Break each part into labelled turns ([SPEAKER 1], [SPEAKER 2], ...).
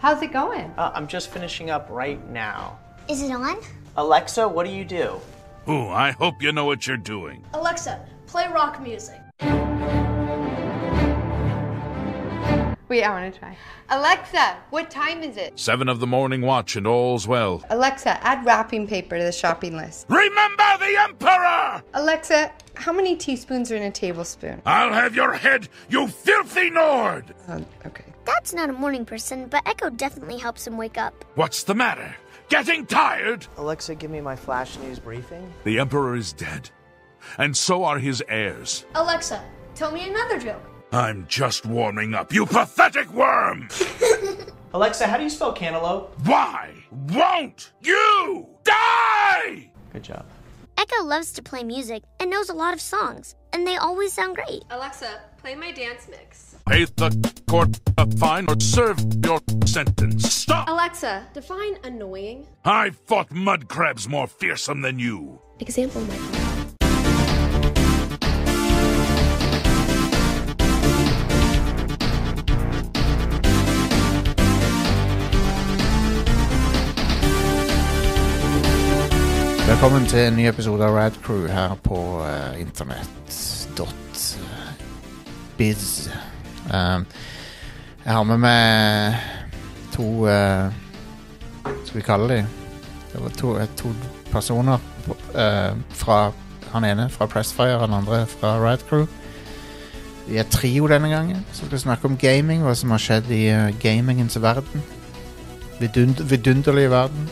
[SPEAKER 1] How's it going?
[SPEAKER 2] Uh, I'm just finishing up right now.
[SPEAKER 3] Is it on?
[SPEAKER 2] Alexa, what do you do?
[SPEAKER 4] Ooh, I hope you know what you're doing.
[SPEAKER 5] Alexa, play rock music.
[SPEAKER 1] Wait, I want to try. Alexa, what time is it?
[SPEAKER 4] Seven of the morning watch and all's well.
[SPEAKER 1] Alexa, add wrapping paper to the shopping list.
[SPEAKER 4] Remember the Emperor!
[SPEAKER 1] Alexa, how many teaspoons are in a tablespoon?
[SPEAKER 4] I'll have your head, you filthy Nord!
[SPEAKER 1] Um, okay.
[SPEAKER 3] Dad's not a morning person, but Echo definitely helps him wake up.
[SPEAKER 4] What's the matter? Getting tired?
[SPEAKER 2] Alexa, give me my flash news briefing.
[SPEAKER 4] The Emperor is dead, and so are his heirs.
[SPEAKER 5] Alexa, tell me another joke.
[SPEAKER 4] I'm just warming up, you pathetic worm!
[SPEAKER 2] Alexa, how do you spell cantaloupe?
[SPEAKER 4] Why won't you die?
[SPEAKER 2] Good job.
[SPEAKER 3] Echo loves to play music and knows a lot of songs, and they always sound great.
[SPEAKER 1] Alexa, play my dance mix.
[SPEAKER 4] Pay the court a fine or serve your sentence.
[SPEAKER 5] Oh.
[SPEAKER 4] Stop!
[SPEAKER 5] Alexa, define annoying.
[SPEAKER 4] I fought mud crabs more fearsome than you.
[SPEAKER 5] Example Michael.
[SPEAKER 6] Velkommen til en ny episode av Rad Crew her på eh, internett.biz. Um, jeg har med meg to eh, Skal vi kalle dem? Det var to, eh, to personer eh, fra han ene fra Pressfire, han andre fra Rad Crew. Vi er trio denne gangen, så skal vi snakke om gaming, hva som har skjedd i eh, gamingens verden. Vidund vidunderlige verden.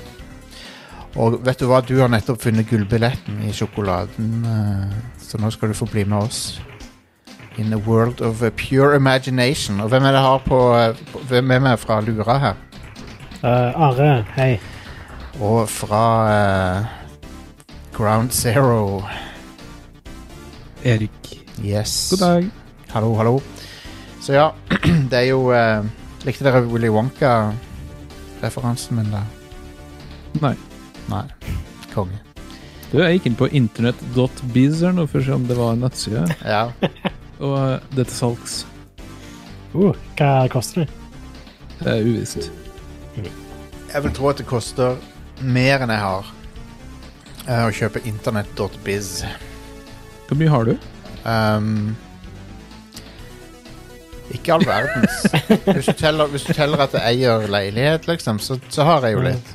[SPEAKER 6] Og vet du hva, du har nettopp funnet gullbilletten i sjokoladen, eh, så nå skal du få bli med oss. In a world of eh, pure imagination. Og hvem er det har på, eh, på Hvem er med fra Lura her?
[SPEAKER 7] Eh, Are, hei.
[SPEAKER 6] Og fra eh, Ground Zero.
[SPEAKER 8] Erik.
[SPEAKER 6] Yes.
[SPEAKER 8] God dag.
[SPEAKER 6] Hallo, hallo. Så ja, det er jo eh, Likte dere Willy Wonka-referansen min der?
[SPEAKER 8] Nei.
[SPEAKER 6] Nei. Konge.
[SPEAKER 8] Du, jeg gikk inn på internett.biz her nå for å se om det var en nettside,
[SPEAKER 6] Ja.
[SPEAKER 8] og eh, det er til salgs.
[SPEAKER 7] Uh, hva koster det?
[SPEAKER 8] Det er eh, uvisst.
[SPEAKER 6] Jeg vil tro at det koster mer enn jeg har eh, å kjøpe internett.biz.
[SPEAKER 8] Hvor mye har du?
[SPEAKER 6] Um, ikke all verdens. Hvis du teller, hvis du teller at jeg eier leilighet, liksom, så, så har jeg jo litt.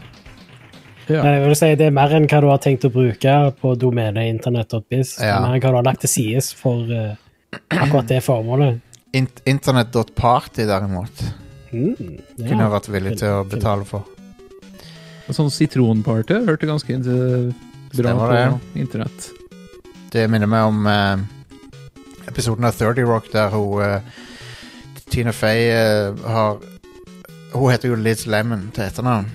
[SPEAKER 8] Ja.
[SPEAKER 7] Jeg vil si Det er mer enn hva du har tenkt å bruke på domenet internett.biz.
[SPEAKER 6] Ja.
[SPEAKER 7] Mer enn hva du har lagt til sides for eh, akkurat det formålet.
[SPEAKER 6] Int internett.party, derimot,
[SPEAKER 7] Mm,
[SPEAKER 6] kunne
[SPEAKER 7] ja.
[SPEAKER 6] jeg vært villig til å betale for.
[SPEAKER 8] En sånn sitronparty hørte ganske eh, bra
[SPEAKER 6] Stemmer
[SPEAKER 8] på
[SPEAKER 6] det.
[SPEAKER 8] internett.
[SPEAKER 6] Det minner meg om eh, episoden av 30 Rock der hun eh, Tina Fey eh, har Hun heter jo Liz Lemon til etternavn.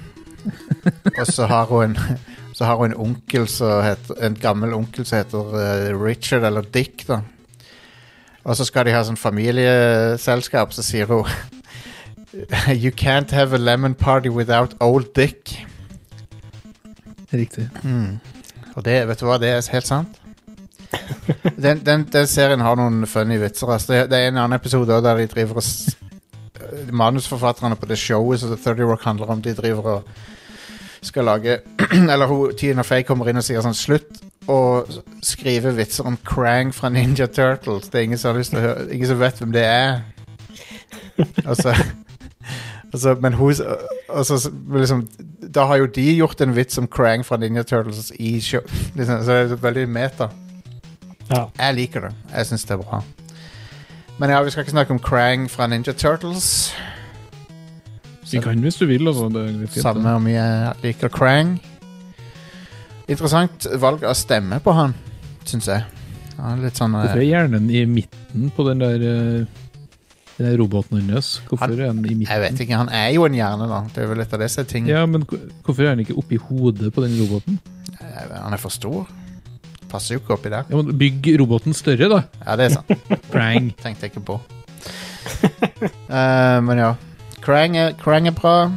[SPEAKER 6] Og så har hun en så har hun en onkel som heter, en gammel onkel som heter eh, Richard eller Dick. da. Og så skal de ha sånn familieselskap, så sier hun You can't have a lemon party without old Dick.
[SPEAKER 8] Riktig.
[SPEAKER 6] Mm. Og det, vet du hva, det er helt sant. Den, den, den serien har noen funny vitser. Altså. Det, det er en annen episode også der de driver og s- øh, Manusforfatterne på det showet som 30 Rock handler om, de driver og skal lage Eller hun, Tina Fey kommer inn og sier sånn Slutt å s- skrive vitser om Krang fra Ninja Turtles. Det er ingen som, har lyst til å høre, ingen som vet hvem det er. Og så og så- men hun og så, s- liksom, Da har jo de gjort en vits om Krang fra Ninja Turtles i show. Liksom, så det er veldig meta.
[SPEAKER 7] Ja.
[SPEAKER 6] Jeg liker det. Jeg syns det er bra. Men ja, vi skal ikke snakke om Krang fra Ninja Turtles.
[SPEAKER 8] Vi kan hvis du vil, altså. Det er litt fint,
[SPEAKER 6] Samme om jeg liker Krang. Interessant valg av stemme på han, syns jeg. Ja, litt sånn
[SPEAKER 8] da.
[SPEAKER 6] eh,
[SPEAKER 8] Hvorfor er hjernen i midten på den der, eh, den der roboten hennes? Hvorfor
[SPEAKER 6] Han-
[SPEAKER 8] er den i midten?
[SPEAKER 6] Jeg vet ikke, han er jo en hjerne, da. Det er vel litt av disse tingene.
[SPEAKER 8] Ja, men hvor- hvorfor er den ikke oppi hodet på den roboten?
[SPEAKER 6] Eh, Han er for stor. Passer jo ikke oppi der.
[SPEAKER 8] Ja, men Bygg roboten større, da!
[SPEAKER 6] Ja, det er sant.
[SPEAKER 8] Prang.
[SPEAKER 6] tenkte jeg ikke på. Eh, men ja. Krang er, Krang er bra.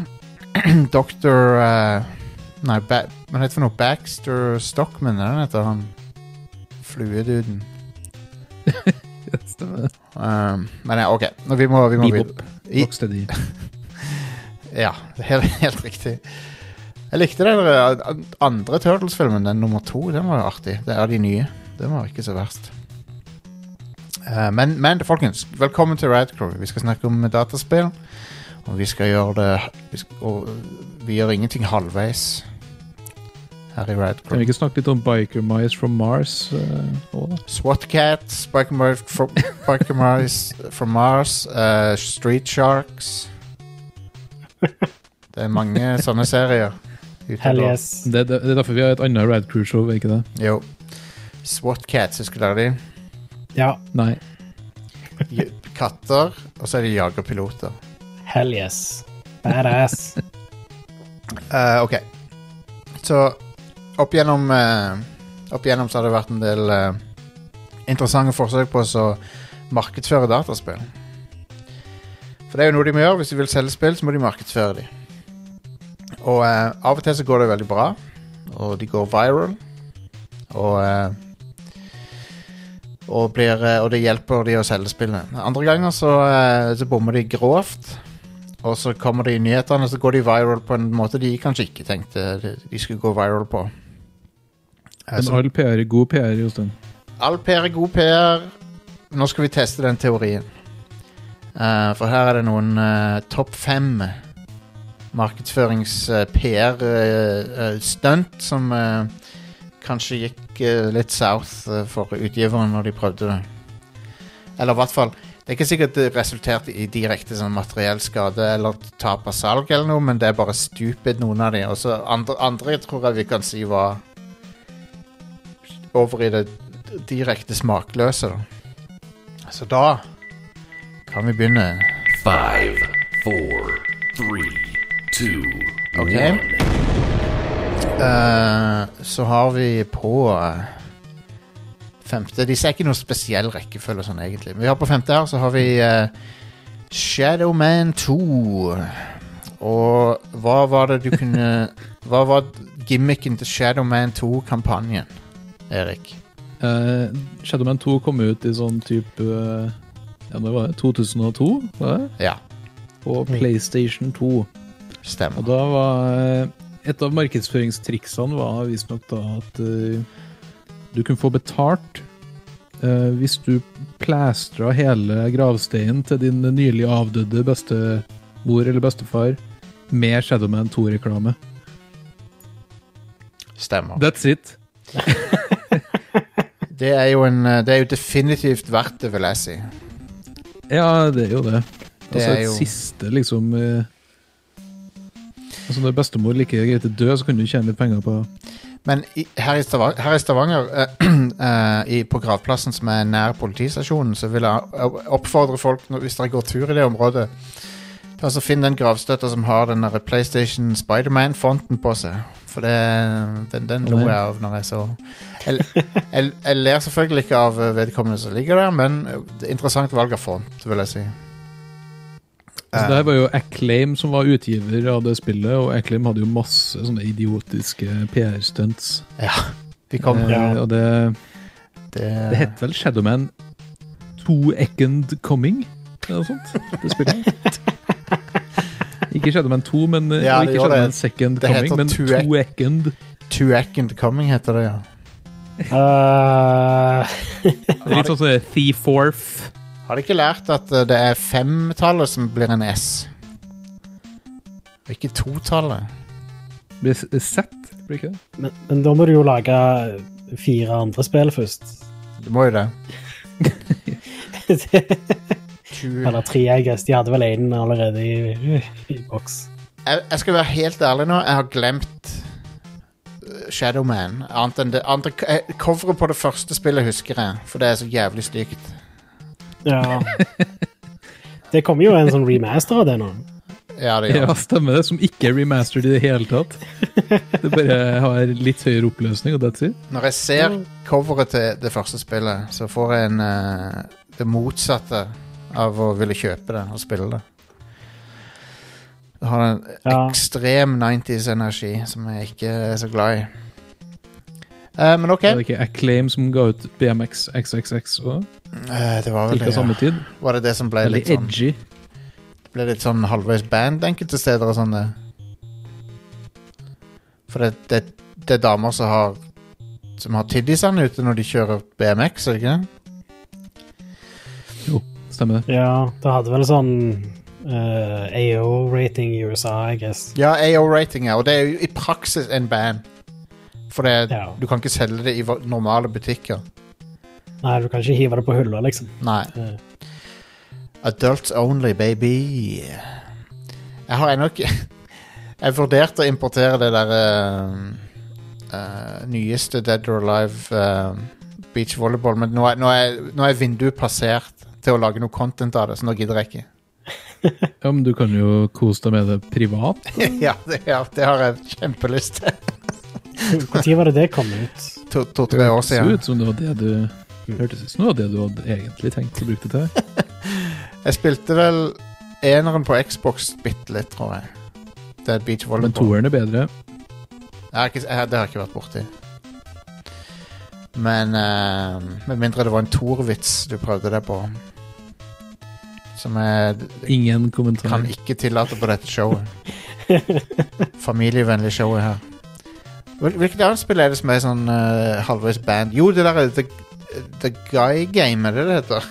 [SPEAKER 6] Doktor eh, Nei, ba hva heter det for noe? Baxter Stockman, er det han heter? Han flueduden.
[SPEAKER 8] Stemmer.
[SPEAKER 6] Eh, men ja, OK. Nå, vi må, vi må
[SPEAKER 8] Bebop.
[SPEAKER 6] I-
[SPEAKER 8] Rocksteady.
[SPEAKER 6] Ja, helt, helt riktig. Jeg likte den der andre Turtles-filmen, den nummer to. Den var jo artig. Det er de nye. Den var ikke så verst. Eh, Men, men folkens, velkommen til Radcrew. Vi skal snakke om dataspill. Og vi skal gjøre det vi skal, Og vi gjør ingenting halvveis her i
[SPEAKER 8] Kan
[SPEAKER 6] Radcrew.
[SPEAKER 8] vi ikke snakke litt om Biker Mice from Mars? eh, også, da?
[SPEAKER 6] SWATCats, Bikermars from, Biker Mice from Mars, eh, Street Sharks Det er mange sånne serier. ute
[SPEAKER 7] Hell
[SPEAKER 6] nå.
[SPEAKER 7] yes.
[SPEAKER 8] Det, det, det er derfor vi har et annet Rad Crew-show, er ikke det?
[SPEAKER 6] Jo. SWATCats, husker dere de?
[SPEAKER 7] Ja,
[SPEAKER 8] Nei.
[SPEAKER 6] J- Katter, og så er de jagerpiloter.
[SPEAKER 7] hell yes. Badass.
[SPEAKER 6] Eh, ok. Så opp gjennom eh, Opp gjennom så har det vært en del eh, interessante forsøk på å så markedsføre dataspill. For det er jo noe de må gjøre. Hvis de vil selge spill, så må de markedsføre de. Og eh, av og til så går det veldig bra, og de går viral. Og eh, og, blir, eh, og det hjelper de å selge spillene. Andre ganger så, eh, så bommer de grovt. Og så kommer det i nyhetene, så går de viral på en måte de kanskje ikke tenkte de- de skulle gå viral på. Eh,
[SPEAKER 8] Men
[SPEAKER 6] så
[SPEAKER 8] all PR er god PR, Jostein.
[SPEAKER 6] All PR er god PR. Nå skal vi teste den teorien. Eh, for her er det noen eh, topp fem eh, markedsførings-PR-stunt eh, som eh, kanskje gikk eh, litt south eh, for utgiveren når de prøvde det. Eller i hvert fall Det er ikke sikkert det resulterte i direkte sånn materiell skade eller tap av salg, eller noe, men det er bare stupid, noen av de. Og så andre, andre tror jeg vi kan si var over i det direkte smakløse. Da. Så da kan vi begynne.
[SPEAKER 9] Five, four, three, two,
[SPEAKER 6] Ok.
[SPEAKER 9] one.
[SPEAKER 6] Eh, så har vi på eh, femte Disse er ikke noen spesiell rekkefølge sånn egentlig. Men vi har på femte her så har vi eh, Shadowman 2. Og hva var det du kunne Hva var gimmicken til Shadowman 2-kampanjen, Erik?
[SPEAKER 8] Eh, Shadowman 2 kom ut i sånn type eh, ja, det var det, 2002, var det?
[SPEAKER 6] Ja,
[SPEAKER 8] på PlayStation 2. Og
[SPEAKER 6] stemmer.
[SPEAKER 8] da var eh, Et av markedsføringstriksene var visstnok da at eh, du kunne få betalt eh, hvis du plæstra hele gravsteinen til din nylig avdøde bestemor eller bestefar med Shadowman 2-reklame.
[SPEAKER 6] Stemmer.
[SPEAKER 8] That's it.
[SPEAKER 6] Det er jo, en, eh, det er jo definitivt verdt det, vil jeg si.
[SPEAKER 8] Ja, det er jo det.
[SPEAKER 6] Det
[SPEAKER 8] Altså,
[SPEAKER 6] er
[SPEAKER 8] et
[SPEAKER 6] jo-
[SPEAKER 8] siste, liksom eh, Altså, når bestemor like greit er død, så kan du tjene litt penger på
[SPEAKER 6] Men i, her i Stavanger, her i Stavanger eh, eh, i, på gravplassen som er nær politistasjonen, så vil jeg opp- oppfordre folk, når- hvis dere går tur i det området, til å så finne den gravstøtta som har den der PlayStation Spiderman-fonten på seg. For det, den, den lo jeg av når jeg så jeg, jeg, jeg ler selvfølgelig ikke av eh, vedkommende som ligger der, men eh, det er interessant valg av font, vil jeg si. Eh.
[SPEAKER 8] Altså, det her var jo Acclaim som var utgiver av det spillet, og Acclaim hadde jo masse sånne idiotiske PR-stunts.
[SPEAKER 6] Vi kom,
[SPEAKER 8] Eh, og det, det
[SPEAKER 6] det,
[SPEAKER 8] het vel Shadowman 2 Eckend Coming? Eller noe sånt? Det spillet. Ikke Shadowman 2, men eh,
[SPEAKER 6] Ja,
[SPEAKER 8] og
[SPEAKER 6] det
[SPEAKER 8] ikke
[SPEAKER 6] gjorde
[SPEAKER 8] Shadowman
[SPEAKER 6] det.
[SPEAKER 8] Second
[SPEAKER 6] Det heter
[SPEAKER 8] Coming, men
[SPEAKER 6] 2
[SPEAKER 8] 2 Eckend.
[SPEAKER 6] Two Ack and Coming heter det, ja.
[SPEAKER 7] Eh,
[SPEAKER 8] Litt sånn som Thieforth.
[SPEAKER 6] Har de ikke lært at eh, det er femtallet som blir en S? Og ikke totallet.
[SPEAKER 8] Blir s- sett, blir ikke det?
[SPEAKER 7] men, men da må du jo lage fire andre spill først.
[SPEAKER 6] Det må jo det.
[SPEAKER 7] Eller tre, jeg guess. De hadde vel én allerede i, i boks.
[SPEAKER 6] Jeg, jeg skal være helt ærlig nå. Jeg har glemt eh, Shadowman. Annet enn det andre, eh, Coveret på det første spillet husker jeg, for det er så jævlig stygt.
[SPEAKER 7] Ja. Det kommer jo en sånn remaster av det nå.
[SPEAKER 6] Ja, det gjør
[SPEAKER 8] Ja,
[SPEAKER 6] det.
[SPEAKER 8] stemmer det. Som ikke er remastered i det hele tatt. Det bare har litt høyere oppløsning, og that's it.
[SPEAKER 6] Når jeg ser coveret til det første spillet, så får jeg en, eh, det motsatte av å ville kjøpe det og spille det. Det har en
[SPEAKER 7] Ja.
[SPEAKER 6] ekstrem 90s-energi som jeg ikke er så glad i. Eh, men OK.
[SPEAKER 8] Var det ikke Acclaim som ga ut BMX XXX òg?
[SPEAKER 6] Eh, det var vel
[SPEAKER 8] Cirka
[SPEAKER 6] det,
[SPEAKER 8] samme
[SPEAKER 6] ja.
[SPEAKER 8] tid?
[SPEAKER 6] Var det det som ble
[SPEAKER 8] Veldig
[SPEAKER 6] litt sånn
[SPEAKER 8] edgy.
[SPEAKER 6] ble litt sånn halvveis band enkelte steder og sånn. eh. For det, det, det er damer som har Som har tiddisene ute når de kjører BMX, er det ikke det?
[SPEAKER 8] Jo, stemmer det.
[SPEAKER 7] Ja, det hadde vel sånn eh, AO-rating i USA, I guess.
[SPEAKER 6] Ja, AO-rating, ja. Og det er jo i praksis en band. For det,
[SPEAKER 7] Ja.
[SPEAKER 6] du kan ikke selge det i va- normale butikker.
[SPEAKER 7] Nei, du kan ikke hive det på hylla, liksom.
[SPEAKER 6] Nei.
[SPEAKER 7] Eh,
[SPEAKER 6] Adults only, baby. Jeg har ennå ikke Jeg vurderte å importere det der eh, eh, nyeste Dead or Alive eh, beach volleyball, men nå er, nå, er, nå er vinduet passert til å lage noe content av det, så nå gidder jeg ikke.
[SPEAKER 8] Ja, men du kan jo kose deg med det privat.
[SPEAKER 6] ja, det, ja, det har jeg kjempelyst til.
[SPEAKER 7] Når var det det kom ut?
[SPEAKER 6] To-tre år
[SPEAKER 8] Det så
[SPEAKER 6] siden. Mm.
[SPEAKER 8] ut som det var det du hørtes ut som det var det du hadde egentlig tenkt å bruke det til.
[SPEAKER 6] Jeg spilte vel eneren på Xbox bitte litt, tror jeg. Det er beach
[SPEAKER 8] Men
[SPEAKER 6] volleyball.
[SPEAKER 8] toeren er bedre.
[SPEAKER 6] Jeg har ikke, jeg, det har jeg ikke vært borti. Men eh, Med mindre det var en Thor-vits du prøvde deg på. Som jeg d-
[SPEAKER 8] Ingen kommentar.
[SPEAKER 6] kan ikke tillate på dette showet. Familievennlig showet her. Hvil- Hvilket annet spill er det som er sånn eh, halvveis band? Jo, det der er The, eh, the Guy Game, er det det heter?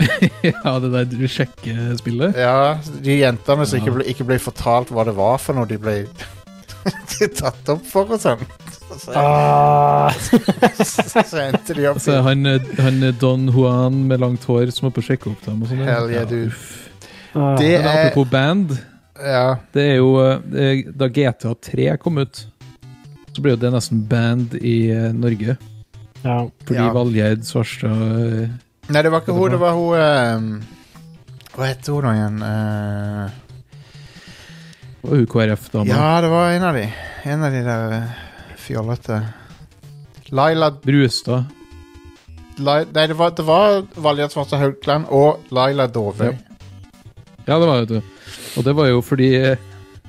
[SPEAKER 8] ja, det der du sjekker spillet.
[SPEAKER 6] Ja, De jentene som ikke
[SPEAKER 8] Ja.
[SPEAKER 6] ble, ikke ble fortalt hva det var for noe de ble tatt opp for og sånn. Så,
[SPEAKER 7] Ah,
[SPEAKER 6] så endte de opp
[SPEAKER 8] Altså,
[SPEAKER 6] i
[SPEAKER 8] han, eh, han eh, Don Juan med langt hår som er oppe og sjekker opp dem og sånn.
[SPEAKER 6] Hell yeah, dude.
[SPEAKER 8] uff.
[SPEAKER 7] ah.
[SPEAKER 6] Det
[SPEAKER 8] Men
[SPEAKER 6] er
[SPEAKER 8] apropos band,
[SPEAKER 6] Ja.
[SPEAKER 8] det er jo eh, det- Da GTA 3 kom ut, så ble jo det nesten band i eh, Norge.
[SPEAKER 7] Ja.
[SPEAKER 8] Fordi
[SPEAKER 6] Ja.
[SPEAKER 8] Valgerd Svarstad eh,
[SPEAKER 6] Nei, det var ikke
[SPEAKER 8] Det
[SPEAKER 6] hun,
[SPEAKER 8] var-
[SPEAKER 6] det var hun ehm, Hva heter hun nå igjen? Eh,
[SPEAKER 8] var jo KrF-dama.
[SPEAKER 6] ja, det var en av de. En av de der eh, fjollete Laila
[SPEAKER 8] Brustad.
[SPEAKER 6] Lai- Nei, det var, det var Valgerd Svarstad Haugland og Laila Dove.
[SPEAKER 8] Ja. Ja, det var det. Og det var jo fordi eh,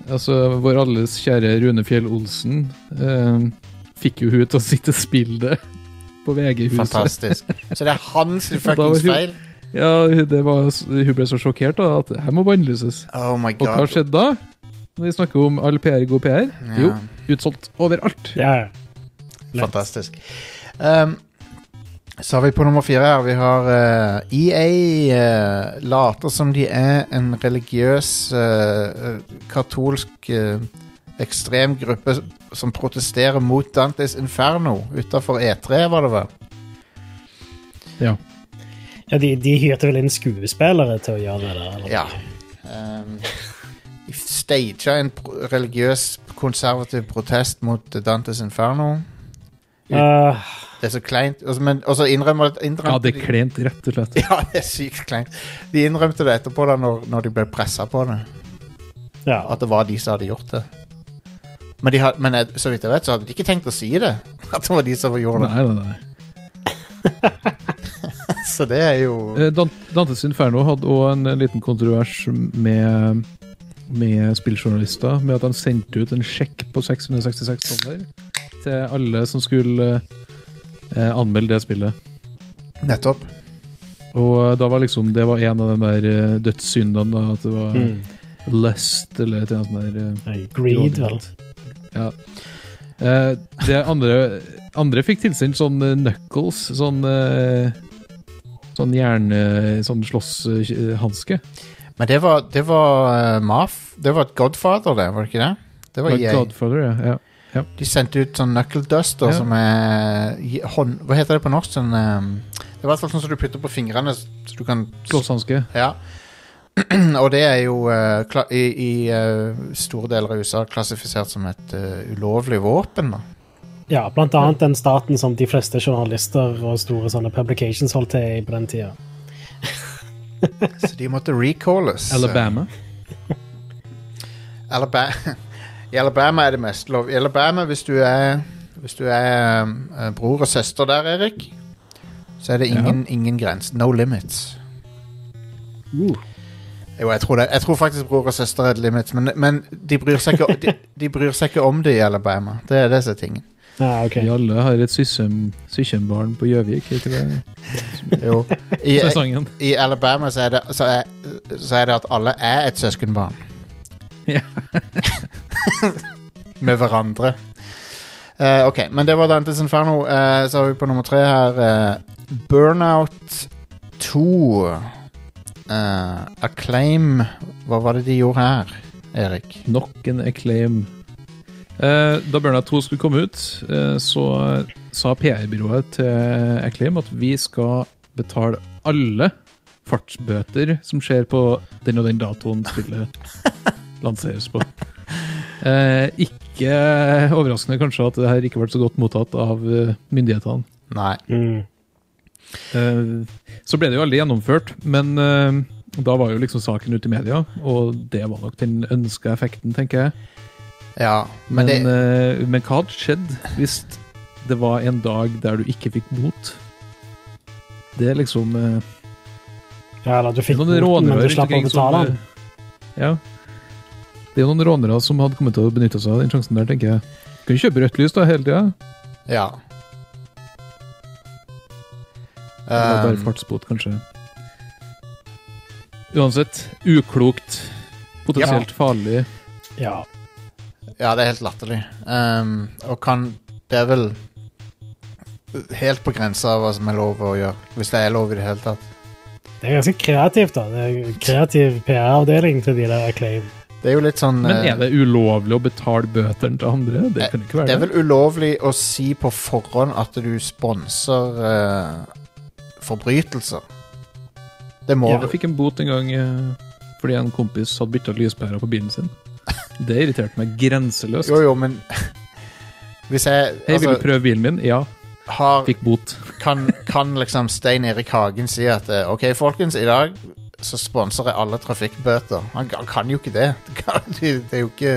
[SPEAKER 8] altså, vår alles kjære Rune Fjell Olsen eh, fikk jo hun til å sitte og spille det på VG-huset.
[SPEAKER 6] Fantastisk. Så det er hans
[SPEAKER 8] var
[SPEAKER 6] fuckings
[SPEAKER 8] hun-
[SPEAKER 6] feil.
[SPEAKER 8] Ja, det var, Hun ble så sjokkert da, at det her må bannlyses.
[SPEAKER 6] Oh my
[SPEAKER 8] Og hva
[SPEAKER 6] god.
[SPEAKER 8] skjedde da? Når vi snakker om all PR, god PR. Jo,
[SPEAKER 6] Ja.
[SPEAKER 8] utsolgt overalt.
[SPEAKER 7] ja. ja.
[SPEAKER 6] Fantastisk. Ehm, så har vi på nummer fire her Vi har eh, EA eh, later som de er en religiøs, eh, eh, katolsk eh, ekstrem gruppe som protesterer mot Dantes Inferno utafor E3, var det vel?
[SPEAKER 8] Ja.
[SPEAKER 7] ja de, de hyrte vel inn skuespillere til å gjøre det der? Eller?
[SPEAKER 6] Ja. Um, de staged en pro religiøs, konservativ protest mot Dantes Inferno.
[SPEAKER 7] Ah,
[SPEAKER 6] Det er så kleint. Og så- men- Og så innrømmer
[SPEAKER 8] ja,
[SPEAKER 6] innrømmer
[SPEAKER 8] det
[SPEAKER 6] de-
[SPEAKER 8] er kleint, rett og slett.
[SPEAKER 6] Ja, det er sykt kleint. De innrømte det etterpå, da når, når de ble pressa på det.
[SPEAKER 7] ja.
[SPEAKER 6] At det var de som hadde gjort det. Men, de had, men eh, så vidt jeg vet, så hadde de ikke tenkt å si det. At det var de som gjorde det.
[SPEAKER 8] Nei, nei, nei.
[SPEAKER 6] Så det er jo
[SPEAKER 8] Eh, Dan- Dantes Inferno hadde òg en eh, liten kontrovers med, med spilljournalister, med at de sendte ut en sjekk på 666 dollar til alle som skulle eh, anmelde det spillet.
[SPEAKER 6] Nettopp.
[SPEAKER 8] Og eh, da var liksom det var en av de der eh, dødssyndene, da, at det var
[SPEAKER 7] Mm.
[SPEAKER 8] lust eller et eller annet sånt der. eh,
[SPEAKER 7] Nei, Greed, vel.
[SPEAKER 8] Ja. Eh, det andre, andre fikk tilsendt sånn eh, knuckles, sånn eh, Sånn hjerne... Sånn slåsshanske.
[SPEAKER 6] Men det var, det var eh, Maf. Det var et Godfather, det, var det ikke det? Det var EA.
[SPEAKER 8] Godfather, ja. ja.
[SPEAKER 6] De sendte ut sånn knuckle duster
[SPEAKER 8] Ja.
[SPEAKER 6] som er eh, i- hånd... Hva heter det på norsk? Sånn, eh, det er i hvert fall sånn som du putter på fingrene, så du kan
[SPEAKER 8] Slåsshanske.
[SPEAKER 6] Ja. Og det er jo eh, kla- i, i eh, store deler av USA klassifisert som et eh, ulovlig våpen. Da.
[SPEAKER 7] Ja, blant annet den staten som de fleste journalister og store sånne publications holdt til i på den tida.
[SPEAKER 6] Så de måtte recalles.
[SPEAKER 8] Alabama.
[SPEAKER 6] Alabama. Eh, I Alabama er det mest lov. I Alabama, hvis du er, hvis du er eh, bror og søster der, Erik, så er det ingen, ingen grenser. No limits. Uh. Jo, jeg tror, det, jeg tror faktisk bror og søster er et limit, men, men de, bryr seg ikke, de, de bryr seg ikke om det i Alabama. Det er det som er tingen.
[SPEAKER 7] Ja, Ah, ok.
[SPEAKER 8] Vi alle har et sysem- syskenbarn på Gjøvik, er ikke det?
[SPEAKER 6] Jo. I,
[SPEAKER 8] Så er sånn sangen.
[SPEAKER 6] I Alabama så er, det, så, er, så er det at alle er et søskenbarn.
[SPEAKER 8] Ja.
[SPEAKER 6] Med hverandre. Eh, ok, men det var Dantes Inferno. Eh, så har vi på nummer tre her eh, Burnout 2. Eh, acclaim Hva var det de gjorde her, Erik?
[SPEAKER 8] Nok en acclaim. Eh, da Burnout 2 skulle komme ut, eh, så sa PR-byrået til Acclaim at vi skal betale alle fartsbøter som skjer på den og den datoen spillet lanseres på. Eh, ikke overraskende kanskje at det her ikke ble så godt mottatt av eh, myndighetene.
[SPEAKER 6] Nei.
[SPEAKER 7] Mm.
[SPEAKER 8] Eh, Så ble det jo aldri gjennomført, men eh, da var jo liksom saken ute i media, og det var nok den ønska effekten, tenker jeg.
[SPEAKER 6] Ja, men,
[SPEAKER 8] Men,
[SPEAKER 6] det,
[SPEAKER 8] eh, men hva hadde skjedd hvis det var en dag der du ikke fikk bot? Det er liksom eh,
[SPEAKER 7] Ja, eller du
[SPEAKER 8] det er
[SPEAKER 7] fikk
[SPEAKER 8] noen
[SPEAKER 7] boten, men
[SPEAKER 8] rånere
[SPEAKER 7] du slapp å
[SPEAKER 8] rundt omkring som,
[SPEAKER 7] betale den.
[SPEAKER 8] eh, Ja. Det er noen rånere som hadde kommet til å benytte seg av den sjansen der, tenker jeg. Kunne kjøpe rødt lys da hele tida.
[SPEAKER 6] ja.
[SPEAKER 8] Eller bare
[SPEAKER 6] Um,
[SPEAKER 8] fartsbot, kanskje. Uansett, uklokt. Potensielt farlig.
[SPEAKER 7] Ja.
[SPEAKER 6] Ja, det er helt latterlig. Ehm, og kan Det er vel helt på grensa av hva som er lov å gjøre. Hvis det er lov i det hele tatt.
[SPEAKER 7] Det er ganske kreativt, da. Det er kreativ PR-avdeling til de der Acclaim.
[SPEAKER 6] Det er jo litt sånn
[SPEAKER 8] Men
[SPEAKER 6] eh,
[SPEAKER 8] er det ulovlig å betale bøtene til andre? Det kan det ikke
[SPEAKER 6] det
[SPEAKER 8] være.
[SPEAKER 6] er vel ulovlig å si på forhånd at du sponser eh, forbrytelser. Det må
[SPEAKER 7] Ja,
[SPEAKER 8] Jeg fikk en bot en gang eh, fordi en kompis hadde bytta lyspærer på bilen sin. Det irriterte meg grenseløst.
[SPEAKER 6] Jo, jo, men Hvis jeg
[SPEAKER 8] Hei, vil du
[SPEAKER 6] altså,
[SPEAKER 8] prøve bilen min? Ja,
[SPEAKER 6] har
[SPEAKER 8] fikk bot.
[SPEAKER 6] kan, kan liksom Stein Erik Hagen si at eh, OK, folkens, i dag så sponser jeg alle trafikkbøter. Han, han kan jo ikke det. Det, kan, det. det er jo ikke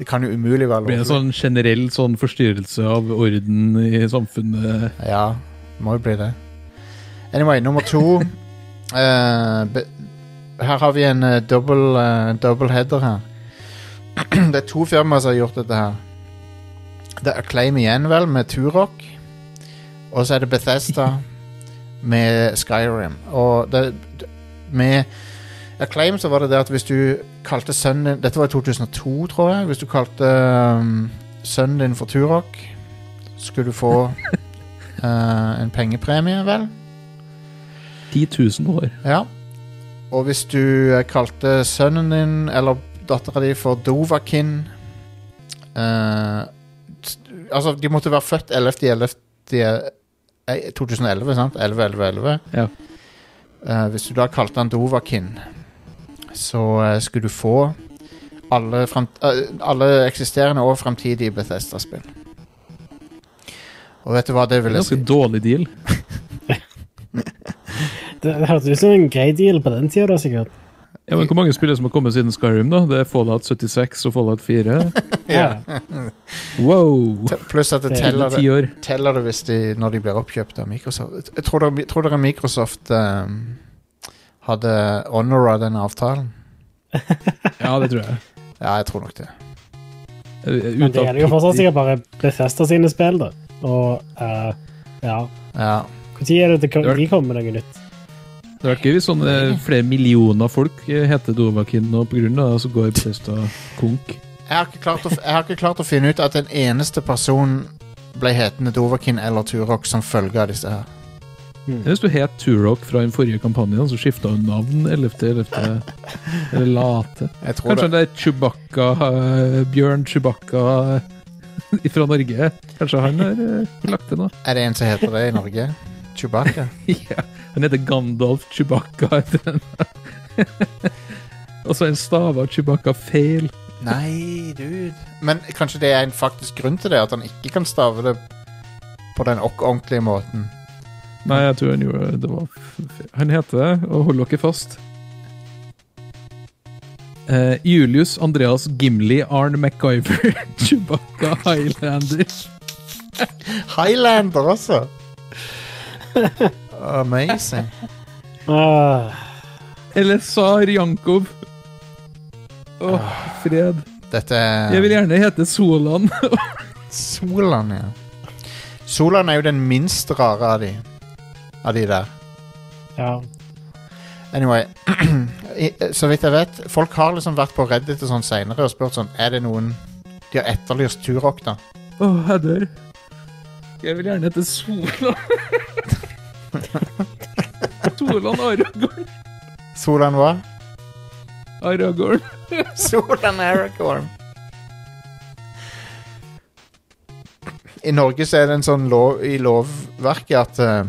[SPEAKER 6] Det kan jo umulig være
[SPEAKER 8] Det blir en
[SPEAKER 6] lovlig.
[SPEAKER 8] sånn generell sånn forstyrrelse av orden i samfunnet.
[SPEAKER 6] Ja, må jo bli det. Anyway, nummer to Eh, be, Her har vi en uh, double, eh, double header her. det er to firmaer som har gjort dette her. Det er Acclaim igjen, vel, med Turok. Og så er det Bethesda med Skyrim. Og det, d- med Acclaim så var det det at hvis du kalte sønnen din Dette var i 2002, tror jeg. Hvis du kalte um, sønnen din for Turok, skulle du få eh, en pengepremie, vel?
[SPEAKER 8] 10 000 år.
[SPEAKER 6] Ja. Og hvis du eh, kalte sønnen din eller dattera di for Dovakin eh, t- Altså, de måtte være født 11.11.2011, sant? 11.11.11.
[SPEAKER 8] Ja.
[SPEAKER 6] Eh, hvis du da kalte han Dovakin, så eh, skulle du få alle, frem, eh, alle eksisterende og fremtidige Bethesda-spill. Og vet du hva det vil si?
[SPEAKER 8] Ganske dårlig deal.
[SPEAKER 7] Det det hørtes ut som en grei deal på den tida, da, sikkert.
[SPEAKER 8] Ja, men Hvor mange spillere som har kommet siden Skyrim? da? Det er Fallout 76 og Fallout 4.
[SPEAKER 7] Ja.
[SPEAKER 8] Wow!
[SPEAKER 6] Te- Pluss at det
[SPEAKER 7] Det er
[SPEAKER 6] teller
[SPEAKER 8] Eller
[SPEAKER 6] det
[SPEAKER 8] ti år.
[SPEAKER 6] teller det hvis de, når de blir oppkjøpt av Microsoft. Jeg tror dere, tror dere Microsoft ehm, hadde honora den avtalen?
[SPEAKER 8] Ja, det tror jeg.
[SPEAKER 6] Ja, jeg tror nok det.
[SPEAKER 7] Men det gjelder jo fortsatt sikkert
[SPEAKER 8] sikkert.
[SPEAKER 7] bare Bethesda sine spill, da. Og eh, ja
[SPEAKER 6] Ja,
[SPEAKER 7] Når er det det kom- de kommer med noe nytt?
[SPEAKER 8] Det hadde vært gøy hvis sånn, eh, flere millioner folk eh, heter Dovakin nå på grunn av det, og så går Bethesda konk.
[SPEAKER 6] jeg har, ikke klart å, f- jeg har ikke klart å finne ut at en eneste person ble hetende Dovakin eller Turok som følge av disse her.
[SPEAKER 8] Hvis du het Turok fra den forrige kampanjen, så skifta hun navn 11.11. Eller late.
[SPEAKER 6] Jeg tror det.
[SPEAKER 8] Kanskje det er Chewbacca, eh, Bjørn Chewbacca eh, fra Norge. Kanskje han har eh, lagt det nå?
[SPEAKER 6] Er det en som heter det i Norge? Chewbacca?
[SPEAKER 8] Ja, han heter Gandalf Chewbacca. heter han. Og så er en stava Chewbacca feil.
[SPEAKER 6] Nei, dude. Men kanskje det er en faktisk grunn til det? At han ikke kan stave det på den ok- ordentlige måten?
[SPEAKER 8] Nei, jeg tror han gjorde det var f- f- Han heter det, og hold dere fast. Eh, Julius Andreas Gimli Arn MacGyver Chewbacca Highlander.
[SPEAKER 6] Highlander også! Amazing.
[SPEAKER 7] Ah,
[SPEAKER 8] Eller Sar Jankov. Åh, fred.
[SPEAKER 6] Dette er
[SPEAKER 8] Jeg vil gjerne hete Solan.
[SPEAKER 6] Solan, ja. Solan er jo den minst rare av de, av de der.
[SPEAKER 7] Ja.
[SPEAKER 6] Anyway, i- så vidt jeg vet, folk har liksom vært på Reddit og sånn senere og spurt sånn, er det noen de har etterlyst Turok da?
[SPEAKER 8] Å, jeg dør. Jeg vil gjerne hete Solan. Solan Aragorn.
[SPEAKER 6] Solan hva?
[SPEAKER 8] Aragorn.
[SPEAKER 6] Solan Aragorn. I Norge så er det en sånn lov i lovverket at eh,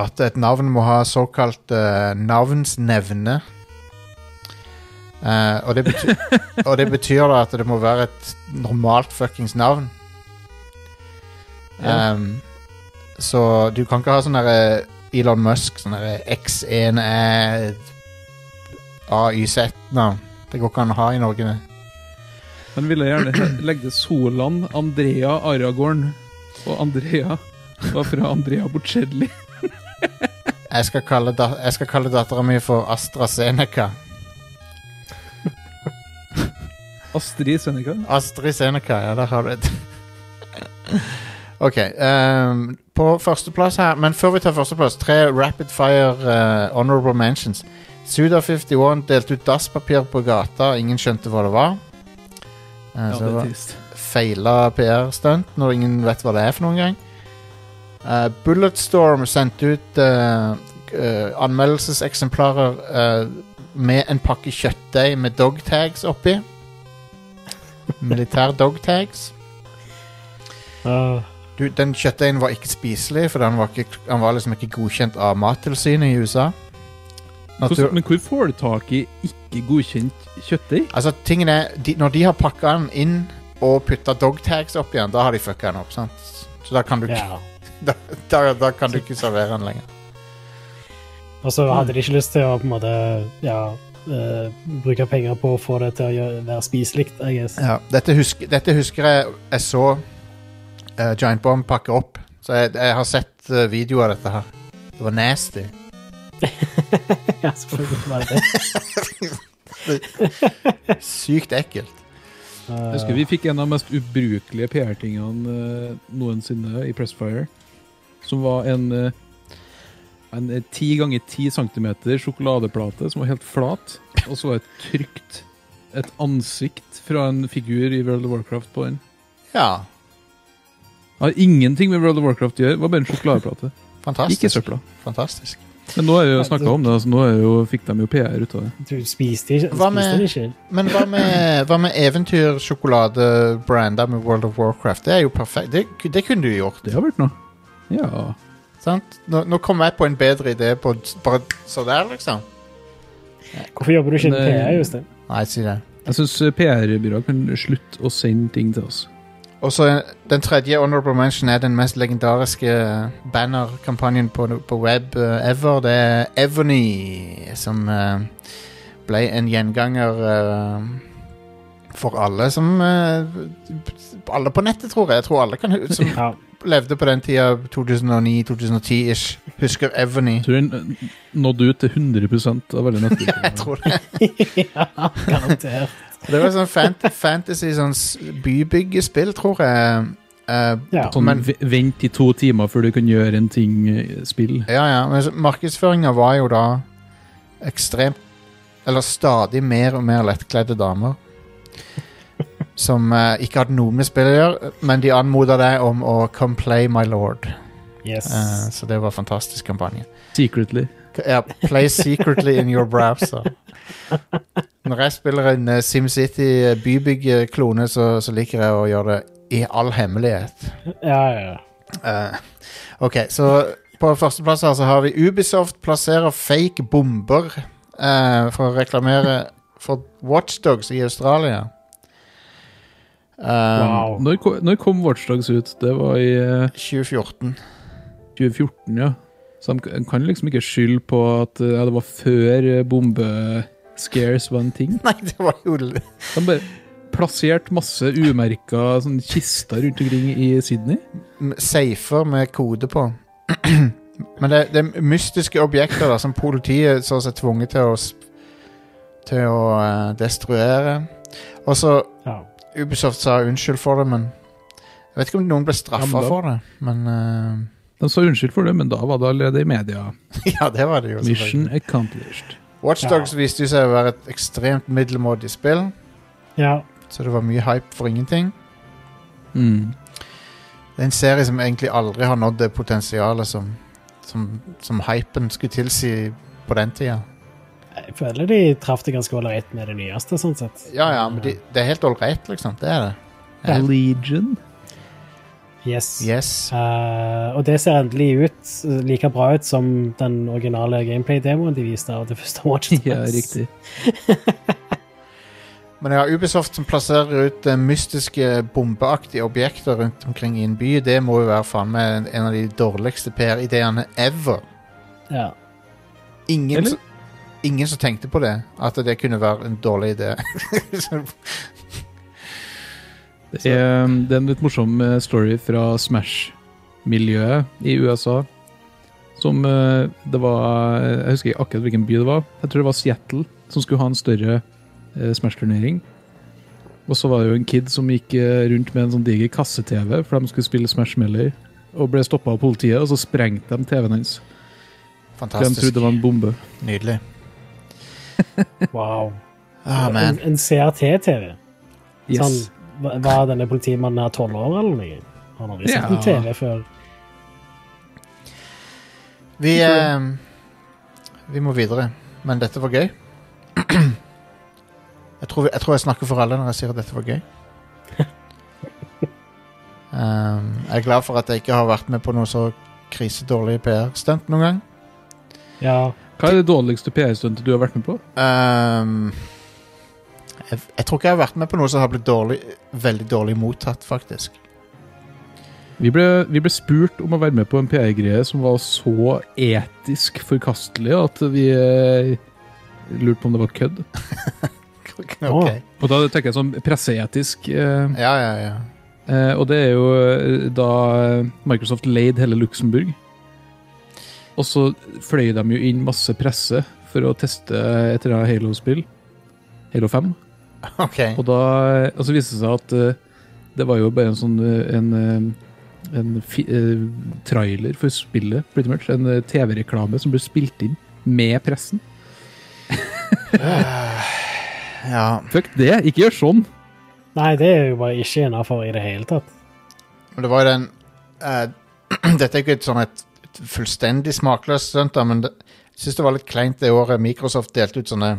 [SPEAKER 6] at et navn må ha såkalt eh, navnsnevne. Eh, og, det betyr, og det betyr da at det må være et normalt fuckings navn.
[SPEAKER 8] Ja.
[SPEAKER 6] Ehm, så du kan ikke ha sånn derre Elon Musk, sånn derre E, X1æ AYZ-navn. Det går ikke an å ha i Norge. det.
[SPEAKER 8] Han ville gjerne he- legge Solan, Andrea Aragorn. Og Andrea var fra Andrea Bocelli.
[SPEAKER 6] Jeg skal kalle, da jeg skal kalle dattera mi for AstraZeneca.
[SPEAKER 8] Astrid Seneca.
[SPEAKER 6] Astrid Seneca, ja, der har du det. OK. ehm, på førsteplass her, men før vi tar førsteplass, tre rapid fire eh, honorable mentions. Suda51 delte ut dasspapir på gata, ingen skjønte hva det var. Eh, så
[SPEAKER 8] Ja, det
[SPEAKER 6] det
[SPEAKER 8] er
[SPEAKER 6] var
[SPEAKER 8] trist.
[SPEAKER 6] feila PR-stunt når ingen vet hva det er for noen gang. Eh, Bulletstorm sendte ut eh, eh, anmeldelseseksemplarer eh, med en pakke kjøttdeig med dogtags oppi. Militær dogtags.
[SPEAKER 7] Ah,
[SPEAKER 6] Du, den kjøttdeigen var ikke spiselig, for den var, ikke, den var liksom ikke godkjent av Mattilsynet i USA.
[SPEAKER 8] Hvordan-
[SPEAKER 6] Natur
[SPEAKER 8] Men hvor får du tak i ikke godkjent kjøttdeig?
[SPEAKER 6] altså, tingen er, de, når de har pakka den inn og putta dogtags oppi den, da har de fucka den opp, sant? Så da kan du, ikke-
[SPEAKER 7] ja.
[SPEAKER 6] da, da kan du ikke servere den lenger.
[SPEAKER 7] Og så hadde de ikke lyst til å på en måte ja, eh, bruke penger på å få det til å gjøre, være spiselig, I guess.
[SPEAKER 6] Ja, dette, husker, dette husker jeg jeg så eh, Giant Bomb pakke opp. Så jeg, jeg har sett uh, video av dette her. Det var nasty.
[SPEAKER 7] ja, selvfølgelig var det det.
[SPEAKER 6] Sykt ekkelt.
[SPEAKER 8] Jeg husker vi fikk en av de mest ubrukelige PR-tingene eh, noensinne i Pressfire. Som var en eh, en eh, 10 ganger 10 centimeter sjokoladeplate som var helt flat. Og så var det trykt et ansikt fra en figur i World of Warcraft på den.
[SPEAKER 6] Ja,
[SPEAKER 8] Har ingenting med World of Warcraft å gjøre, det var bare en sjokoladeplate. Gikk i
[SPEAKER 6] fantastisk.
[SPEAKER 8] søpla.
[SPEAKER 6] fantastisk.
[SPEAKER 8] Men nå har vi jo snakka om det, altså nå er jo, fikk de jo PR ut av det.
[SPEAKER 7] Du spiste ikke?
[SPEAKER 6] Hva med-
[SPEAKER 7] Spiste den ikke?
[SPEAKER 6] Men hva med, hva med eventyrsjokoladebranda med World of Warcraft? Det er jo perfekt. Det, det kunne du gjort.
[SPEAKER 8] Det har vært noe. Ja.
[SPEAKER 6] sant? Nå, nå kom jeg på en bedre idé på bare så der, liksom.
[SPEAKER 7] Hvorfor jobber du ikke
[SPEAKER 8] Men,
[SPEAKER 7] innen PR,
[SPEAKER 8] eh,
[SPEAKER 7] Jostein?
[SPEAKER 6] Nei, si det.
[SPEAKER 8] Jeg syns PR-byrået kan slutte å sende ting til oss.
[SPEAKER 6] Og så Den tredje honorable mention er den mest legendariske eh, bannerkampanjen på, på web eh, ever. Det er Evony, som eh, ble en gjenganger eh, for alle som eh, Alle på nettet, tror jeg. Jeg tror alle kan, hu- som
[SPEAKER 7] Ja.
[SPEAKER 6] levde på den tida, 2009-2010-ish, husker Evony.
[SPEAKER 8] Jeg tror den nådde ut til 100 av alle
[SPEAKER 6] Jeg
[SPEAKER 8] nettbrukere.
[SPEAKER 6] tror det.
[SPEAKER 7] ja, garantert.
[SPEAKER 6] Det var sånn fant fantasy, sånn s- bybyggespill, tror jeg. eh,
[SPEAKER 7] Ja.
[SPEAKER 8] Sånn,
[SPEAKER 6] Men-
[SPEAKER 8] ve- Vent i to timer før du kan gjøre en ting eh, spill.
[SPEAKER 6] Ja, ja, men så- markedsføringa var jo da ekstremt Eller stadig mer og mer lettkledde damer. Som eh, ikke hadde noe med spill å gjøre, men de anmoda deg om å 'come play my lord'.
[SPEAKER 7] Yes.
[SPEAKER 6] Eh, så det var en fantastisk kampanje.
[SPEAKER 8] Secretly.
[SPEAKER 6] K- Ja, 'Play secretly in your browser'. Når jeg spiller en eh, SimCity bybyggeklone, så, så liker jeg å gjøre det i all hemmelighet.
[SPEAKER 7] Ja, ja, ja.
[SPEAKER 6] Eh, ok, så på førsteplass her så har vi Ubisoft plasserer fake bomber eh, for å reklamere for Watchdogs i Australia. Eh,
[SPEAKER 7] Wow.
[SPEAKER 8] Når, ko- når kom Watchdogs ut? Det var i eh,
[SPEAKER 6] 2014.
[SPEAKER 8] 2014, ja. Så de k- kan liksom ikke skylde på at eh, ja, det var før eh, bombescares var en ting.
[SPEAKER 6] Nei, det var jo l-
[SPEAKER 8] De bare plasserte masse umerka sånn, kister rundt omkring i Sydney.
[SPEAKER 6] m- safer med kode på. Men det, det er mystiske objekter da, som politiet så seg tvunget til å, sp- til å eh, destruere. Og så
[SPEAKER 7] ja.
[SPEAKER 6] Ubisoft sa unnskyld for det, men Jeg vet ikke om noen ble straffa
[SPEAKER 8] Gamle.
[SPEAKER 6] for det, men eh,
[SPEAKER 8] De sa unnskyld for det, men da var det allerede i media.
[SPEAKER 6] Ja, det var det jo.
[SPEAKER 8] Mission
[SPEAKER 6] selvfølgelig.
[SPEAKER 8] accomplished.
[SPEAKER 6] Watch Dogs viste jo seg å være et ekstremt middelmådig spill,
[SPEAKER 7] Ja.
[SPEAKER 6] så det var mye hype for ingenting.
[SPEAKER 8] Mm.
[SPEAKER 6] Det er en serie som egentlig aldri har nådd det potensialet som, som, som hypen skulle tilsi på den tida.
[SPEAKER 7] Jeg føler de traff det ganske ålreit med det nyeste, sånn sett.
[SPEAKER 6] Ja, ja, men de, det er helt ålreit, liksom. Det er det. Ja.
[SPEAKER 8] Legion.
[SPEAKER 7] Yes.
[SPEAKER 6] Yes.
[SPEAKER 7] Eh, og det ser endelig ut eh, like bra ut som den originale gameplay-demoen de viste av det første Watch Dogs.
[SPEAKER 8] Ja, riktig.
[SPEAKER 6] Men ja, Ubisoft som plasserer ut eh, mystiske bombeaktige objekter rundt omkring i en by, det må jo være faen meg en- en av de dårligste PR-ideene ever.
[SPEAKER 7] Ja.
[SPEAKER 6] Ingen,
[SPEAKER 8] Eller?
[SPEAKER 6] som- ingen som tenkte på det, at det kunne være en dårlig idé. Så-
[SPEAKER 8] Det er, Ehm, det er en litt morsom eh, story fra Smash-miljøet i USA. Som eh, det var eh, Jeg husker ikke akkurat hvilken by det var. Jeg tror det var Seattle som skulle ha en større eh, Smash-turnering. Og så var det jo en kid som gikk eh, rundt med en sånn diger kasse-TV, for de skulle spille Smash Meller, og ble stoppa av politiet, og så sprengte de TV-en hans. For de
[SPEAKER 6] Fantastisk.
[SPEAKER 8] trodde det var en bombe.
[SPEAKER 6] Nydelig.
[SPEAKER 7] Wow.
[SPEAKER 6] Ah, man.
[SPEAKER 7] en en CRT-TV.
[SPEAKER 8] Yes.
[SPEAKER 7] Sånn, va- var denne politimannen her tolv år eller noe? Han har aldri sett en
[SPEAKER 8] Ja.
[SPEAKER 7] TV før.
[SPEAKER 6] Vi, eh, vi må videre, men dette var gøy. Jeg tror, vi, jeg tror jeg snakker for alle når jeg sier at dette var gøy. Um, jeg er glad for at jeg ikke har vært med på noe så krisedårlig PR-stunt noen gang.
[SPEAKER 7] Ja.
[SPEAKER 8] Hva er det dårligste PR-stuntet du har vært med på?
[SPEAKER 6] Um, jeg, jeg tror ikke jeg har vært med på noe som har blitt dårlig, veldig dårlig mottatt, faktisk.
[SPEAKER 8] Vi ble, vi ble spurt om å være med på en PR-greie som var så etisk forkastelig at vi eh, lurte på om det var kødd.
[SPEAKER 6] Ok.
[SPEAKER 8] Og da tenker jeg sånn presseetisk. Eh,
[SPEAKER 6] Ja, ja, ja.
[SPEAKER 8] eh, og det er jo eh, da Microsoft leide hele Luxembourg. Og så fløy de jo inn masse presse for å teste et eller annet Halo-spill. Halo 5.
[SPEAKER 6] Ok.
[SPEAKER 8] Og da og så viste det seg at eh, det var jo bare en sånn eh, en, eh, en fi, eh, trailer for spillet, pretty much. En eh, TV-reklame som ble spilt inn med pressen.
[SPEAKER 6] Ja.
[SPEAKER 8] Fuck det! Ikke gjør sånn!
[SPEAKER 7] Nei, det er jo bare ikke innafor i det hele tatt.
[SPEAKER 6] Men det var jo den eh, Dette er ikke et sånn et, et fullstendig smakløst stunt, da, men det, jeg syns det var litt kleint det året Microsoft delte ut sånne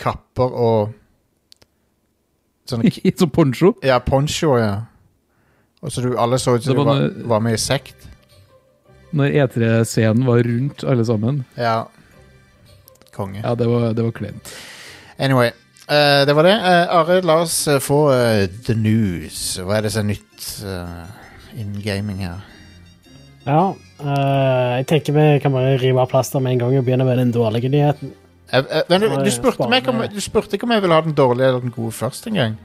[SPEAKER 6] kapper og Sånne k-
[SPEAKER 8] Som poncho.
[SPEAKER 6] Ja, poncho, ja. Og så du, alle så ut som
[SPEAKER 8] Det
[SPEAKER 6] de
[SPEAKER 8] var
[SPEAKER 6] var,
[SPEAKER 8] noe-
[SPEAKER 6] var med i sekt.
[SPEAKER 8] Når E3-scenen var rundt alle sammen.
[SPEAKER 6] Ja. Konge.
[SPEAKER 8] Ja, det var, det var kleint.
[SPEAKER 6] Anyway, eh, det var det. Uh, Are, la oss eh, få eh, the news. Hva er det som er nytt eh, innen gaming her?
[SPEAKER 7] Ja. eh, jeg tenker vi kan bare rive av plaster med en gang og begynne med den dårlige nyheten.
[SPEAKER 6] Eh, eh, men du,
[SPEAKER 7] Nå er
[SPEAKER 6] du,
[SPEAKER 7] jeg
[SPEAKER 6] spurte meg om,
[SPEAKER 7] spennende.
[SPEAKER 6] du spurte ikke om jeg ville ha den dårlige eller den gode først engang.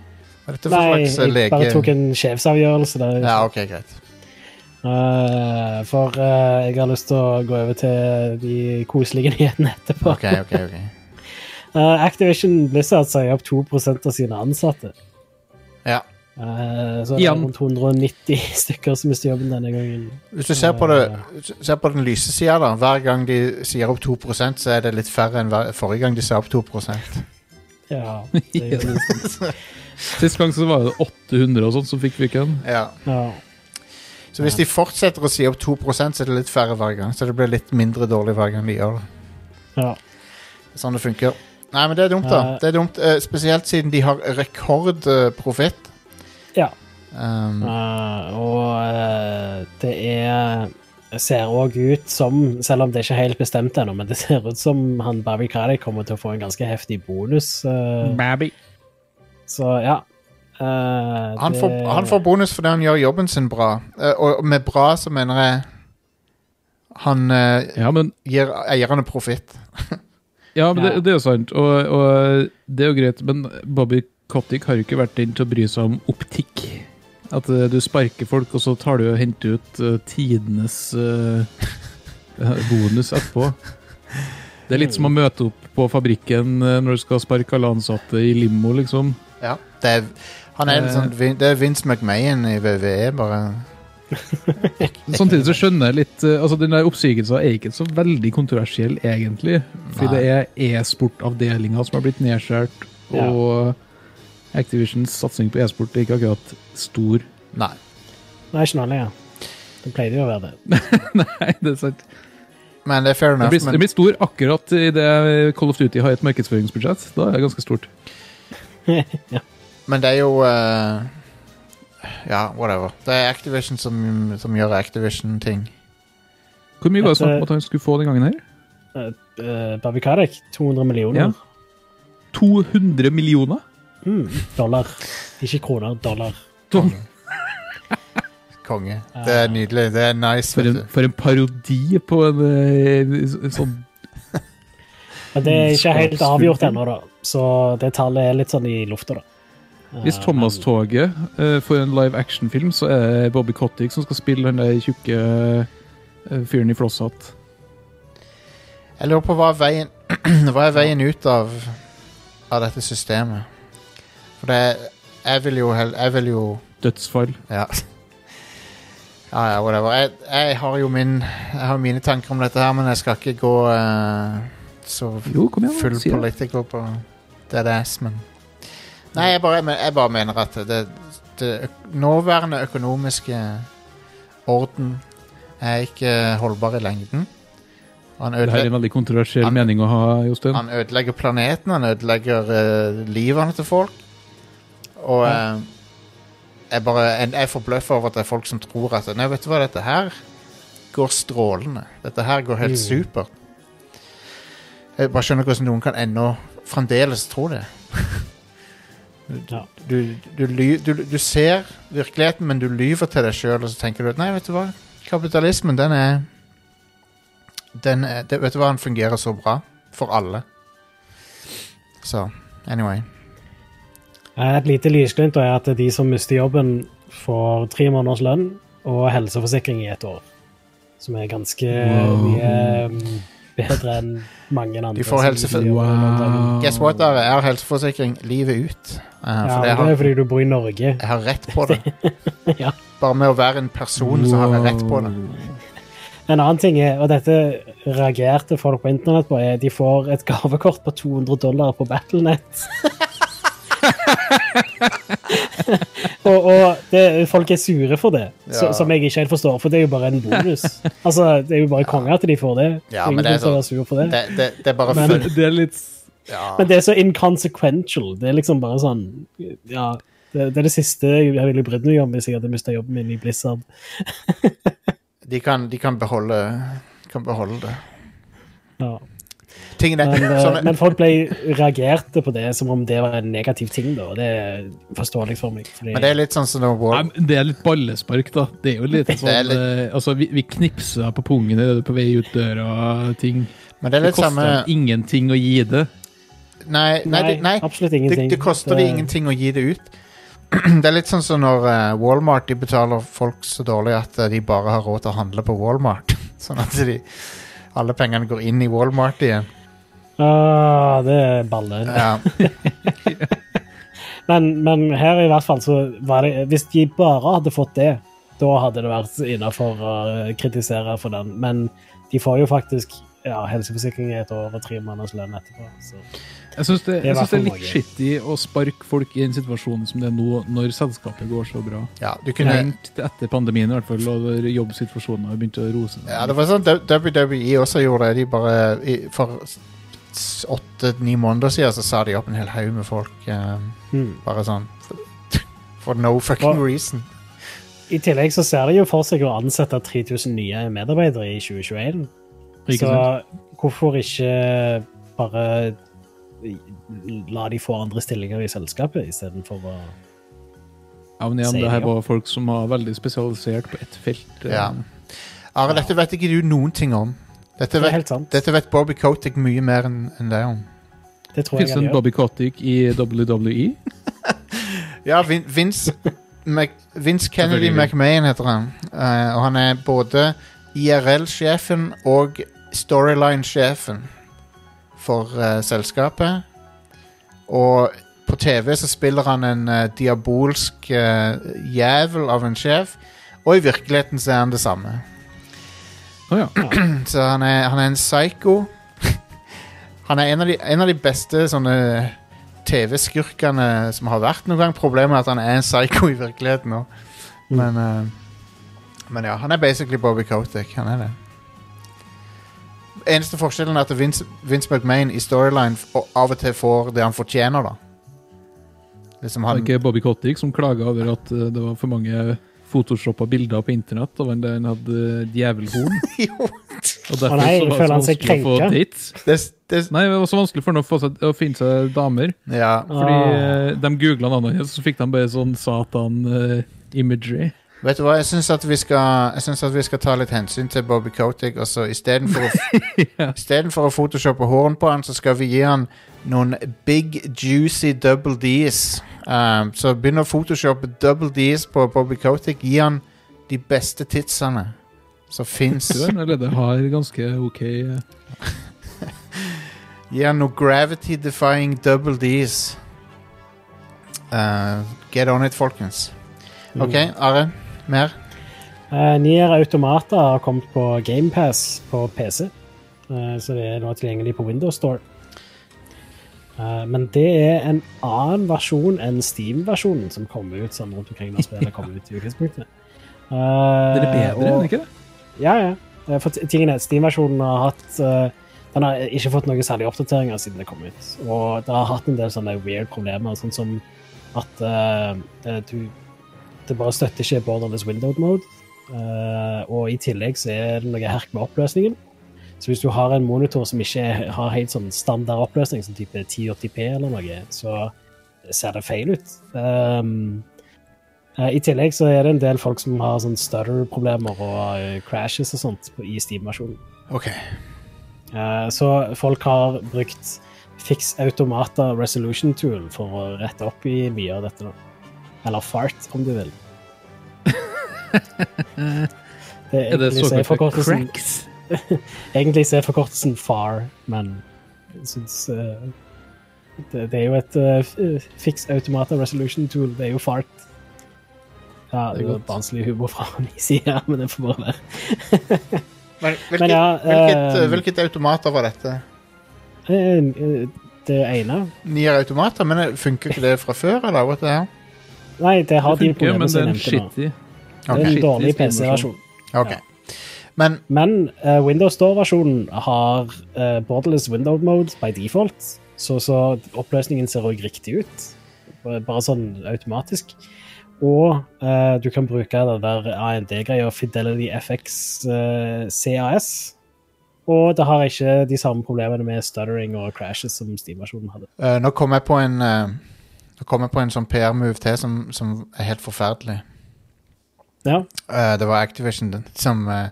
[SPEAKER 6] Hva er dette for
[SPEAKER 7] Nei,
[SPEAKER 6] slags eh,
[SPEAKER 7] jeg
[SPEAKER 6] lege...?
[SPEAKER 7] bare tok en sjefsavgjørelse der.
[SPEAKER 6] Ja, ok, greit.
[SPEAKER 7] Eh, for eh, jeg har lyst til å gå over til de koselige nyhetene etterpå.
[SPEAKER 6] Ok, ok, ok.
[SPEAKER 7] Eh, Activision Blizzard sier opp 2 av sine ansatte.
[SPEAKER 6] Ja.
[SPEAKER 7] Eh, så det er
[SPEAKER 8] Igjen.
[SPEAKER 7] rundt 190 stykker som mister jobben denne gangen.
[SPEAKER 6] Hvis du ser på, det, hvis du ser på den lyse sida, da. Hver gang de sier opp 2 så er det litt færre enn hver, forrige gang de sa opp 2
[SPEAKER 7] Ja, det er jo
[SPEAKER 8] Sist gang så var det 800 og sånt som fikk fiken.
[SPEAKER 6] Ja.
[SPEAKER 7] ja.
[SPEAKER 6] Så hvis de fortsetter å si opp 2 så er det litt færre hver gang. Så det blir litt mindre dårlig hver gang de gjør det.
[SPEAKER 7] ja.
[SPEAKER 6] Det er Sånn det funker. Nei, men det er dumt, da.
[SPEAKER 7] Eh.
[SPEAKER 6] Det er dumt, eh, Spesielt siden de har eh, rekordprofitt.
[SPEAKER 7] Ja.
[SPEAKER 6] Um,
[SPEAKER 7] Eh, og eh, det er ser òg ut som, selv om det ikke er helt bestemt ennå, men det ser ut som han Babi Kradik kommer til å få en ganske heftig bonus. eh,
[SPEAKER 8] Babby.
[SPEAKER 7] så ja. Eh,
[SPEAKER 6] Han
[SPEAKER 7] det-
[SPEAKER 6] får, han får bonus fordi han gjør jobben sin bra. Eh, og med bra så mener jeg han eh,
[SPEAKER 8] Ja, men
[SPEAKER 6] gir eierne profitt.
[SPEAKER 8] Ja,
[SPEAKER 7] Ja.
[SPEAKER 8] men Det, det er jo sant, og, og det er jo greit, men Bobby Kotick har jo ikke vært den til å bry seg om optikk. At eh, du sparker folk, og så tar du og henter ut eh, tidenes eh, eh, bonus etterpå. Det er litt som å møte opp på fabrikken eh, når du skal sparke alle ansatte i limo, liksom.
[SPEAKER 6] Ja. Det er, Han
[SPEAKER 8] Eh.
[SPEAKER 6] er en sånn, Vin- det er Vince McMahon i VVE, bare.
[SPEAKER 8] Samtidig så skjønner jeg litt eh, altså Den der oppsigelsen er ikke så veldig kontroversiell, egentlig. Fordi
[SPEAKER 6] Nei.
[SPEAKER 8] det er e-sportavdelinga som har blitt nedskåret, og Activisions satsing på e-sport er ikke akkurat stor.
[SPEAKER 6] Nei.
[SPEAKER 7] Nei, ikke nå lenger. Det pleide jo å være det.
[SPEAKER 8] Nei, det er sant.
[SPEAKER 6] Men det er fair
[SPEAKER 8] Det
[SPEAKER 6] enough.
[SPEAKER 8] blir, det
[SPEAKER 6] Men,
[SPEAKER 8] blir stor akkurat idet Call of Duty har et markedsføringsbudsjett. Da er det ganske stort.
[SPEAKER 6] men det er jo eh, Ja, whatever. Det er Activision som, som gjør Activision-ting.
[SPEAKER 8] Hvor mye var det
[SPEAKER 7] Dette-
[SPEAKER 8] snakk om at han skulle få den gangen her?
[SPEAKER 7] Uh, Barbie Karek, 200 millioner
[SPEAKER 8] 200 millioner?
[SPEAKER 7] mm, dollar. Ikke kroner, dollar.
[SPEAKER 8] Tom,
[SPEAKER 6] Konge. Det
[SPEAKER 8] Ah.
[SPEAKER 6] er nydelig. Det er nice.
[SPEAKER 8] for,
[SPEAKER 6] Vet
[SPEAKER 8] en,
[SPEAKER 6] du.
[SPEAKER 8] for en parodi på en eh, sånn
[SPEAKER 7] Men det
[SPEAKER 6] Mm,
[SPEAKER 7] er ikke helt
[SPEAKER 8] Skapsfull
[SPEAKER 7] avgjort
[SPEAKER 8] film.
[SPEAKER 7] ennå, da. Så det tallet er litt sånn i lufta, da. Eh,
[SPEAKER 8] Hvis Thomas-toget eh, får en live action-film, så er det Bobby Cottick som skal spille den der tjukke eh, fyren i flosshatt.
[SPEAKER 6] Jeg lurer på hva er veien Hva er veien ut av Av dette systemet? For det er- Jeg vil jo hel- Jeg vil jo
[SPEAKER 8] Dødsfall.
[SPEAKER 6] Ja. Ja, ja, whatever. Jeg, jeg har jo min Jeg har mine tanker om dette her, men jeg skal ikke gå eh, så
[SPEAKER 8] Jo, kom igjen,
[SPEAKER 6] full
[SPEAKER 8] si det.
[SPEAKER 6] political på dead ass, men Nei, jeg bare, men jeg bare mener at det, det øk- nåværende økonomiske orden er ikke holdbar i lengden. Og Han,
[SPEAKER 8] Det her
[SPEAKER 6] ødele,
[SPEAKER 8] er en veldig kontroversiell
[SPEAKER 6] Han-
[SPEAKER 8] mening å ha, Jostein.
[SPEAKER 6] han ødelegger planeten, han ødelegger eh, livene til folk. Og eh, jeg bare jeg, jeg er forbløffa over at det er folk som tror at Nei, vet du hva, dette her går strålende. Dette her går helt supert. Jeg bare skjønner ikke hvordan noen kan ennå fremdeles tro det.
[SPEAKER 7] Ja.
[SPEAKER 6] Du, du, ly, du, du ser virkeligheten, men du lyver til deg sjøl, og så tenker du at nei, vet du hva, kapitalismen, den er den er, det, Vet du hva, den fungerer så bra for alle. Så anyway.
[SPEAKER 7] Eh, Et lite lysglimt da er at de som mister jobben, får tre måneders lønn og helseforsikring i et år. Som er ganske mye mm, bedre enn mange andre.
[SPEAKER 6] De får
[SPEAKER 7] som
[SPEAKER 6] helsefor-
[SPEAKER 7] mister jobben under den.
[SPEAKER 8] Wow.
[SPEAKER 6] Guess what, dere? Jeg har helseforsikring livet ut. Eh,
[SPEAKER 7] Ja,
[SPEAKER 6] for jeg
[SPEAKER 7] men det
[SPEAKER 6] har,
[SPEAKER 7] er fordi du bor i Norge.
[SPEAKER 6] jeg har rett på det.
[SPEAKER 7] Ja.
[SPEAKER 6] Bare med å være en person, så har jeg rett på det.
[SPEAKER 7] En annen ting er, og dette reagerte folk på internett på, er de får et gavekort på 200 dollar på Battlenet. og og det, folk er sure for det,
[SPEAKER 6] Ja.
[SPEAKER 7] så, som jeg ikke helt forstår, for det er jo bare en bonus. altså, Det er jo bare konger at de får det.
[SPEAKER 6] Ja,
[SPEAKER 7] Ingen
[SPEAKER 6] men det er
[SPEAKER 7] skal være
[SPEAKER 6] sånn-
[SPEAKER 7] sur for det.
[SPEAKER 6] Det, det, det er bare
[SPEAKER 7] Men-
[SPEAKER 6] fun.
[SPEAKER 8] Det er litt
[SPEAKER 6] Ja.
[SPEAKER 7] Men det er så inconsequential. Det er liksom bare sånn Ja, det, det er det siste jeg ville brydd meg om hvis jeg hadde mista jobben min i Blizzard.
[SPEAKER 6] De kan, de kan beholde kan beholde det.
[SPEAKER 7] Ja.
[SPEAKER 6] Tingen er
[SPEAKER 7] Men, eh,
[SPEAKER 6] sånne-
[SPEAKER 7] men folk ble reagerte på det som om det var en negativ ting, da. og Det er forståelig for meg. Fordi,
[SPEAKER 6] Men det er litt sånn som når
[SPEAKER 8] Nei,
[SPEAKER 6] Wall
[SPEAKER 8] men det er litt ballespark, da. Det er jo litt sånn
[SPEAKER 6] er litt-
[SPEAKER 8] eh, Altså, vi, vi knipser deg på pungen idet du er på vei ut døra-ting.
[SPEAKER 6] Men det er
[SPEAKER 8] Det
[SPEAKER 6] litt
[SPEAKER 8] koster
[SPEAKER 6] samme
[SPEAKER 8] dem ingenting å gi det.
[SPEAKER 6] Nei, nei, det, nei.
[SPEAKER 7] absolutt
[SPEAKER 6] Det,
[SPEAKER 7] ingenting.
[SPEAKER 6] det koster de ingenting å gi det ut. Det er litt sånn som når eh, Walmart de betaler folk så dårlig at eh, de bare har råd til å handle på Walmart. Sånn at de, alle pengene går inn i Walmart igjen.
[SPEAKER 7] Ah, det er balle.
[SPEAKER 6] Ja,
[SPEAKER 7] Men, men her i hvert fall så var det Hvis de bare hadde fått det, da hadde det vært innafor å kritisere for den. Men de får jo faktisk ja, helseforsikring i et år og tre måneders lønn etterpå. Så.
[SPEAKER 8] Jeg syns det,
[SPEAKER 7] er
[SPEAKER 8] jeg synes det er
[SPEAKER 7] hvertfall
[SPEAKER 8] litt
[SPEAKER 7] noe.
[SPEAKER 8] shitty å sparke folk i den situasjonen som det er nå, når selskapet går så bra.
[SPEAKER 6] ja, du kunne
[SPEAKER 8] Rent etter pandemien, i hvert fall, og jobbsituasjonen har begynt å rose seg.
[SPEAKER 6] Ja, det var sånn W- WWE også gjorde det. De bare i, For åtte-ni måneder siden så sa de opp en hel haug med folk. eh,
[SPEAKER 7] Mm.
[SPEAKER 6] Bare sånn for, for no fucking
[SPEAKER 7] Hva?
[SPEAKER 6] reason.
[SPEAKER 7] I tillegg så ser de jo for seg å ansette 3000 nye medarbeidere i 2021.
[SPEAKER 8] Ikke
[SPEAKER 7] Så
[SPEAKER 8] sant?
[SPEAKER 7] hvorfor ikke bare la de få andre stillinger i selskapet istedenfor å
[SPEAKER 8] Ja, men igjen,
[SPEAKER 7] Sier
[SPEAKER 8] det
[SPEAKER 7] de
[SPEAKER 8] her
[SPEAKER 7] jo.
[SPEAKER 8] var folk som var veldig spesialisert på ett felt. eh,
[SPEAKER 6] Ja. Are, dette vet ikke du noen ting om. Dette
[SPEAKER 7] Det er
[SPEAKER 6] vet,
[SPEAKER 7] helt sant.
[SPEAKER 6] dette vet Bobby Kotick mye mer enn enn deg om.
[SPEAKER 7] Det tror
[SPEAKER 8] Finnes
[SPEAKER 7] jeg
[SPEAKER 8] det
[SPEAKER 7] han
[SPEAKER 8] en
[SPEAKER 7] gjør.
[SPEAKER 8] Bobby Cottick i E. WWE?
[SPEAKER 6] Ja, Vin, Vince, Mac, Vince Kennedy
[SPEAKER 8] Selvfølgelig.
[SPEAKER 6] McMahon heter han. Eh, og han er både IRL-sjefen og storyline-sjefen for eh, selskapet. Og på TV så spiller han en eh, diabolsk eh, jævel av en sjef, og i virkeligheten så er han det samme.
[SPEAKER 8] Å ja.
[SPEAKER 6] Så han er, han er en psycho. Han er en av de, en av de beste sånne TV-skurkene som har vært noen gang. Problemet er at han er en psycho i virkeligheten nå.
[SPEAKER 8] Mm.
[SPEAKER 6] Men, eh, men ja, han er basically Bobby Kotick. Han er det. Eneste forskjellen er at Vince, Vince McMahon i storyline f- og av og til får det han fortjener, da. Liksom
[SPEAKER 8] Det er
[SPEAKER 6] han
[SPEAKER 8] ikke Bobby Cottick som klaga over at eh, det var for mange photoshoppa bilder på internett av en der han hadde et djevelhorn.
[SPEAKER 6] Jo,
[SPEAKER 8] Og derfor
[SPEAKER 7] Å nei,
[SPEAKER 8] så var det
[SPEAKER 7] føler
[SPEAKER 8] så
[SPEAKER 7] han seg
[SPEAKER 8] vanskelig å få
[SPEAKER 7] krenka?
[SPEAKER 8] dates.
[SPEAKER 6] det, s- det, s-
[SPEAKER 8] Nei, det var så vanskelig for ham å, få seg, å finne seg damer.
[SPEAKER 6] Ja.
[SPEAKER 8] Fordi
[SPEAKER 7] Ah.
[SPEAKER 8] eh, de googla navnet hans, så fikk de bare sånn eh, satan-imagery.
[SPEAKER 6] Vet du hva, jeg syns at, vi skal- jeg synes at vi skal ta litt hensyn til Bobby Kotick. Altså, Istedenfor å, istedenfor å photoshoppe horn på han, så skal vi gi han noen big juicy double D's. Um, så begynn å photoshoppe double D's på Bobby Kotick. Gi han de beste titsene som fins.
[SPEAKER 8] Eller det har ganske OK eh,
[SPEAKER 6] Gi han noen gravity defying double D's. Uh, get on it, folkens. OK, Are. Mer?
[SPEAKER 7] Eh, Nier Automata har kommet på GamePass på PC, eh, så det er nå tilgjengelig på Windows Store. Eh, men det er en annen versjon enn Steam-versjonen som kommer ut sånn rundt omkring når spillet kommer ut. i utgangspunktet. Eh,
[SPEAKER 8] Det er bedre, er
[SPEAKER 7] og-
[SPEAKER 8] det ikke det?
[SPEAKER 7] Ja, ja. Eh, For t- tingen er, at Steam-versjonen har hatt eh, Den har ikke fått noen særlige oppdateringer siden det kom ut. Og det har hatt en del sånne weird problemer, sånn som at eh, eh, du Det bare støtter ikke borderless windowed mode. Eh, og i tillegg så er det noe herk med oppløsningen. Så hvis du har en monitor som ikke har helt sånn standard oppløsning, som type 1080p eller noe, så ser det feil ut. Um, Eh, I tillegg så er det en del folk som har sånn stutter-problemer og eh, crashes og sånt på- i Steam-versjonen.
[SPEAKER 6] OK.
[SPEAKER 7] Eh, Så folk har brukt Fix Automata Resolution Tool for å rette opp i mye av dette. nå. Eller Fart, om du vil. Det er,
[SPEAKER 8] Er det
[SPEAKER 7] egentlig så er
[SPEAKER 8] såkalte
[SPEAKER 7] forkortelsen-
[SPEAKER 8] cracks?
[SPEAKER 7] Egentlig så er forkortelsen FAR, men jeg syns eh, det, det er jo et eh, f- Fix Automata Resolution Tool. Det er jo FART. Ja, det er jo barnslig humor fra min side, men det får bare være.
[SPEAKER 6] Men hvilket,
[SPEAKER 7] Men ja,
[SPEAKER 6] hvilket,
[SPEAKER 7] eh,
[SPEAKER 6] eh, hvilket automater var dette?
[SPEAKER 7] Eh, eh, Det ene
[SPEAKER 6] Nier automater, men eh, funker ikke det fra før, eller? What the hell?
[SPEAKER 7] Nei, det har
[SPEAKER 8] Det
[SPEAKER 7] de
[SPEAKER 8] funker,
[SPEAKER 7] problemene
[SPEAKER 8] men det
[SPEAKER 7] som
[SPEAKER 8] er
[SPEAKER 7] jeg nevnte
[SPEAKER 8] en
[SPEAKER 7] nå.
[SPEAKER 8] shitty
[SPEAKER 7] Det er en
[SPEAKER 8] Shitty
[SPEAKER 7] dårlig
[SPEAKER 8] Steam-versjon.
[SPEAKER 7] PC-versjon.
[SPEAKER 6] Ok.
[SPEAKER 7] Ja.
[SPEAKER 6] Men
[SPEAKER 7] Men eh, Windows Store-versjonen har eh, borderless window mode by default, så, så oppløsningen ser også riktig ut. Bare bare sånn automatisk. Og eh, du kan bruke den der AND-greia Fidelity FX eh, CAS. Og det har ikke de samme problemene med stuttering og crashes som Steam-versjonen hadde.
[SPEAKER 6] eh, nå kom jeg på en eh, Nå kom jeg på en sånn PR-move til som, som er helt forferdelig.
[SPEAKER 7] Ja,
[SPEAKER 6] Eh, det var Activision den, som eh,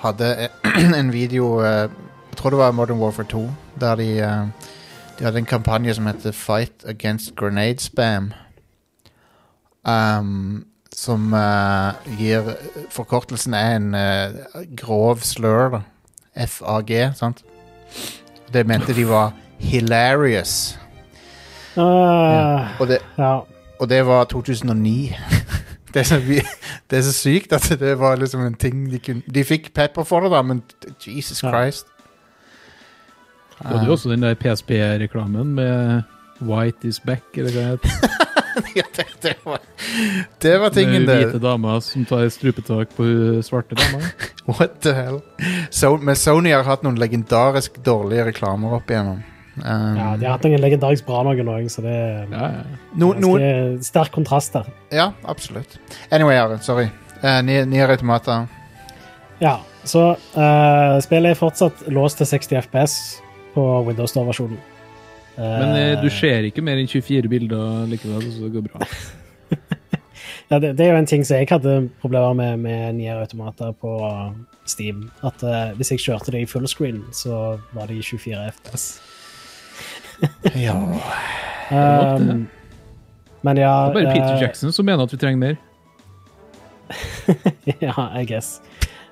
[SPEAKER 6] hadde en video eh, Jeg tror det var Modern Warfare 2, der de, eh, de hadde en kampanje som heter Fight Against Grenade Spam. Um, som eh, gir Forkortelsen er en eh, grov slur, da. FAG, sant? Det mente de var hilarious.
[SPEAKER 7] Eh,
[SPEAKER 6] Og det,
[SPEAKER 7] ja.
[SPEAKER 6] og det var 2009. det, er så, vi- det er så sykt at det var liksom en ting de kunne De fikk pepper for det, da, men t- Jesus
[SPEAKER 7] Ja.
[SPEAKER 6] Christ.
[SPEAKER 8] Du hadde jo også den der PSP-reklamen med 'White is back', eller hva det heter.
[SPEAKER 6] Ja, det, det, var, det var tingen,
[SPEAKER 8] Med hvite
[SPEAKER 6] det.
[SPEAKER 8] damer som tar strupetak på eh, svarte damer.
[SPEAKER 6] What the hell? So, men Sony har hatt noen legendarisk dårlige reklamer opp igjennom. Um,
[SPEAKER 7] ja, de har hatt noen legendarisk bra noen òg, så det er
[SPEAKER 8] Ja, ja.
[SPEAKER 6] no, noen,
[SPEAKER 7] ganske sterk kontrast der.
[SPEAKER 6] ja, absolutt. Anyway, Are, sorry. Uh, Nye automater.
[SPEAKER 7] Ja, så eh, spillet er fortsatt låst til 60 FPS på Windows Store-versjonen. Eh,
[SPEAKER 8] Men eh, du ser ikke mer enn 24 bilder likevel, så det går bra.
[SPEAKER 7] Eh, ja, det, det er jo en ting som jeg hadde problemer med med Nier Automata på Steam. At eh, hvis jeg kjørte det i fullscreen, så var det i 24 FPS.
[SPEAKER 6] Ja.
[SPEAKER 8] er
[SPEAKER 7] Um, men ja
[SPEAKER 8] Det er bare
[SPEAKER 7] eh,
[SPEAKER 8] Peter Jackson som mener at vi trenger mer.
[SPEAKER 7] ja, I guess.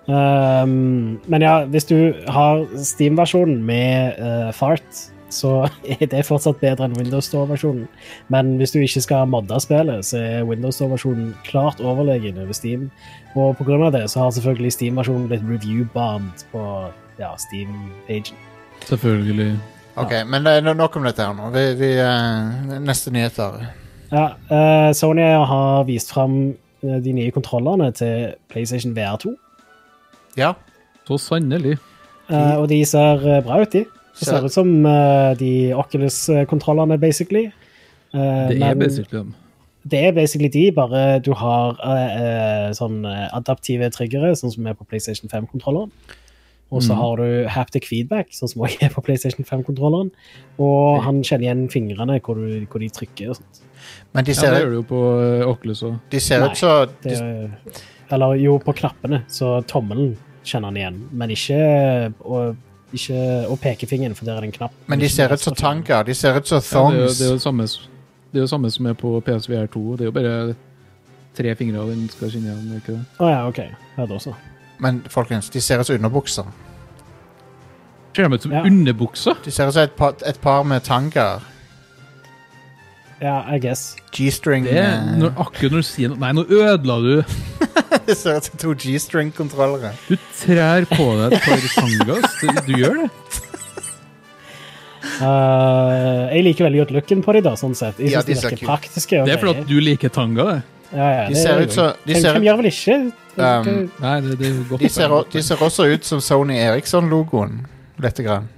[SPEAKER 7] Ehm, men ja, hvis du har Steam-versjonen med eh, fart, så er det fortsatt bedre enn Windows Store-versjonen. Men hvis du ikke skal modde spillet, så er Windows Store-versjonen klart overlegen over Steam. Og på grunn av det så har selvfølgelig Steam-versjonen blitt review-bombed på ja, Steam-pagen.
[SPEAKER 8] Selvfølgelig.
[SPEAKER 6] Ok, men det er no- nok om dette her nå. Vi, vi, eh, neste nyheter.
[SPEAKER 7] Ja, eh, Sony har vist fram eh, de nye kontrollerne til PlayStation VR2.
[SPEAKER 6] Ja.
[SPEAKER 8] Så sannelig. Mm.
[SPEAKER 7] Eh, og de ser eh, bra ut, de. Det
[SPEAKER 6] Ser-
[SPEAKER 7] ser ut som eh, de Oculus-kontrollene, basically. Eh,
[SPEAKER 8] Det er
[SPEAKER 7] men
[SPEAKER 8] basically dem.
[SPEAKER 7] det er basically de, bare du har eh, eh, sånn eh, adaptive triggere, sånn som er på PlayStation 5-kontrolleren. Og
[SPEAKER 8] Mm.
[SPEAKER 7] så har du haptic feedback, sånn som også er på PlayStation 5-kontrolleren. Og han kjenner igjen fingrene hvor, du, hvor de trykker og sånt.
[SPEAKER 6] Men de
[SPEAKER 8] Ja, det gjør
[SPEAKER 6] ser,
[SPEAKER 8] du jo på eh, Oculus òg.
[SPEAKER 6] de ser
[SPEAKER 7] Nei,
[SPEAKER 6] ut så
[SPEAKER 7] Det,
[SPEAKER 6] de,
[SPEAKER 7] eller jo, på knappene, så tommelen kjenner han igjen, men ikke, og, ikke, og pekefingeren, for der er det en knapp.
[SPEAKER 6] Men de
[SPEAKER 7] Ikke
[SPEAKER 6] ser ut som
[SPEAKER 7] resten av fingeren.
[SPEAKER 6] tanker. De ser ut som
[SPEAKER 8] Ja, det, er jo-
[SPEAKER 6] thongs.
[SPEAKER 8] det er jo det samme, s- det er jo samme som er på PSVR 2. Det er jo bare tre fingre av den skal skinne igjen. er Ikke det?
[SPEAKER 7] Å ja, OK. Ja, det også.
[SPEAKER 6] Men folkens, de ser ut som underbukser.
[SPEAKER 8] Ser de ut som
[SPEAKER 7] Ja.
[SPEAKER 8] underbukser?
[SPEAKER 6] De ser ut som et par, et par med tanker.
[SPEAKER 7] Ja, I guess.
[SPEAKER 6] G-string
[SPEAKER 8] Det er
[SPEAKER 6] eh,
[SPEAKER 8] når, akkurat når du sier noe Nei, nå ødela du!
[SPEAKER 6] Det ser ut som to G-string-kontrollere.
[SPEAKER 8] Du trær på deg et par tangas. Du, du gjør det.
[SPEAKER 7] Eh, jeg liker veldig godt looken på de da, sånn sett. Jeg
[SPEAKER 6] Ja,
[SPEAKER 7] synes
[SPEAKER 6] de
[SPEAKER 7] de
[SPEAKER 6] ser
[SPEAKER 7] virker
[SPEAKER 6] kul.
[SPEAKER 7] praktiske. og
[SPEAKER 8] Det er fordi
[SPEAKER 7] greie.
[SPEAKER 8] at du liker tanga, det.
[SPEAKER 7] ja, ja,
[SPEAKER 6] De
[SPEAKER 7] det
[SPEAKER 6] ser
[SPEAKER 7] er
[SPEAKER 6] ut
[SPEAKER 7] jo-
[SPEAKER 6] som de
[SPEAKER 7] Hvem-
[SPEAKER 6] ser,
[SPEAKER 7] Hvem gjør vel ikke?
[SPEAKER 6] um,
[SPEAKER 8] Nei, det, det er jo godt.
[SPEAKER 6] de, ser, o- de ser også ut som Sony Eriksson-logoen. Lite grann.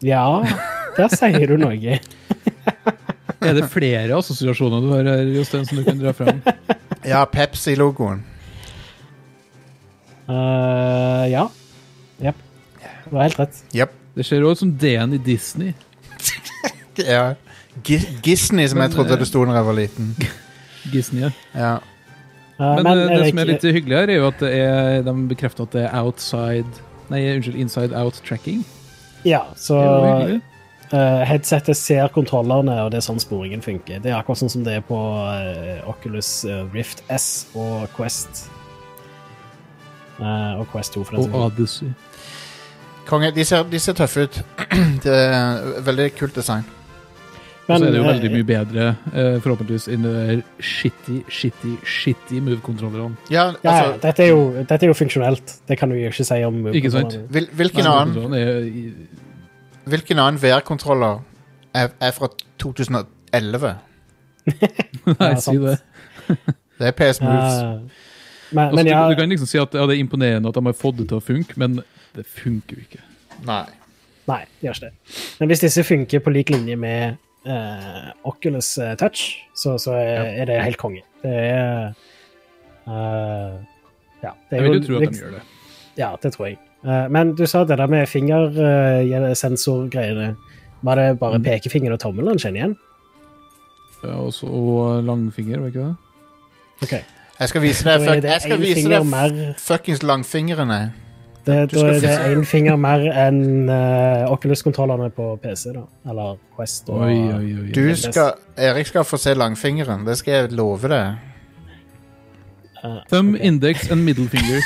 [SPEAKER 7] Ja, der sier du noe.
[SPEAKER 8] Er det flere assosiasjoner du har her, Jostein, som du kan dra fram?
[SPEAKER 6] Ja, Pepsi-logoen.
[SPEAKER 7] Eh, ja. Jepp. Du har helt rett.
[SPEAKER 6] Jepp.
[SPEAKER 8] Det ser også ut som D-en i Disney.
[SPEAKER 6] Ja. Gi- Gisney, som jeg
[SPEAKER 8] Men,
[SPEAKER 6] trodde
[SPEAKER 8] eh,
[SPEAKER 6] det sto da jeg var liten.
[SPEAKER 8] Disney, ja.
[SPEAKER 6] Ja.
[SPEAKER 7] Eh,
[SPEAKER 8] Men, eh, det
[SPEAKER 7] jeg
[SPEAKER 8] som er
[SPEAKER 7] ikke-
[SPEAKER 8] litt hyggelig her, er jo at det er, de bekrefter at det er outside Nei, unnskyld, inside out tracking.
[SPEAKER 7] Ja,
[SPEAKER 8] Det er jo
[SPEAKER 7] så
[SPEAKER 8] hyggelig.
[SPEAKER 7] Eh, headsetet ser kontrollerne, og det er sånn sporingen funker. Det er akkurat sånn som det er på eh, Oculus eh, Rift S og Quest. Eh, og Quest 2, for den
[SPEAKER 8] Og
[SPEAKER 7] saks skyld.
[SPEAKER 8] Odyssey.
[SPEAKER 6] Konge, de ser, de ser tøffe ut. det er veldig kult design.
[SPEAKER 8] Og så er det jo
[SPEAKER 7] eh,
[SPEAKER 8] veldig mye bedre, eh, forhåpentligvis, enn det der shitty, shitty, shitty move-kontrollerne.
[SPEAKER 6] Ja,
[SPEAKER 7] ja, ja,
[SPEAKER 6] altså,
[SPEAKER 7] dette, er jo, dette er jo funksjonelt. Det kan du jo ikke si om
[SPEAKER 8] Ikke sant?
[SPEAKER 7] kontrollerne.
[SPEAKER 6] hvil, hvilken, annen,
[SPEAKER 8] Move-kontrollerne er i-
[SPEAKER 6] hvilken annen VR-kontroller er, er fra 2011?
[SPEAKER 8] Nei,
[SPEAKER 7] Ja,
[SPEAKER 8] si
[SPEAKER 7] sant.
[SPEAKER 8] det.
[SPEAKER 6] Det er PS Moves.
[SPEAKER 7] Eh, men,
[SPEAKER 8] Altså,
[SPEAKER 7] men ja,
[SPEAKER 8] du, du kan liksom si at ja, det er imponerende at de har fått det til å funke, men det funker jo ikke.
[SPEAKER 6] Nei.
[SPEAKER 7] Nei, det gjør ikke det. Men hvis disse funker på lik linje med eh, Oculus eh, Touch, så, så er, er det helt konge. Det er eh, Ja. Det
[SPEAKER 8] Jeg
[SPEAKER 7] er jo
[SPEAKER 8] vil jo tro at
[SPEAKER 7] liks-
[SPEAKER 8] de gjør det.
[SPEAKER 7] Ja, det tror jeg. Eh, Men du sa det der med fingersensorgreiene. Var det
[SPEAKER 8] Mm.
[SPEAKER 7] bare pekefingeren og tommelen han kjenner igjen?
[SPEAKER 8] Ja, og så- og langfinger, var ikke det?
[SPEAKER 7] Ok.
[SPEAKER 6] Jeg skal vise deg,
[SPEAKER 7] Da er
[SPEAKER 6] fuck,
[SPEAKER 7] det
[SPEAKER 6] jeg skal
[SPEAKER 7] en
[SPEAKER 6] vise
[SPEAKER 7] finger
[SPEAKER 6] deg
[SPEAKER 7] mer.
[SPEAKER 6] f- fuckings langfingrene.
[SPEAKER 7] Det,
[SPEAKER 6] Du
[SPEAKER 7] da
[SPEAKER 6] skal
[SPEAKER 7] er det
[SPEAKER 6] fikse-
[SPEAKER 7] én finger mer enn eh, Oculus-kontrollerne på PC, da. Eller Quest og
[SPEAKER 8] Oi, oi, oi.
[SPEAKER 6] Du skal, Erik skal få se langfingeren, det skal jeg love deg.
[SPEAKER 8] Thumb, index and middle fingers.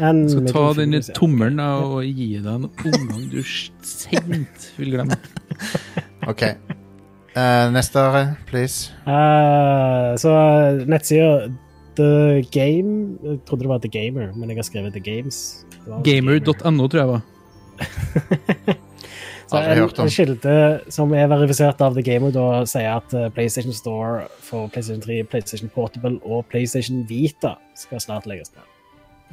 [SPEAKER 7] en
[SPEAKER 8] skal ta
[SPEAKER 7] middle
[SPEAKER 8] den i
[SPEAKER 7] fingers, ja.
[SPEAKER 8] tommelen da, og gi deg en omgang du sent vil glemme.
[SPEAKER 6] Ok. Eh, neste, Are, please.
[SPEAKER 7] Eh, så nettsida The Game Jeg trodde det var The Gamer, men jeg har skrevet The Games. Det var Gamer.
[SPEAKER 8] Gamer.no, tror jeg var.
[SPEAKER 7] Så
[SPEAKER 6] Aldri hørt om.
[SPEAKER 7] en kilde som er verifisert av The Gamer, da sier at eh, PlayStation Store for PlayStation 3, PlayStation Portable og PlayStation Vita skal snart legges ned.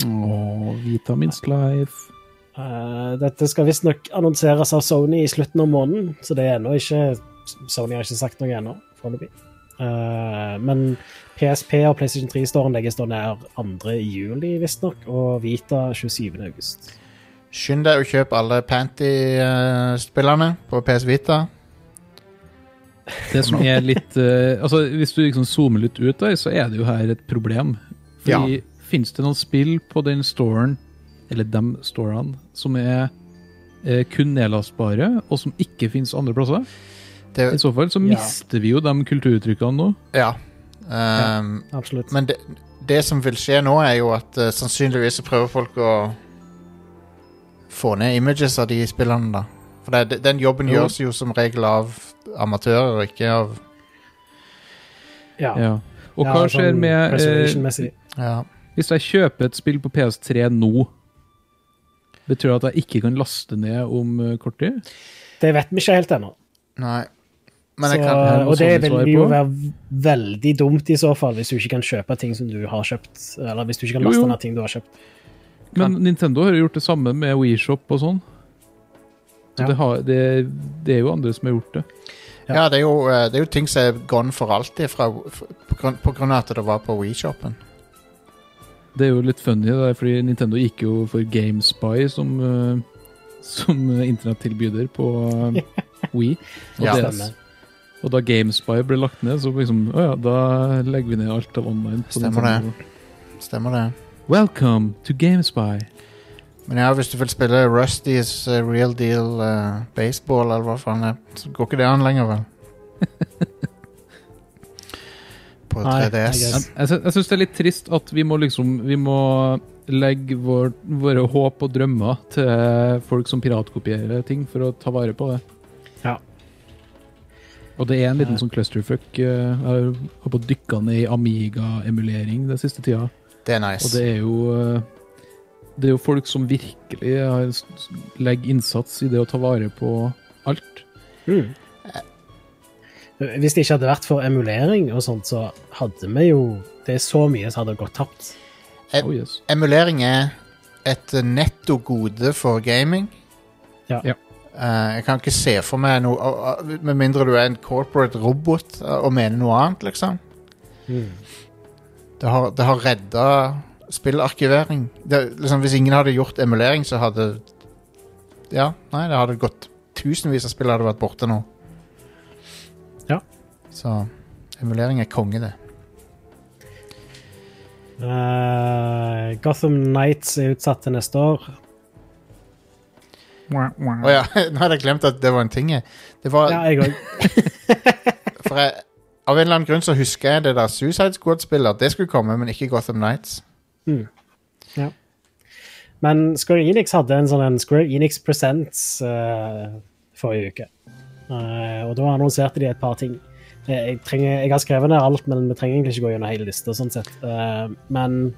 [SPEAKER 8] Åh, Vitamins Life.
[SPEAKER 7] Eh, dette skal visstnok annonseres av Sony i slutten av måneden, så det er ennå ikke Sony har ikke sagt noe ennå, foreløpig. Eh, men PSP og PlayStation 3-storen legges da ned 2. juli, visstnok, og Vita 27. august.
[SPEAKER 6] Skynd deg å kjøpe alle Panty-spillerne på PS Vita.
[SPEAKER 8] Det som er litt eh, Altså, hvis du liksom zoomer litt ut der, så er det jo her et problem. Fordi finnes det noen spill på den storen, eller dem storene, som er eh, kun nedlastbare, og som ikke finnes andre plasser?
[SPEAKER 6] Det,
[SPEAKER 8] I så fall så
[SPEAKER 7] Eh, Ja.
[SPEAKER 8] mister vi jo de kulturuttrykkene nå.
[SPEAKER 6] ja. Um,
[SPEAKER 7] Absolutt.
[SPEAKER 6] Men det, det som vil skje nå, er jo at eh, sannsynligvis så prøver folk å få ned images av de spillerne, da. For det, det- den jobben
[SPEAKER 8] Jo.
[SPEAKER 6] gjøres jo som regel av amatører, og ikke av
[SPEAKER 7] ja.
[SPEAKER 8] Ja. Og
[SPEAKER 7] Ja,
[SPEAKER 8] hva
[SPEAKER 7] sånn
[SPEAKER 8] skjer med eh,
[SPEAKER 7] preservation-messig.
[SPEAKER 6] Ja.
[SPEAKER 8] Hvis jeg kjøper et spill på PS3 nå, betyr det at jeg ikke kan laste ned om eh, kort tid?
[SPEAKER 7] Det vet vi ikke helt ennå.
[SPEAKER 6] Nei. Men
[SPEAKER 7] Så,
[SPEAKER 6] jeg kan
[SPEAKER 8] noe
[SPEAKER 7] og det
[SPEAKER 8] sånt
[SPEAKER 7] vil
[SPEAKER 8] svar
[SPEAKER 7] jo
[SPEAKER 8] på.
[SPEAKER 7] være v- veldig dumt i så fall, hvis du ikke kan kjøpe ting som du har kjøpt. Eller hvis du ikke kan
[SPEAKER 8] Jo,
[SPEAKER 7] laste
[SPEAKER 8] jo.
[SPEAKER 7] ned ting du har kjøpt.
[SPEAKER 8] Men Nintendo har jo gjort det samme med WeShop og sånn. Så
[SPEAKER 7] Ja.
[SPEAKER 8] det, har, det, det er jo andre som har gjort det.
[SPEAKER 7] Ja.
[SPEAKER 6] Ja, det er, jo, eh, det er jo ting som er gone for alltid fra, f- på, grunn, på grunn av at det var på WeShopen.
[SPEAKER 8] Det er jo litt funny, det er fordi Nintendo gikk jo for GameSpy som, eh, som eh, internettilbyder på eh, Wii. Og,
[SPEAKER 6] Ja.
[SPEAKER 8] DS. og da GameSpy ble lagt ned, så liksom Å ja, da legger vi ned alt av online. på
[SPEAKER 6] Stemmer det.
[SPEAKER 8] Nintendo.
[SPEAKER 6] Stemmer det?
[SPEAKER 8] Welcome to GameSpy.
[SPEAKER 6] Men ja, hvis du vil spille Rustys eh, real deal eh, baseball, eller hva faen det er, så går ikke det an lenger, vel? på
[SPEAKER 7] Nei, I
[SPEAKER 6] 3DS.
[SPEAKER 7] guess.
[SPEAKER 8] Jeg, jeg, sy- jeg syns det er litt trist at vi må liksom Vi må legge vår, våre håp og drømmer til folk som piratkopierer ting, for å ta vare på det.
[SPEAKER 7] Ja.
[SPEAKER 8] Og det er en liten
[SPEAKER 7] Ja.
[SPEAKER 8] sånn clusterfuck. eh, Jeg har holdt på å dykke ned i Amiga-emulering den siste tida,
[SPEAKER 6] Det er
[SPEAKER 8] og
[SPEAKER 6] nice.
[SPEAKER 8] det er jo eh, Det er jo folk som virkelig har s- s- legger innsats i det å ta vare på alt.
[SPEAKER 7] Mm. Hvis det ikke hadde vært for emulering og sånt, så hadde vi jo Det er så mye som hadde gått tapt.
[SPEAKER 6] Eh,
[SPEAKER 8] Oh yes.
[SPEAKER 6] Emulering er et eh, netto gode for gaming.
[SPEAKER 7] Ja.
[SPEAKER 8] Ja.
[SPEAKER 6] Eh, jeg kan ikke se for meg noe og- og- Med mindre du er en corporate robot eh, og mener noe annet, liksom.
[SPEAKER 7] Mm.
[SPEAKER 6] Det har, det har redda spillarkivering. Det, liksom, hvis ingen hadde gjort emulering, så hadde Ja, nei, det hadde gått Tusenvis av spill hadde vært borte nå.
[SPEAKER 7] Ja.
[SPEAKER 6] Så emulering er konge, det.
[SPEAKER 7] Eh, Gotham Nights er utsatt til neste år.
[SPEAKER 6] Å ja, nå hadde jeg glemt at det var en ting. jeg. Det var,
[SPEAKER 7] Ja, jeg òg.
[SPEAKER 6] for jeg, av en eller annen grunn så husker jeg det der Suicide Squad-spillet. at Det skulle komme, men ikke Gotham Nights.
[SPEAKER 7] Men Square Enix hadde en sånn en Square Enix Presents eh, forrige uke. Eh, og da annonserte de et par ting. Eh, Jeg, trenger, jeg har skrevet ned alt, men vi trenger egentlig ikke gå gjennom hele lista. Sånn sett. Eh, men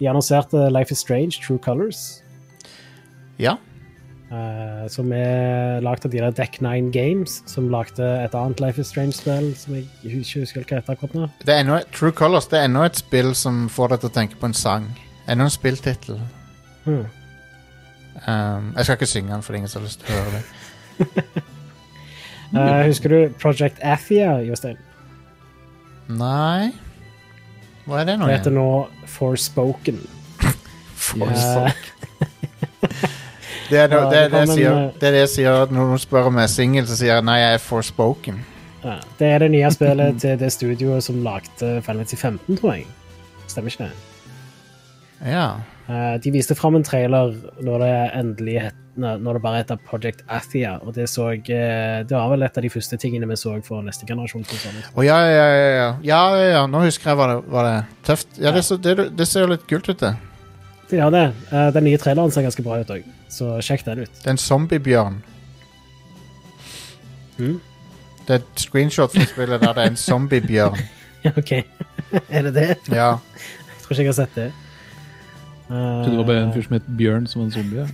[SPEAKER 7] de annonserte Life is Strange, True Colors,
[SPEAKER 6] Ja.
[SPEAKER 7] som er lagd av de der Deck Nine Games, som lagde et annet Life is Strange-spill som jeg ikke husker hva heter akkurat nå.
[SPEAKER 6] Det er ennå, et- True Colors det er ennå et spill som får deg til å tenke på en sang. Ennå en spilltittel. Mm.
[SPEAKER 7] Hmm.
[SPEAKER 6] Um, jeg skal ikke synge den, for ingen som har lyst til å høre det.
[SPEAKER 7] Eh, husker du Project Athia, Jostein?
[SPEAKER 6] Nei Hva er det nå
[SPEAKER 7] Det heter
[SPEAKER 6] igjen?
[SPEAKER 7] nå Forspoken.
[SPEAKER 6] Force.
[SPEAKER 7] Eh,
[SPEAKER 6] Det er no-
[SPEAKER 7] Ja,
[SPEAKER 6] det er
[SPEAKER 7] det
[SPEAKER 6] det jeg
[SPEAKER 7] kom en,
[SPEAKER 6] sier
[SPEAKER 7] eh,
[SPEAKER 6] Det er det jeg sier når noen spør om jeg er singel, så sier jeg nei, jeg er forspoken.
[SPEAKER 7] Ja, det er det nye spillet til det studioet som lagde Final Fantasy 15, tror jeg. Stemmer ikke det?
[SPEAKER 6] Ja.
[SPEAKER 7] Eh, De viste fram en trailer når det endelig het, nei, når det bare heter Project Athia, og det så eh, Det var vel et av de første tingene vi så for neste generasjon. konsoler.
[SPEAKER 6] Å ja, ja, ja, ja. ja, ja, ja. Nå husker jeg hva det var. Det. Tøft. Ja, det, så, det, det ser jo litt kult ut, det.
[SPEAKER 7] Det gjør det. Eh, Den nye traileren ser ganske bra ut òg, så sjekk den ut.
[SPEAKER 6] Det er en zombiebjørn.
[SPEAKER 7] Mhm.
[SPEAKER 6] Det er et screenshot fra spillet der det er en zombiebjørn.
[SPEAKER 7] OK. er det det?
[SPEAKER 6] Ja.
[SPEAKER 7] Jeg tror ikke jeg har sett det.
[SPEAKER 8] Jeg trodde det var bare en fyr som het Bjørn, som var en zombie.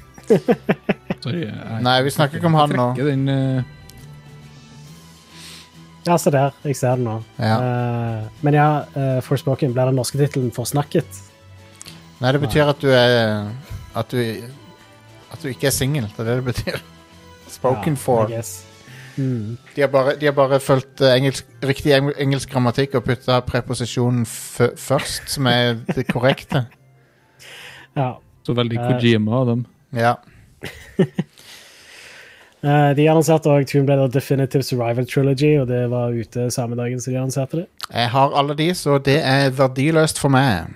[SPEAKER 8] Sorry. jeg-
[SPEAKER 6] Nei, vi snakker ikke om han nå.
[SPEAKER 8] Jeg trekker den, eh,
[SPEAKER 7] Ja, se der. Jeg ser det nå.
[SPEAKER 6] Ja.
[SPEAKER 7] Eh, men ja, uh, Forspoken blir den norske tittelen Forsnakket.
[SPEAKER 6] Nei, det betyr at du er At du, at du ikke er singel. Det er det det betyr. Spoken
[SPEAKER 7] Ja,
[SPEAKER 6] for.
[SPEAKER 7] I guess. Mm.
[SPEAKER 6] De har bare, de har bare fulgt eh, engelsk, riktig eng- engelsk grammatikk og putta preposisjonen fø- først, som er det korrekte.
[SPEAKER 7] Ja.
[SPEAKER 8] Så veldig
[SPEAKER 7] Eh,
[SPEAKER 8] Kojima av dem.
[SPEAKER 6] Ja.
[SPEAKER 7] Eh, De annonserte òg Tomb Raider Definitive Survival Trilogy, og det var ute samme dagen som de annonserte det.
[SPEAKER 6] Jeg har alle de, så det er verdiløst for meg.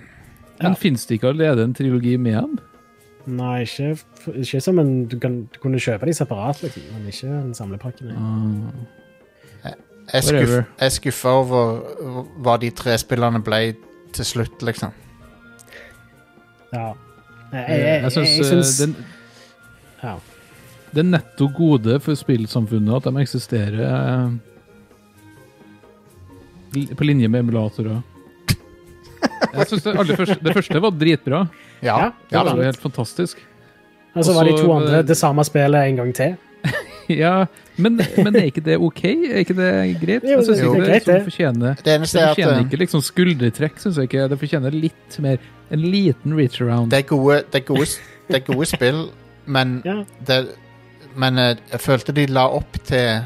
[SPEAKER 8] Men finnes det ikke allerede en trilogi med dem?
[SPEAKER 7] Nei, ikke, ikke som
[SPEAKER 8] Ah,
[SPEAKER 7] en du, kan, du kunne kjøpe de separat, liksom, men ikke en samlepakke. nei.
[SPEAKER 6] Jeg, skuff,
[SPEAKER 8] Whatever.
[SPEAKER 6] jeg skuffa over hva de tre spillerne ble til slutt, liksom.
[SPEAKER 7] Ja. Eh, Jeg, jeg, jeg,
[SPEAKER 8] Jeg
[SPEAKER 7] jeg,
[SPEAKER 8] syns
[SPEAKER 7] syns
[SPEAKER 8] den,
[SPEAKER 7] ja.
[SPEAKER 8] det er netto gode for spillsamfunnet at de eksisterer eh, li- på linje med emulatorer. Jeg synes det, aller første, det første var dritbra.
[SPEAKER 6] Ja,
[SPEAKER 8] Det
[SPEAKER 6] ja da.
[SPEAKER 8] var helt fantastisk.
[SPEAKER 7] Og så var de to
[SPEAKER 8] Også,
[SPEAKER 7] andre
[SPEAKER 8] eh,
[SPEAKER 7] det samme spillet en gang til.
[SPEAKER 8] Ja, men, men er ikke det ok? Er ikke det greit?
[SPEAKER 7] Jo,
[SPEAKER 8] Jeg synes
[SPEAKER 7] det er
[SPEAKER 8] ikke det,
[SPEAKER 7] greit,
[SPEAKER 8] som
[SPEAKER 7] det.
[SPEAKER 8] fortjener
[SPEAKER 6] Det
[SPEAKER 8] Det
[SPEAKER 6] eneste er at
[SPEAKER 8] fortjener
[SPEAKER 6] eh,
[SPEAKER 8] ikke liksom skuldertrekk, syns jeg ikke. Det fortjener litt mer En liten reach around.
[SPEAKER 6] det er gode, det er gode, s- det er gode spill, men
[SPEAKER 7] Ja.
[SPEAKER 6] det, Men eh, jeg følte de la opp til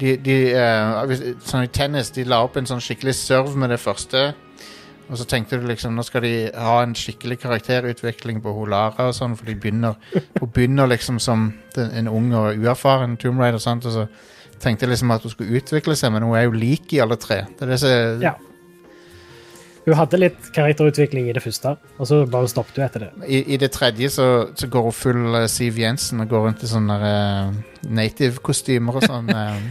[SPEAKER 6] de, de, eh, hvis, Sånn i tennis, de la opp en sånn skikkelig serve med det første. Og så tenkte du liksom nå skal de ha en skikkelig karakterutvikling på Holara, og sånn, for de begynner, hun begynner liksom som den, en ung og uerfaren Tomb Raider. Sant? Og så tenkte jeg liksom at hun skulle utvikle seg, men hun er jo lik i alle tre. Det er det som
[SPEAKER 7] Ja. Hun hadde litt karakterutvikling i det første, og så bare stoppet hun etter det.
[SPEAKER 6] I, I det tredje så, så går hun full eh, Siv Jensen og går rundt i sånne eh, native-kostymer og sånn. eh.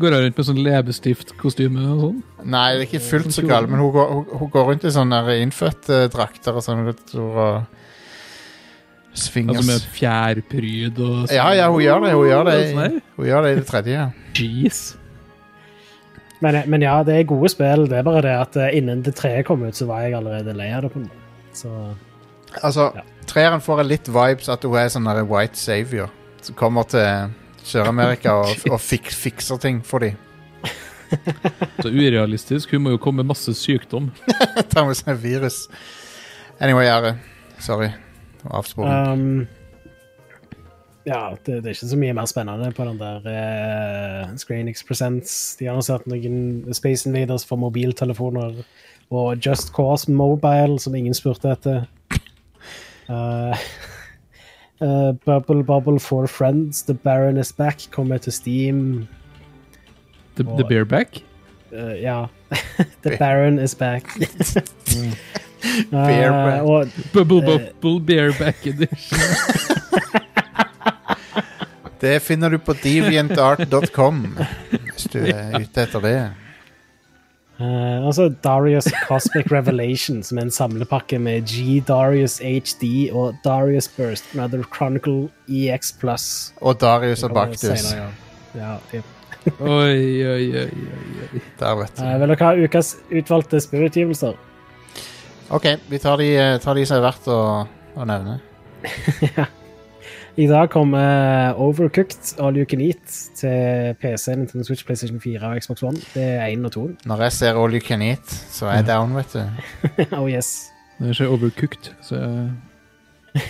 [SPEAKER 8] Går jeg rundt med sånn leppestiftkostyme og sånn?
[SPEAKER 6] Nei, det er ikke fullt så galt, men hun går, hun, hun går rundt i sånne der innfødte eh, drakter og sånn, sånne og svinger
[SPEAKER 8] Altså med
[SPEAKER 6] s-
[SPEAKER 8] fjærpryd og sånn.
[SPEAKER 6] Ja, ja, hun gjør det. Hun gjør det,
[SPEAKER 8] Sånn her.
[SPEAKER 6] i- hun gjør det i det tredje. ja.
[SPEAKER 8] Jeez.
[SPEAKER 7] Men, men ja, det er gode spill. Det er bare det at eh, innen det tredje kom ut, så var jeg allerede lei av det. på en måte. Så
[SPEAKER 6] Altså,
[SPEAKER 7] Ja.
[SPEAKER 6] treeren får jeg litt vibes at hun er sånn der white savior som kommer til Sør-Amerika og, og fik, fikser ting for dem.
[SPEAKER 8] Så urealistisk. Hun må jo komme med masse sykdom.
[SPEAKER 6] Tar med seg virus. Anyway, Are. Sorry. Avsporing.
[SPEAKER 7] um, Ja, det, det er ikke så mye mer spennende på den der uh, Screenix Presents. De har annonsert noen Space Invaders for mobiltelefoner og Just Cause Mobile, som ingen spurte etter. Eh, eh, Bubble Bubble for Friends, The Baron is Back, kommer til Steam.
[SPEAKER 8] The, the bareback.
[SPEAKER 7] Eh, ja. The Baron is back.
[SPEAKER 6] Bareback.
[SPEAKER 7] Eh, og
[SPEAKER 8] Bubble
[SPEAKER 6] Eh.
[SPEAKER 8] bubble bareback edition.
[SPEAKER 6] Det finner du på deviantart.com hvis du er ute etter det.
[SPEAKER 7] eh, altså Darius Cosmic Revelation, som er en samlepakke med G, Darius HD og Darius Burst, Another Chronicle EX Plus.
[SPEAKER 6] Og Darius og Baktus.
[SPEAKER 7] Senere, Ja, ja, typ.
[SPEAKER 8] Oi, oi, oi, oi, oi.
[SPEAKER 6] Der, vet du.
[SPEAKER 7] Eh, vil dere ha ukas utvalgte spillutgivelser?
[SPEAKER 6] Ok, vi tar de, eh, tar de som er verdt å, å nevne.
[SPEAKER 7] I dag kommer Overcooked All You Can Eat til PC, Nintendo Switch, PlayStation 4 og Xbox One. Det er 1 og 2.
[SPEAKER 6] Når jeg ser All You Can Eat, så
[SPEAKER 7] Mm.
[SPEAKER 6] er jeg down, vet du.
[SPEAKER 7] oh yes.
[SPEAKER 8] Når jeg ser overcooked, så jeg-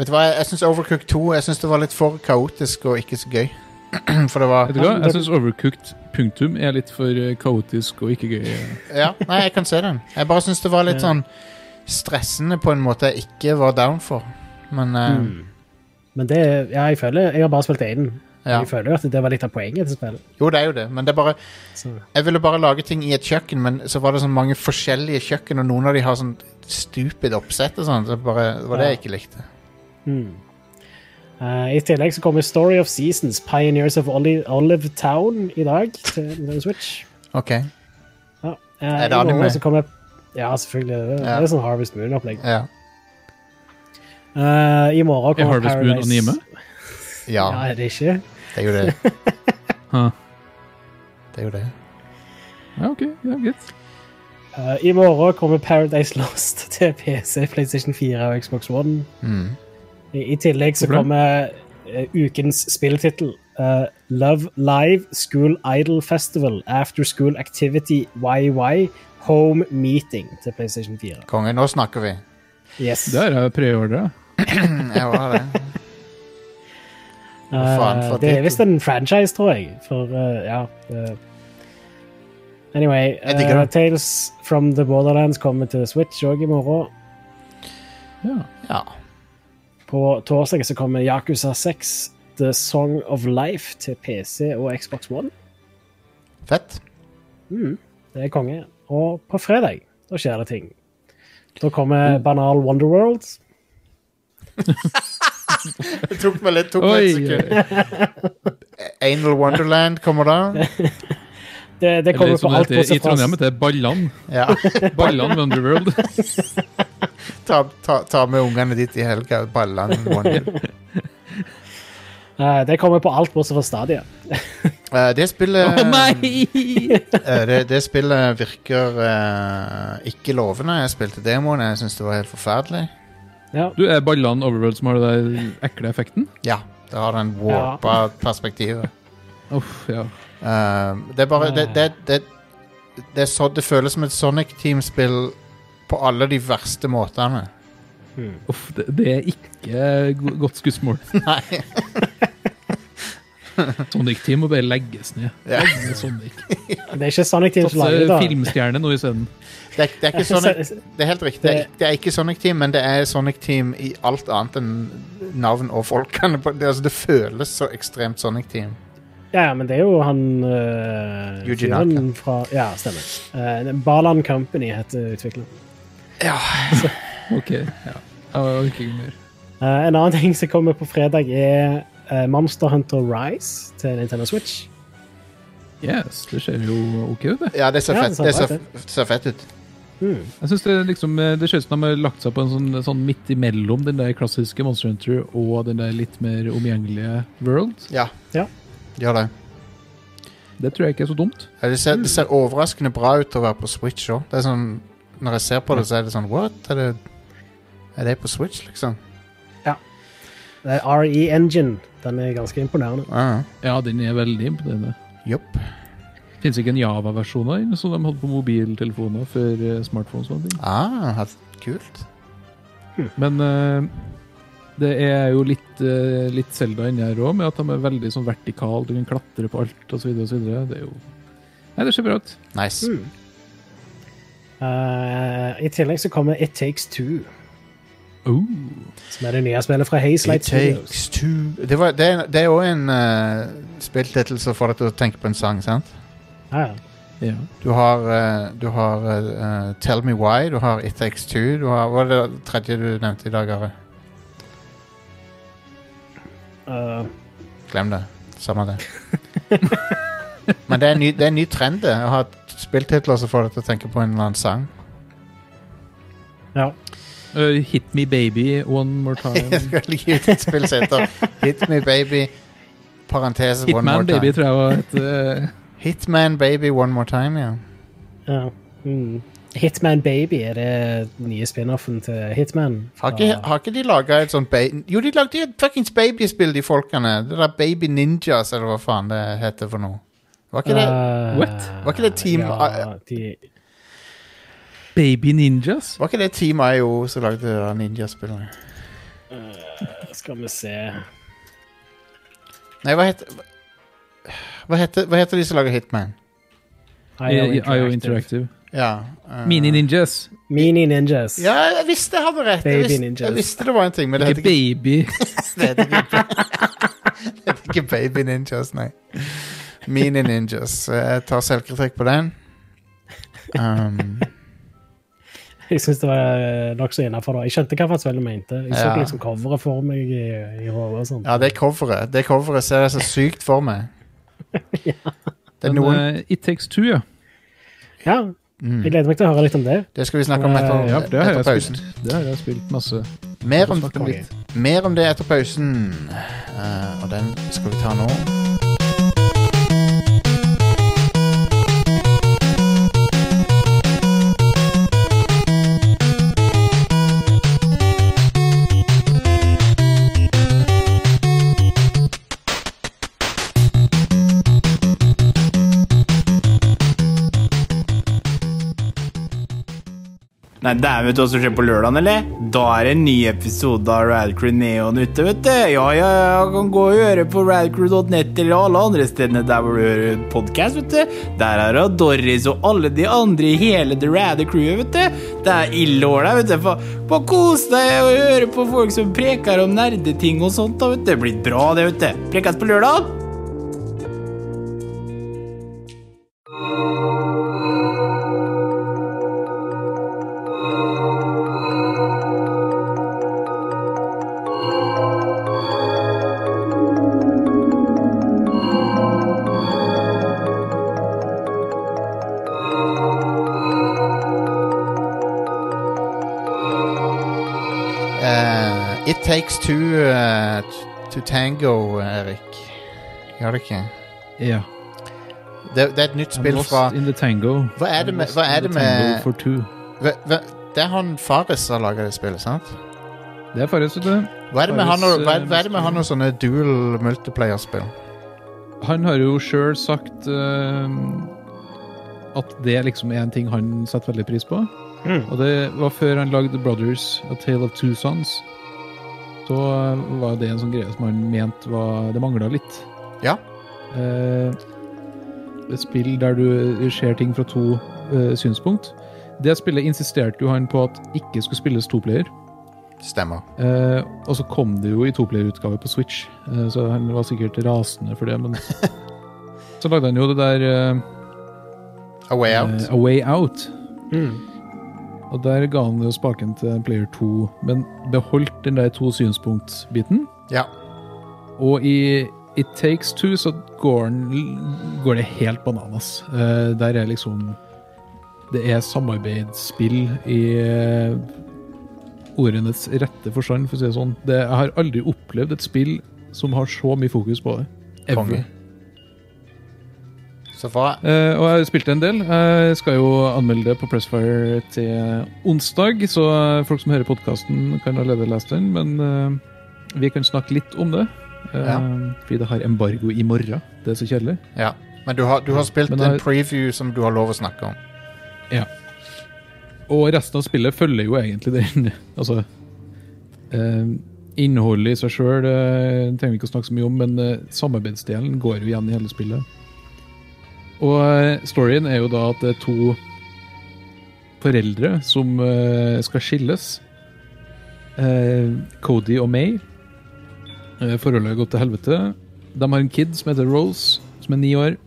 [SPEAKER 6] Vet du hva, jeg syns Overcooked 2 jeg synes det var litt for kaotisk og ikke så gøy. For det var
[SPEAKER 8] Vet du hva? Jeg syns overcooked punktum er litt for eh, kaotisk og ikke gøy.
[SPEAKER 6] Ja, nei, jeg kan se den. Jeg bare syns det var litt sånn stressende på en måte jeg ikke var down for. Men eh,
[SPEAKER 8] Mm.
[SPEAKER 7] Men det, ja, jeg føler Jeg har bare spilt én.
[SPEAKER 6] ja.
[SPEAKER 7] Jeg føler jo at det var litt av poenget til spillet.
[SPEAKER 6] Jo, det er jo det, men det er bare
[SPEAKER 7] Så.
[SPEAKER 6] Jeg ville bare lage ting i et kjøkken, men så var det sånn mange forskjellige kjøkken, og noen av de har sånn stupid oppsett og sånn. Det bare, det var det jeg ikke likte.
[SPEAKER 7] Hmm. Eh, I tillegg så kommer Story of Seasons, Pioneers of Oli Olive Town, i dag til Nintendo Switch.
[SPEAKER 6] Ok,
[SPEAKER 7] Ja. Eh,
[SPEAKER 6] det
[SPEAKER 7] i morgen
[SPEAKER 6] anime?
[SPEAKER 7] Så kommer, ja, selvfølgelig. Det,
[SPEAKER 6] Ja.
[SPEAKER 7] det er sånn Harvest Moon-opplegg.
[SPEAKER 6] ja.
[SPEAKER 7] Eh, I morgen
[SPEAKER 8] Er
[SPEAKER 7] kommer
[SPEAKER 8] Harvest Moon
[SPEAKER 7] Paradise
[SPEAKER 8] anime?
[SPEAKER 6] Ja,
[SPEAKER 7] Ja, er det ikke?
[SPEAKER 6] det er jo det.
[SPEAKER 8] Huh.
[SPEAKER 6] Det er jo det.
[SPEAKER 8] Ja, OK. Ja, greit.
[SPEAKER 7] Eh, I morgen kommer Paradise Lost til PC, PlayStation 4 og Xbox One.
[SPEAKER 6] Mm.
[SPEAKER 7] I, i tillegg så
[SPEAKER 8] Hvorfor det?
[SPEAKER 7] kommer eh, ukens spilltittel. eh, Love Live School Idol Festival After School Activity YY Home Meeting til PlayStation 4.
[SPEAKER 6] Konge, nå snakker vi.
[SPEAKER 7] Yes.
[SPEAKER 8] Det har jeg preordra.
[SPEAKER 6] Jeg var det.
[SPEAKER 7] Eh,
[SPEAKER 6] faen for
[SPEAKER 7] det er
[SPEAKER 6] tittel.
[SPEAKER 7] visst en franchise, tror jeg. For eh, ja det- Anyway,
[SPEAKER 6] Jeg digger
[SPEAKER 7] eh,
[SPEAKER 6] det.
[SPEAKER 7] Tales from the Borderlands kommer til Switch òg i morgen.
[SPEAKER 8] Ja.
[SPEAKER 6] Ja.
[SPEAKER 7] På torsdag så kommer Yakuza 6 The Song of Life til PC og Xbox One.
[SPEAKER 6] Fett.
[SPEAKER 7] Det er konge. Og på fredag, da skjer det ting. Da
[SPEAKER 8] Mm.
[SPEAKER 7] kommer banal Wonderworld.
[SPEAKER 6] Det tok meg litt, tok meg
[SPEAKER 8] Oi!
[SPEAKER 6] et sekund.
[SPEAKER 8] oi.
[SPEAKER 6] Jeg Anal Wonderland kommer da.
[SPEAKER 7] Det, det kommer
[SPEAKER 8] Eller
[SPEAKER 7] på
[SPEAKER 8] som
[SPEAKER 7] alt
[SPEAKER 8] det heter i
[SPEAKER 7] bortsett fra
[SPEAKER 8] Trondheim, heter det Ballan.
[SPEAKER 6] Ja.
[SPEAKER 8] Ballan Wonderworld.
[SPEAKER 6] Ta, ta, ta med ungene dit i helga. Ballan Wonder.
[SPEAKER 7] Nei, Det kommer på alt bortsett fra Stadia.
[SPEAKER 6] Eh, det spillet
[SPEAKER 8] nei!
[SPEAKER 6] Eh, det, det spillet virker eh, ikke lovende. Jeg spilte demoen, jeg syns det var helt forferdelig.
[SPEAKER 7] Ja.
[SPEAKER 8] Du, er Ballan Overworld som har den der ekle effekten?
[SPEAKER 6] Ja, det har den warpa perspektivet.
[SPEAKER 8] Uff, ja.
[SPEAKER 6] Um, det er bare
[SPEAKER 7] Eh.
[SPEAKER 6] det, det, det, det, er så, det føles som et Sonic Team-spill på alle de verste måtene.
[SPEAKER 8] Uff, det, det er ikke go godt skussmål.
[SPEAKER 6] Nei.
[SPEAKER 8] Sonic Team må bare legges ned.
[SPEAKER 6] Ja.
[SPEAKER 8] Legge ned Sonic.
[SPEAKER 7] Det er ikke Sonic Team som lager det.
[SPEAKER 8] Satse
[SPEAKER 7] da.
[SPEAKER 8] filmstjerne nå isteden.
[SPEAKER 6] Det er, det er ikke Sonic Det er helt riktig. Det er,
[SPEAKER 7] Det-
[SPEAKER 6] det er ikke Sonic Team, men det er Sonic Team i alt annet enn navn og folkene. på- Det, altså, det føles så ekstremt Sonic Team.
[SPEAKER 7] Ja, ja, men det er jo han uh,
[SPEAKER 6] Yuji Naka.
[SPEAKER 7] Fra, ja, stemmer. Eh, Balan Company heter utvikleren.
[SPEAKER 8] Ok, ja. Jeg orker ikke mer.
[SPEAKER 7] Eh, en annen ting som kommer på fredag, er eh, Monster Hunter Rise til Nintendo Switch.
[SPEAKER 8] Yes, det ser jo ok ut, det.
[SPEAKER 6] Ja, det ser
[SPEAKER 7] Ja,
[SPEAKER 6] fett,
[SPEAKER 7] det ser
[SPEAKER 6] det ser,
[SPEAKER 7] fett
[SPEAKER 6] ser fett ut.
[SPEAKER 8] Jeg synes Det liksom, det ser ut som de har lagt seg på en sånn, sånn midt imellom den der klassiske Monster Hunter og den der litt mer omgjengelige World.
[SPEAKER 6] Ja.
[SPEAKER 7] Ja.
[SPEAKER 6] Gjør det.
[SPEAKER 8] Det tror jeg ikke er så dumt.
[SPEAKER 6] Ja, Det ser, det ser overraskende bra ut å være på Switch òg. Sånn, når jeg ser på det, så er det sånn What? Er det, er det på Switch, liksom?
[SPEAKER 7] Det er RE Engine. Den er ganske imponerende.
[SPEAKER 6] Ja,
[SPEAKER 8] Ja, den er veldig imponerende.
[SPEAKER 6] ja. Jopp.
[SPEAKER 8] Fins ikke en Java-versjon av den, som de hadde på mobiltelefoner før eh, smartphones. og sånne ting.
[SPEAKER 6] Ah, helt kult.
[SPEAKER 8] Men eh, det er jo litt, eh, litt Zelda inni her òg, med at de er veldig sånn vertikale. Du kan klatre på alt osv. osv. Det er jo Nei, det ser bra ut.
[SPEAKER 6] Nice.
[SPEAKER 7] Eh, I tillegg så kommer It Takes Two,
[SPEAKER 8] Oh.
[SPEAKER 7] som er det nye spillet fra Hazelight
[SPEAKER 6] It
[SPEAKER 7] Studios.
[SPEAKER 6] takes two Det, var, det, er- det er òg en uh, spilltittel som får deg til å tenke på en sang, sant?
[SPEAKER 7] Ja, ja.
[SPEAKER 8] Ja.
[SPEAKER 6] Du har, eh, du har eh, eh, Tell Me Why, du har It Takes Two, du har Hva var det tredje du nevnte i dag, Are?
[SPEAKER 7] Eh,
[SPEAKER 6] Glem det. Samme det. Men det er en ny, det er en ny trend, det. Å ha spilltitler som får deg til å tenke på en eller annen sang.
[SPEAKER 7] ja.
[SPEAKER 8] Eh, hit me baby one more
[SPEAKER 6] Jeg
[SPEAKER 8] time.
[SPEAKER 6] skal gi ut et spill som heter Hit Me Baby, parentes One More
[SPEAKER 8] Hitman
[SPEAKER 6] Time.
[SPEAKER 8] baby tror jeg var et eh,
[SPEAKER 6] Hitman Baby One More Time, ja.
[SPEAKER 7] ja. Mm. Hitman Baby er det nye spin-offen til Hitman.
[SPEAKER 6] Har ikke, har ikke de laga et sånt ba Jo, de lagde jo et fuckings babyspill, de folkene. Det der Baby Ninjas, eller hva faen det heter for noe. Var ikke det
[SPEAKER 7] Eh,
[SPEAKER 8] What?
[SPEAKER 6] Var ikke det Team-
[SPEAKER 7] ja, de,
[SPEAKER 8] Baby Ninjas.
[SPEAKER 6] Var ikke det Team IO som lagde det der ninjaspillet?
[SPEAKER 7] Skal vi se
[SPEAKER 6] Nei, hva heter Hva heter, hva heter de som lager Hitman?
[SPEAKER 8] Eh, IO Interactive.
[SPEAKER 6] Ja. eh,
[SPEAKER 8] Mini Ninjas.
[SPEAKER 7] Mini Ninjas.
[SPEAKER 6] Ja, jeg visste jeg hadde rett!
[SPEAKER 7] Baby
[SPEAKER 6] Jeg visste,
[SPEAKER 7] Ninjas.
[SPEAKER 6] jeg visste det var en ting, men det
[SPEAKER 8] Ikke
[SPEAKER 6] heter ikke,
[SPEAKER 8] baby.
[SPEAKER 6] det heter ikke, det heter ikke Baby Ninjas, nei. Mini Ninjas. Eh, Jeg tar selvkritikk på den. Um,
[SPEAKER 7] Jeg syns det var eh, nokså innafor. Jeg skjønte hva Fats Velle mente. Jeg så
[SPEAKER 6] Ja.
[SPEAKER 7] liksom coveret for meg i, i hodet og sånt.
[SPEAKER 6] ja, det coveret Det coveret ser jeg så sykt for meg. Det er
[SPEAKER 8] Men
[SPEAKER 6] noen
[SPEAKER 8] eh, It Takes Two, ja.
[SPEAKER 7] Ja.
[SPEAKER 8] Mm.
[SPEAKER 7] Jeg gleder meg til å høre litt om det.
[SPEAKER 6] Det skal vi snakke om
[SPEAKER 7] Eh,
[SPEAKER 6] etter,
[SPEAKER 8] ja for det
[SPEAKER 6] etter
[SPEAKER 8] har jeg
[SPEAKER 6] pausen.
[SPEAKER 8] spilt. Det har jeg spilt masse.
[SPEAKER 6] Mer om,
[SPEAKER 8] Snakke om litt.
[SPEAKER 6] mer om det etter pausen. Eh, og den skal vi ta nå.
[SPEAKER 2] Nei, dæven, vet du hva som skjer på lørdagen, eller? Da er det en ny episode av Radcrew Neon ute, vet du. Ja, ja, ja, kan gå og høre på radcrew.net eller alle andre stedene der hvor du hører podkast, vet du. Der er det Doris og alle de andre i hele The Rad Crew, vet du. Det er ille år der, vet du. Fa- Bare kos deg og høre på folk som preker om nerdeting og sånt, da, vet du. Det blir bra, det, vet du. Prekes på lørdag.
[SPEAKER 6] Radcrew takes two eh, t- to tango, Erik. Gjør det ikke?
[SPEAKER 8] Ja.
[SPEAKER 6] Det, det er et nytt
[SPEAKER 8] I'm
[SPEAKER 6] spill
[SPEAKER 8] lost
[SPEAKER 6] fra
[SPEAKER 8] in the tango.
[SPEAKER 6] Hva er det
[SPEAKER 8] I'm
[SPEAKER 6] med-
[SPEAKER 8] lost
[SPEAKER 6] hva
[SPEAKER 8] in
[SPEAKER 6] er
[SPEAKER 8] the
[SPEAKER 6] det med-
[SPEAKER 8] tango For two.
[SPEAKER 6] hva, hva, Det er han Fares som har laga det spillet, sant?
[SPEAKER 8] Det er Farris, vet du.
[SPEAKER 6] Hva er det med
[SPEAKER 8] Fares,
[SPEAKER 6] han og, hva, er-
[SPEAKER 8] eh,
[SPEAKER 6] hva er det med han og sånne dual multiplayer-spill?
[SPEAKER 8] Han har jo sjøl sagt eh, at det liksom er en ting han setter veldig pris på. Og det var før han lagde Brothers, A Tale of Two Sons. Så eh, var det en sånn greie som han mente var Det mangla litt.
[SPEAKER 6] Ja.
[SPEAKER 8] Eh, et spill der du ser ting fra to eh, synspunkt. Det spillet insisterte jo han på at ikke skulle spilles toplayer.
[SPEAKER 6] Stemmer.
[SPEAKER 8] Eh, og så kom det jo i toplayerutgave på Switch, eh, så han var sikkert rasende for det, men Så lagde han jo det der eh,
[SPEAKER 6] A Way Out.
[SPEAKER 8] eh, A Way Out. Og der ga han jo spaken til Player 2, men beholdt den der to synspunkt-biten.
[SPEAKER 6] Ja.
[SPEAKER 8] Og i It Takes Two så går, den, går det helt bananas. Eh, der er liksom Det er samarbeidsspill i eh, ordenes rette forstand, for å si det sånn. Det, jeg har aldri opplevd et spill som har så mye fokus på det.
[SPEAKER 6] Konge. Så hva
[SPEAKER 8] Eh, og jeg har spilt det en del. Jeg skal jo anmelde det på Pressfire til onsdag, så eh, folk som hører podkasten, kan allerede lese den. Men eh, vi kan snakke litt om det, eh,
[SPEAKER 6] Ja.
[SPEAKER 8] fordi det har embargo i morgen. Det er så kjedelig.
[SPEAKER 6] Ja. Men du har, du har spilt
[SPEAKER 8] Men da-
[SPEAKER 6] en preview som du har lov å snakke om.
[SPEAKER 8] Og resten av spillet følger jo egentlig den Altså eh, Innholdet i seg sjøl trenger vi ikke å snakke så mye om, men eh, samarbeidsdelen går jo igjen i hele spillet. Og eh, storyen er jo da at det er to foreldre som eh, skal skilles. Eh, Cody og May. Eh, forholdet har gått til helvete. De har en kid som heter Rose, som er ni år.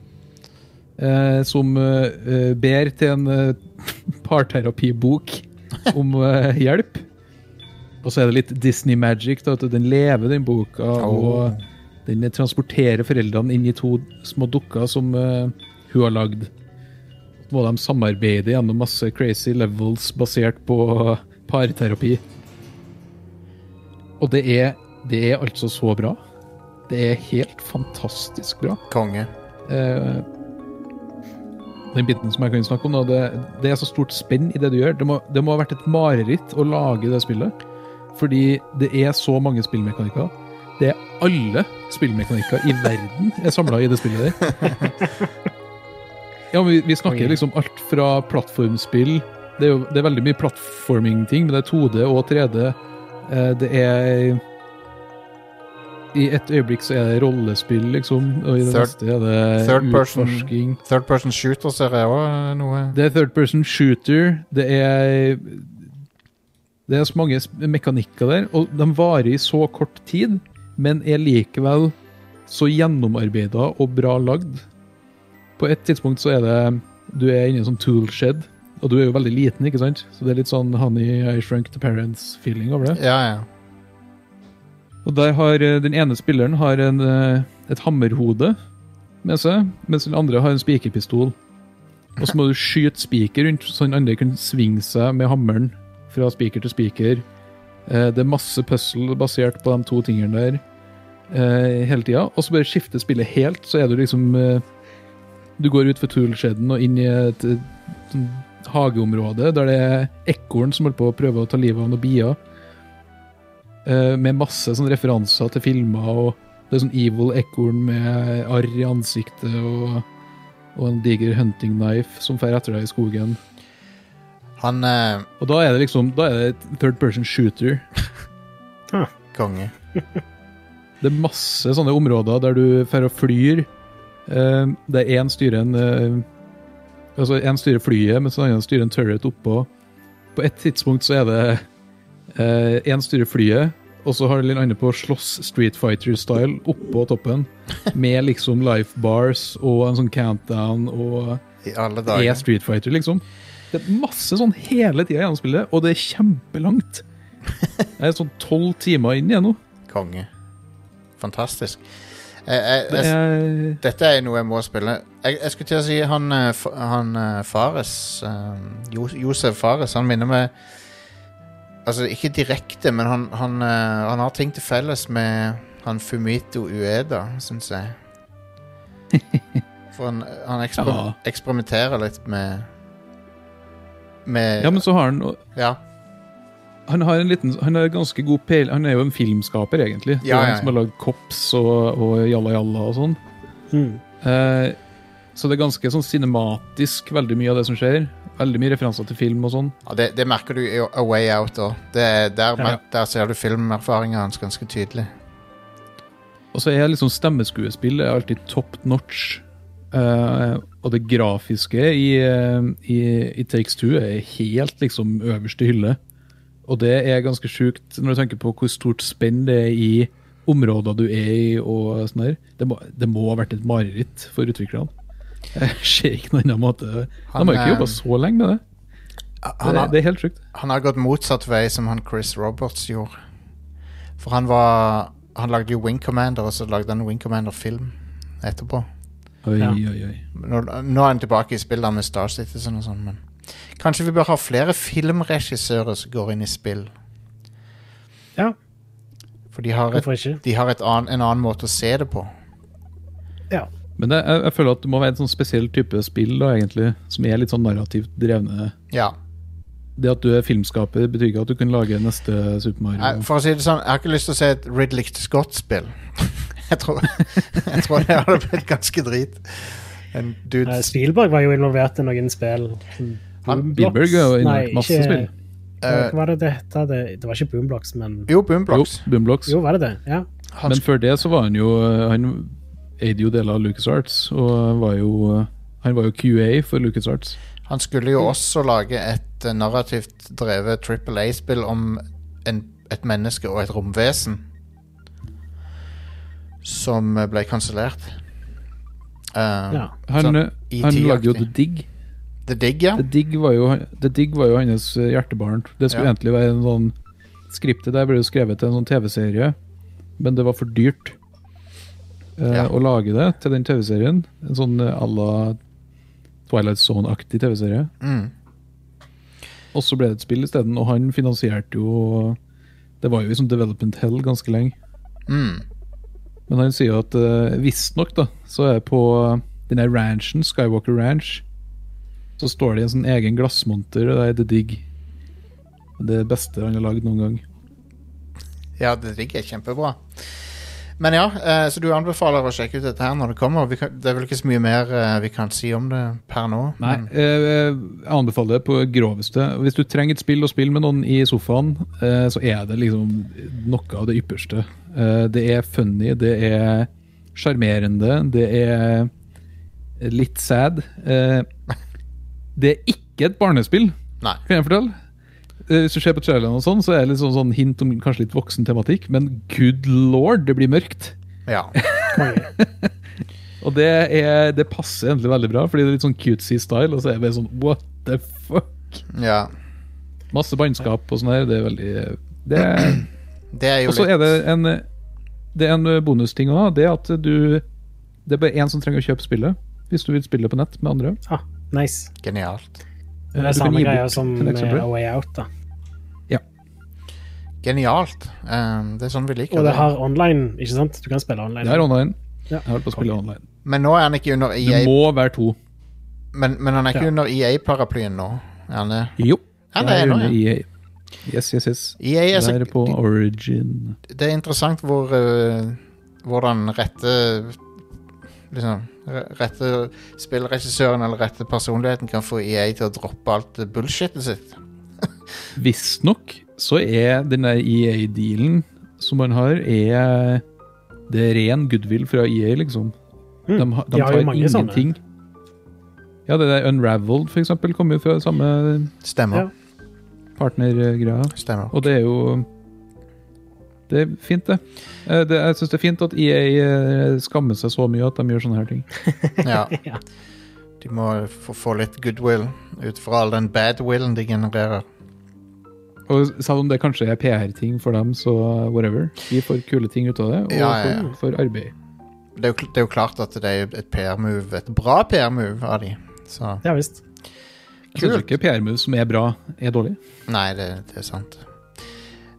[SPEAKER 8] Eh, som eh, eh, ber til en eh, parterapibok om eh, hjelp. Og så er det litt Disney magic. Da, at den lever, den boka.
[SPEAKER 6] Oh.
[SPEAKER 8] Og den transporterer foreldrene inn i to små dukker som eh, hun har lagd. Så må de samarbeide gjennom masse crazy levels basert på parterapi. Og det er, det er altså så bra. Det er helt fantastisk bra.
[SPEAKER 6] Konge.
[SPEAKER 8] Eh, den biten som jeg kan snakke om, da, det, det er så stort spenn i det du gjør. Det må, det må ha vært et mareritt å lage det spillet. Fordi det er så mange spillmekanikker. Det er alle spillmekanikker i verden er samla i det spillet der. Ja, men vi, vi snakker liksom alt fra plattformspill Det er jo det er veldig mye plattforming-ting, men det er 2D og 3D. Eh, Det er I et øyeblikk så er det rollespill, liksom. Og i det
[SPEAKER 6] Third-
[SPEAKER 8] neste er det
[SPEAKER 6] Third person.
[SPEAKER 8] utforsking.
[SPEAKER 6] Third person shooter ser jeg òg noe.
[SPEAKER 8] Det er third person shooter. Det er Det er så mange s- mekanikker der, og de varer i så kort tid, men er likevel så gjennomarbeida og bra lagd. På et tidspunkt så er det Du er inne i en sånn toolshed, og du er jo veldig liten, ikke sant? Så det er litt sånn Honey I Shrunk to Parents-feeling over det.
[SPEAKER 6] Ja, ja.
[SPEAKER 8] Og der har eh, den ene spilleren har en, eh, et hammerhode med seg, mens den andre har en spikerpistol. Og så må du skyte spiker rundt, så den andre kan svinge seg med hammeren fra spiker til spiker. Eh, Det er masse puzzle basert på de to tingene der eh, hele tida. Og så bare skifter spillet helt, så er du liksom eh, Du går ut for toolshedden og inn i et eh, sånn hageområde der det er ekorn som holder på å prøve å ta livet av noen bier. Eh, med masse sånn referanser til filmer, og det er sånn evil ekorn med arr i ansiktet og, og en diger hunting knife som fer etter deg i skogen.
[SPEAKER 6] Han eh,
[SPEAKER 8] Og da er det liksom Da er det et third person shooter.
[SPEAKER 6] konge.
[SPEAKER 8] Det er masse sånne områder der du fer og flyr. Eh, der én styrer en eh, Altså, én styrer flyet, mens den andre styrer en turret oppå. På et tidspunkt så er det én styrer flyet, og så har den andre på å slåss Street Fighter-style oppå toppen. Med liksom life bars og en sånn countdown og
[SPEAKER 6] I alle
[SPEAKER 8] Det
[SPEAKER 6] dager.
[SPEAKER 8] er Street Fighter, liksom. Det er masse sånn hele tida gjennom spillet, og det er kjempelangt. Jeg er sånn tolv timer inn igjen nå.
[SPEAKER 6] Konge. Fantastisk. Eh, eh,
[SPEAKER 8] Det
[SPEAKER 6] jeg,
[SPEAKER 8] er,
[SPEAKER 6] dette er noe jeg må spille. Jeg, jeg skulle til å si han, eh, f- han eh, Fares eh, Jo- Josef Fares, han minner meg Altså, ikke direkte, men han, han, eh, han har ting til felles med han Fumito Ueda, syns jeg. For han, han eksper
[SPEAKER 8] Ja.
[SPEAKER 6] eksperimenterer litt med Med
[SPEAKER 8] Ja, men så har han
[SPEAKER 6] ja.
[SPEAKER 8] Han har en liten, han er ganske god peil Han er jo en filmskaper, egentlig. Det er
[SPEAKER 6] Ja, ja,
[SPEAKER 8] Han som har lagd Kops og, og Jalla Jalla og sånn.
[SPEAKER 7] Mm.
[SPEAKER 8] Eh, så det er ganske sånn cinematisk, veldig mye av det som skjer. Veldig mye referanser til film og sånn.
[SPEAKER 6] Ja, det, det merker du i A Way Out òg. Der,
[SPEAKER 8] Ja.
[SPEAKER 6] der ser du filmerfaringa hans ganske tydelig.
[SPEAKER 8] Og så er liksom stemmeskuespillet er alltid top notch. Eh, og det grafiske i, eh, i, i Takes Two er helt liksom øverste hylle. Og det er ganske sjukt når du tenker på hvor stort spenn det er i områder du er i. og sånn der. Det, må, det må ha vært et mareritt for utviklerne. Jeg ser ikke noen annen måte. De
[SPEAKER 6] Han,
[SPEAKER 8] har jo ikke
[SPEAKER 6] eh,
[SPEAKER 8] jobba så lenge med det.
[SPEAKER 6] Han
[SPEAKER 8] Det,
[SPEAKER 6] har,
[SPEAKER 8] det er helt sjukt.
[SPEAKER 6] han har gått motsatt vei som han Chris Roberts gjorde. For han var Han lagde jo Wing Commander, og så lagde han Wing Commander-film etterpå.
[SPEAKER 8] Oi,
[SPEAKER 7] Ja.
[SPEAKER 8] oi, oi.
[SPEAKER 6] Nå, nå er han tilbake i spill da med Star Citizen og sånn, men Kanskje vi bør ha flere filmregissører som går inn i spill.
[SPEAKER 7] Ja.
[SPEAKER 6] For de har, et,
[SPEAKER 7] Hvorfor ikke?
[SPEAKER 6] de har et ann- en annen måte å se det på.
[SPEAKER 7] Ja.
[SPEAKER 8] Men det, jeg, jeg føler at det må være en sånn spesiell type spill da, egentlig, som er litt sånn narrativt drevne.
[SPEAKER 6] Ja.
[SPEAKER 8] Det at du er filmskaper, betyr ikke at du kan lage neste Super Mario.
[SPEAKER 6] Jeg, for å si det sånn, jeg har ikke lyst til å se et Ridley Scott-spill. jeg, tror, jeg tror det hadde blitt ganske drit. En dude
[SPEAKER 7] Eh, Spielberg var jo involvert i noen spill. Hm.
[SPEAKER 6] Han-
[SPEAKER 8] Spielberg er jo involvert i masse spill.
[SPEAKER 7] Hva var det det het? Det, det var ikke Boomblocks, men
[SPEAKER 6] Jo,
[SPEAKER 8] Jo,
[SPEAKER 6] Boomblocks.
[SPEAKER 8] Boomblocks.
[SPEAKER 7] Jo, var det det? Ja.
[SPEAKER 6] Han,
[SPEAKER 8] Men før det så var han jo eh, Han eide jo deler av LucasArts og var jo eh, han var jo QA for LucasArts
[SPEAKER 6] sk- han skulle jo også lage et eh, narrativt drevet Triple A-spill om en, et menneske og et romvesen. Som eh, ble kansellert. Eh,
[SPEAKER 7] ja.
[SPEAKER 8] Han, eh,
[SPEAKER 6] Sånn
[SPEAKER 8] han
[SPEAKER 6] ET-aktig.
[SPEAKER 8] lagde jo The Dig.
[SPEAKER 6] The Dig, ja.
[SPEAKER 8] The Dig var jo, The Dig var jo hans eh, hjertebarn. Det skulle
[SPEAKER 6] Ja.
[SPEAKER 8] egentlig være en sånn Skriptet der ble jo skrevet til en sånn TV-serie, men det var for dyrt eh,
[SPEAKER 6] Ja.
[SPEAKER 8] å lage det til den TV-serien. En sånn eh, à la Twilight Zone-aktig TV-serie.
[SPEAKER 6] Mm.
[SPEAKER 8] Og så ble det et spill isteden, og han finansierte jo Det var jo i sånn development hell ganske lenge.
[SPEAKER 6] Mm.
[SPEAKER 8] Men han sier jo at uh, visstnok, da, så er på den her ranchen, Skywalker Ranch, så står det i en sånn egen glassmonter, og det er The Dig. Det er det beste han har lagd noen gang.
[SPEAKER 6] Ja, det ligger kjempebra. Men ja, eh, så du anbefaler å sjekke ut dette her når det kommer. Vi kan, det er vel ikke så mye mer eh, vi kan si om det per nå.
[SPEAKER 8] Nei,
[SPEAKER 6] Men,
[SPEAKER 8] eh, jeg anbefaler det på groveste. Hvis du trenger et spill å spille med noen i sofaen, eh, så er det liksom noe av det ypperste. Eh, Det er funny, det er sjarmerende, det er litt sad. Eh, Det er ikke et barnespill,
[SPEAKER 6] Nei.
[SPEAKER 8] kan jeg fortelle. Eh, Hvis du ser på traileren, og sånn, så er det litt sånn, sånn hint om kanskje litt voksen tematikk, men good lord, det blir mørkt.
[SPEAKER 6] Ja.
[SPEAKER 7] Konge.
[SPEAKER 8] Og det, er, det passer egentlig veldig bra, fordi det er litt sånn cutesy style. Og så er det bare sånn what the fuck?
[SPEAKER 6] ja.
[SPEAKER 8] Masse bannskap og sånn her. Det er veldig det er-
[SPEAKER 6] Det er jo
[SPEAKER 8] Og så
[SPEAKER 6] litt
[SPEAKER 8] er det en Det er en bonusting òg. Det er at du Det er bare én som trenger å kjøpe spillet. Hvis du vil spille på nett med andre.
[SPEAKER 7] Ah, nice.
[SPEAKER 6] genialt.
[SPEAKER 7] Det
[SPEAKER 8] Du
[SPEAKER 7] er
[SPEAKER 8] kan
[SPEAKER 7] samme
[SPEAKER 8] gi bort
[SPEAKER 7] greia som
[SPEAKER 8] til
[SPEAKER 7] med
[SPEAKER 8] eksempel.
[SPEAKER 7] A Way Out, da.
[SPEAKER 6] Genialt. Eh, det er sånn vi liker
[SPEAKER 7] Og det har online, ikke sant? Du kan spille online.
[SPEAKER 8] Det er online.
[SPEAKER 7] Ja.
[SPEAKER 8] Jeg har holdt på å spille online.
[SPEAKER 6] Men nå er han ikke under
[SPEAKER 8] Du
[SPEAKER 6] EA
[SPEAKER 8] må være to.
[SPEAKER 6] Men, men han er ikke
[SPEAKER 7] Ja.
[SPEAKER 6] under EA-paraplyen nå. Er han det?
[SPEAKER 8] Jo.
[SPEAKER 6] Ja, det er nå, ja.
[SPEAKER 8] EA. E Yes, yes, yes.
[SPEAKER 6] EA er så,
[SPEAKER 8] Der på Origin.
[SPEAKER 6] det er interessant hvor eh, hvordan rette liksom, re- rette spillregissøren eller rette personligheten kan få EA til å droppe alt det bullshitet sitt.
[SPEAKER 8] Visstnok så er den der EA-dealen som man har, er Det er ren goodwill fra EA, liksom.
[SPEAKER 7] Mm.
[SPEAKER 8] De, ha- de
[SPEAKER 7] De har
[SPEAKER 8] tar
[SPEAKER 7] jo mange sånne.
[SPEAKER 8] ingenting. Ja, det der Unraveled, for eksempel, kommer jo fra samme
[SPEAKER 6] Stemmer.
[SPEAKER 7] Ja.
[SPEAKER 8] partnergreia.
[SPEAKER 6] Stemmer.
[SPEAKER 8] Og det er jo Det er fint, det. Eh, det jeg syns det er fint at EA eh, skammer seg så mye at de gjør sånne her ting.
[SPEAKER 6] Ja.
[SPEAKER 7] Ja.
[SPEAKER 6] De må få, få litt goodwill ut fra all den badwillen de genererer.
[SPEAKER 8] Og selv om det kanskje er PR-ting for dem, så eh, whatever. Vi får kule ting ut av det, og
[SPEAKER 6] Ja, ja, ja.
[SPEAKER 8] får- får arbeid.
[SPEAKER 6] Det er jo, kl- det er jo klart at det er et PR-move, et bra PR-move av de. Så
[SPEAKER 7] Ja visst.
[SPEAKER 8] Jeg synes
[SPEAKER 6] Kult.
[SPEAKER 8] ikke PR-moves som er bra, er dårlig.
[SPEAKER 6] Nei, det, det er sant.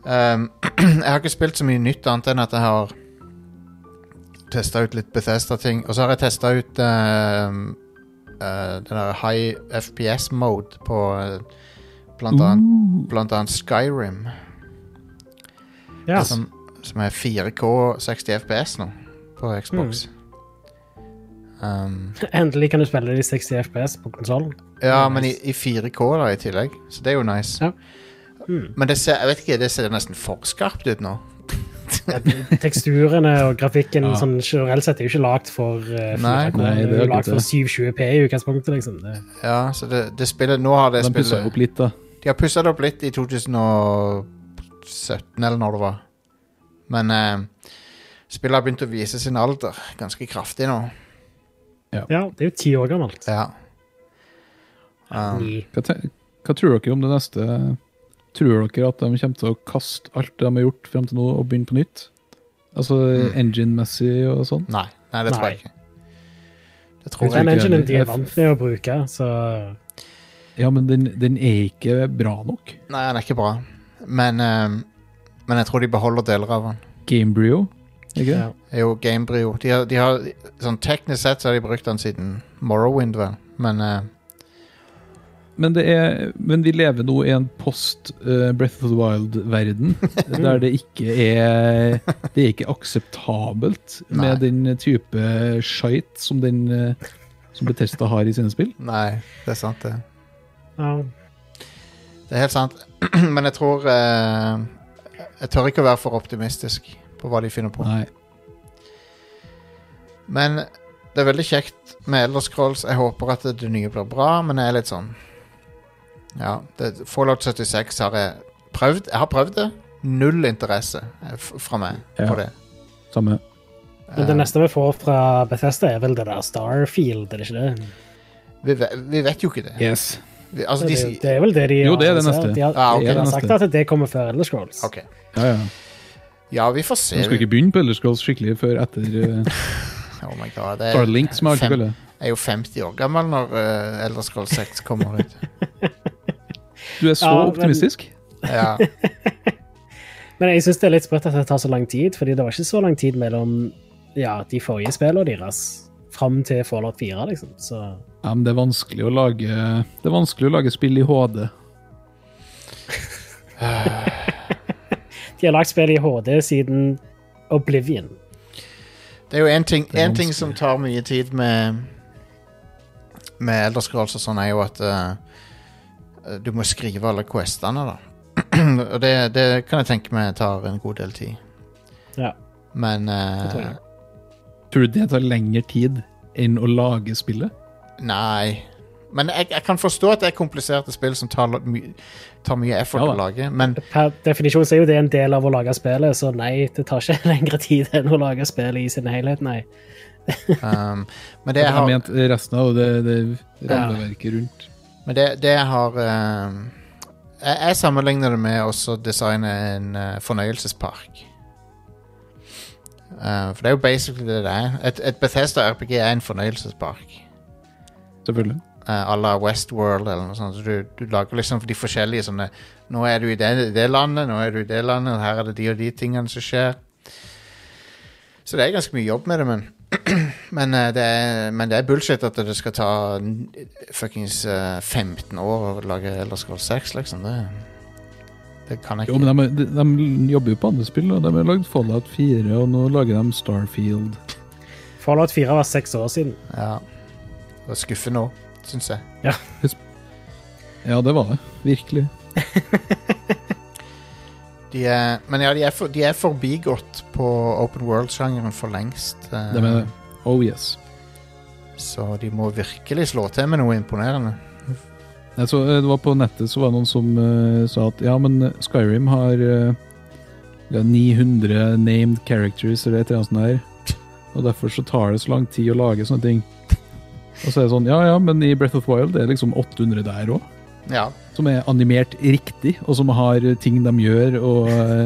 [SPEAKER 6] Um, jeg har ikke spilt så mye nytt annet enn at jeg har testa ut litt Bethesda-ting. Og så har jeg testa ut um, eh, den der high FPS-mode på eh, blant, annet, blant annet Skyrim.
[SPEAKER 7] Ja.
[SPEAKER 6] Som, som er 4K 60 FPS nå, på Xbox.
[SPEAKER 7] Mm.
[SPEAKER 6] Um,
[SPEAKER 7] Endelig kan du spille de 60 FPS på konsollen.
[SPEAKER 6] Ja, men i, i 4K da i tillegg, så det er jo nice.
[SPEAKER 7] Ja. Mm.
[SPEAKER 6] Men det ser, jeg vet ikke, det ser nesten for skarpt ut nå.
[SPEAKER 7] Teksturene og grafikken
[SPEAKER 8] Ja.
[SPEAKER 7] sånn generelt sett er jo ikke lagd for uh,
[SPEAKER 6] Nei.
[SPEAKER 8] Nei, det er
[SPEAKER 7] det er jo
[SPEAKER 8] akkurat
[SPEAKER 7] lagd for
[SPEAKER 8] det.
[SPEAKER 7] 720P i utgangspunktet, liksom. Det,
[SPEAKER 6] Ja, så det, det spillet, nå har det
[SPEAKER 8] De pussa
[SPEAKER 6] spillet
[SPEAKER 8] opp litt, da.
[SPEAKER 6] De har pussa det opp litt i 2017, eller når det var. Men eh, spillet har begynt å vise sin alder ganske kraftig nå.
[SPEAKER 7] ja, det er jo ti år gammelt.
[SPEAKER 6] Ja. Um,
[SPEAKER 7] Ni.
[SPEAKER 8] Hva, te- hva tror dere om det neste? Tror dere at de kommer til å kaste alt de har gjort frem til nå, og begynne på nytt? Altså engine-messig og sånn?
[SPEAKER 6] nei, nei, det tror
[SPEAKER 7] Nei.
[SPEAKER 6] jeg ikke. Det tror jeg
[SPEAKER 7] Den
[SPEAKER 8] ikke
[SPEAKER 7] enginen
[SPEAKER 8] heller.
[SPEAKER 7] de er
[SPEAKER 8] Jeg-
[SPEAKER 7] vant til å bruke, så
[SPEAKER 8] Ja, men den, den er ikke bra nok.
[SPEAKER 6] Nei, den er ikke bra. Men, eh, men jeg tror de beholder deler av den.
[SPEAKER 8] Gamebryo, ikke det?
[SPEAKER 7] ja.
[SPEAKER 6] er jo Gamebryo. De har, de har, sånn teknisk sett så har de brukt den siden Morrowind, vel. Men eh,
[SPEAKER 8] Men, det er, men vi lever nå i en post eh, Breath of the Wild-verden, der det ikke er Det er ikke akseptabelt
[SPEAKER 6] Nei.
[SPEAKER 8] med den type skit som den eh, som Bethesda har i sine spill.
[SPEAKER 6] nei, det er sant, det.
[SPEAKER 7] Ja.
[SPEAKER 6] Det er helt sant. Men jeg tror eh, Jeg tør ikke å være for optimistisk på hva de finner på.
[SPEAKER 8] Nei.
[SPEAKER 6] Men det er veldig kjekt med Elder Scrolls. Jeg håper at det, det nye blir bra, men jeg er litt sånn Ja. Det, Fallout 76 har jeg prøvd. Jeg har prøvd det. Null interesse eh, f- fra meg
[SPEAKER 8] Ja.
[SPEAKER 6] på det.
[SPEAKER 8] Samme.
[SPEAKER 7] Men det
[SPEAKER 6] Eh,
[SPEAKER 7] neste vi får fra Bethesda, er vel det der Starfield, er det ikke det?
[SPEAKER 6] vi, ve- vi vet jo ikke det.
[SPEAKER 8] Yes.
[SPEAKER 6] Vi, altså, de
[SPEAKER 7] Det er,
[SPEAKER 6] sier
[SPEAKER 7] jo- det er vel det de
[SPEAKER 8] Jo, det er det
[SPEAKER 7] annonsert.
[SPEAKER 8] neste.
[SPEAKER 7] De har,
[SPEAKER 6] Ah, ok.
[SPEAKER 7] de har
[SPEAKER 8] Det er det
[SPEAKER 7] sagt
[SPEAKER 8] neste.
[SPEAKER 7] at det kommer før Elder Scrolls.
[SPEAKER 6] OK.
[SPEAKER 8] Ja, ja.
[SPEAKER 6] Ja, vi får
[SPEAKER 8] Du
[SPEAKER 6] se.
[SPEAKER 8] skal ikke begynne på Elder Scrolls skikkelig før etter eh,
[SPEAKER 6] Oh my god, det er,
[SPEAKER 8] Starlink, som jeg
[SPEAKER 6] Fem.
[SPEAKER 8] alltid kaller det.
[SPEAKER 6] jeg er jo 50 år gammel når uh, Elder Scrolls 6 kommer ut.
[SPEAKER 8] Du er så
[SPEAKER 7] Ja, men-
[SPEAKER 8] optimistisk.
[SPEAKER 6] Ja,
[SPEAKER 7] Men jeg syns det er litt sprøtt at det tar så lang tid, fordi det var ikke så lang tid mellom ja, de forrige spillene deres fram til Fallout 4, liksom. Så
[SPEAKER 8] Ja, men det er vanskelig å lage Det er vanskelig å lage spill i HD.
[SPEAKER 7] de har lagd spill i HD siden Oblivion.
[SPEAKER 6] det er jo én ting,
[SPEAKER 8] er
[SPEAKER 6] en ting som tar mye tid med Med Elder Scrolls og sånn, er jo at eh, du må skrive alle questene, da. og det, det kan jeg tenke meg tar en god del tid.
[SPEAKER 7] Ja.
[SPEAKER 6] Men eh,
[SPEAKER 7] Det tror jeg.
[SPEAKER 8] Tror du det tar lengre tid enn å lage spillet?
[SPEAKER 6] Nei. Men jeg, jeg kan forstå at det er kompliserte spill som tar, lo- my, tar mye effort
[SPEAKER 8] Ja da.
[SPEAKER 6] å lage, men
[SPEAKER 7] Per definisjon så er jo det en del av å lage spillet, så nei, det tar ikke lengre tid enn å lage spillet i sin helhet, nei.
[SPEAKER 6] um, Men det
[SPEAKER 8] Jeg
[SPEAKER 6] jeg
[SPEAKER 8] har
[SPEAKER 6] har
[SPEAKER 8] ment resten av det, det rammeverket rundt.
[SPEAKER 6] Men det, det jeg har eh, jeg, jeg sammenligner det med også å designe en eh, fornøyelsespark. Eh, for det er jo basically det det er. Et, et Bethesda RPG er en fornøyelsespark.
[SPEAKER 8] Selvfølgelig.
[SPEAKER 6] Eh, à la Westworld eller noe sånt. Så du, du lager liksom de forskjellige sånne Nå er du i det, det landet, nå er du i det landet, og her er det de og de tingene som skjer. Så det er ganske mye jobb med det, men men, eh, det er, men det er bullshit at det skal ta n- fuckings eh, 15 år å lage Elder Scrolls 6, liksom. Det, det kan jeg
[SPEAKER 8] Jo,
[SPEAKER 6] ikke.
[SPEAKER 8] men de, de, de jobber jo på andre spill, og de har lagd Fallout 4, og nå lager de Starfield.
[SPEAKER 7] Fallout 4 var seks år siden.
[SPEAKER 6] Ja. Det var skuffende òg, syns jeg.
[SPEAKER 8] Ja, det var det. Virkelig.
[SPEAKER 6] De er, men ja, de er, for, de er forbigått på open world-sjangeren for lengst. eh,
[SPEAKER 8] De er det. Oh yes.
[SPEAKER 6] Så de må virkelig slå til med noe imponerende.
[SPEAKER 8] Jeg så, eh, det var på nettet så var det noen som eh, sa at ja, men Skyrim har eh, det er 900 named characters eller et eller annet sånt der, og derfor så tar det så lang tid å lage sånne ting. Og så er det sånn, ja ja, men i Breath of the Wild det er liksom 800 der òg,
[SPEAKER 6] Ja,
[SPEAKER 8] som er animert riktig, og som har ting de gjør, og eh,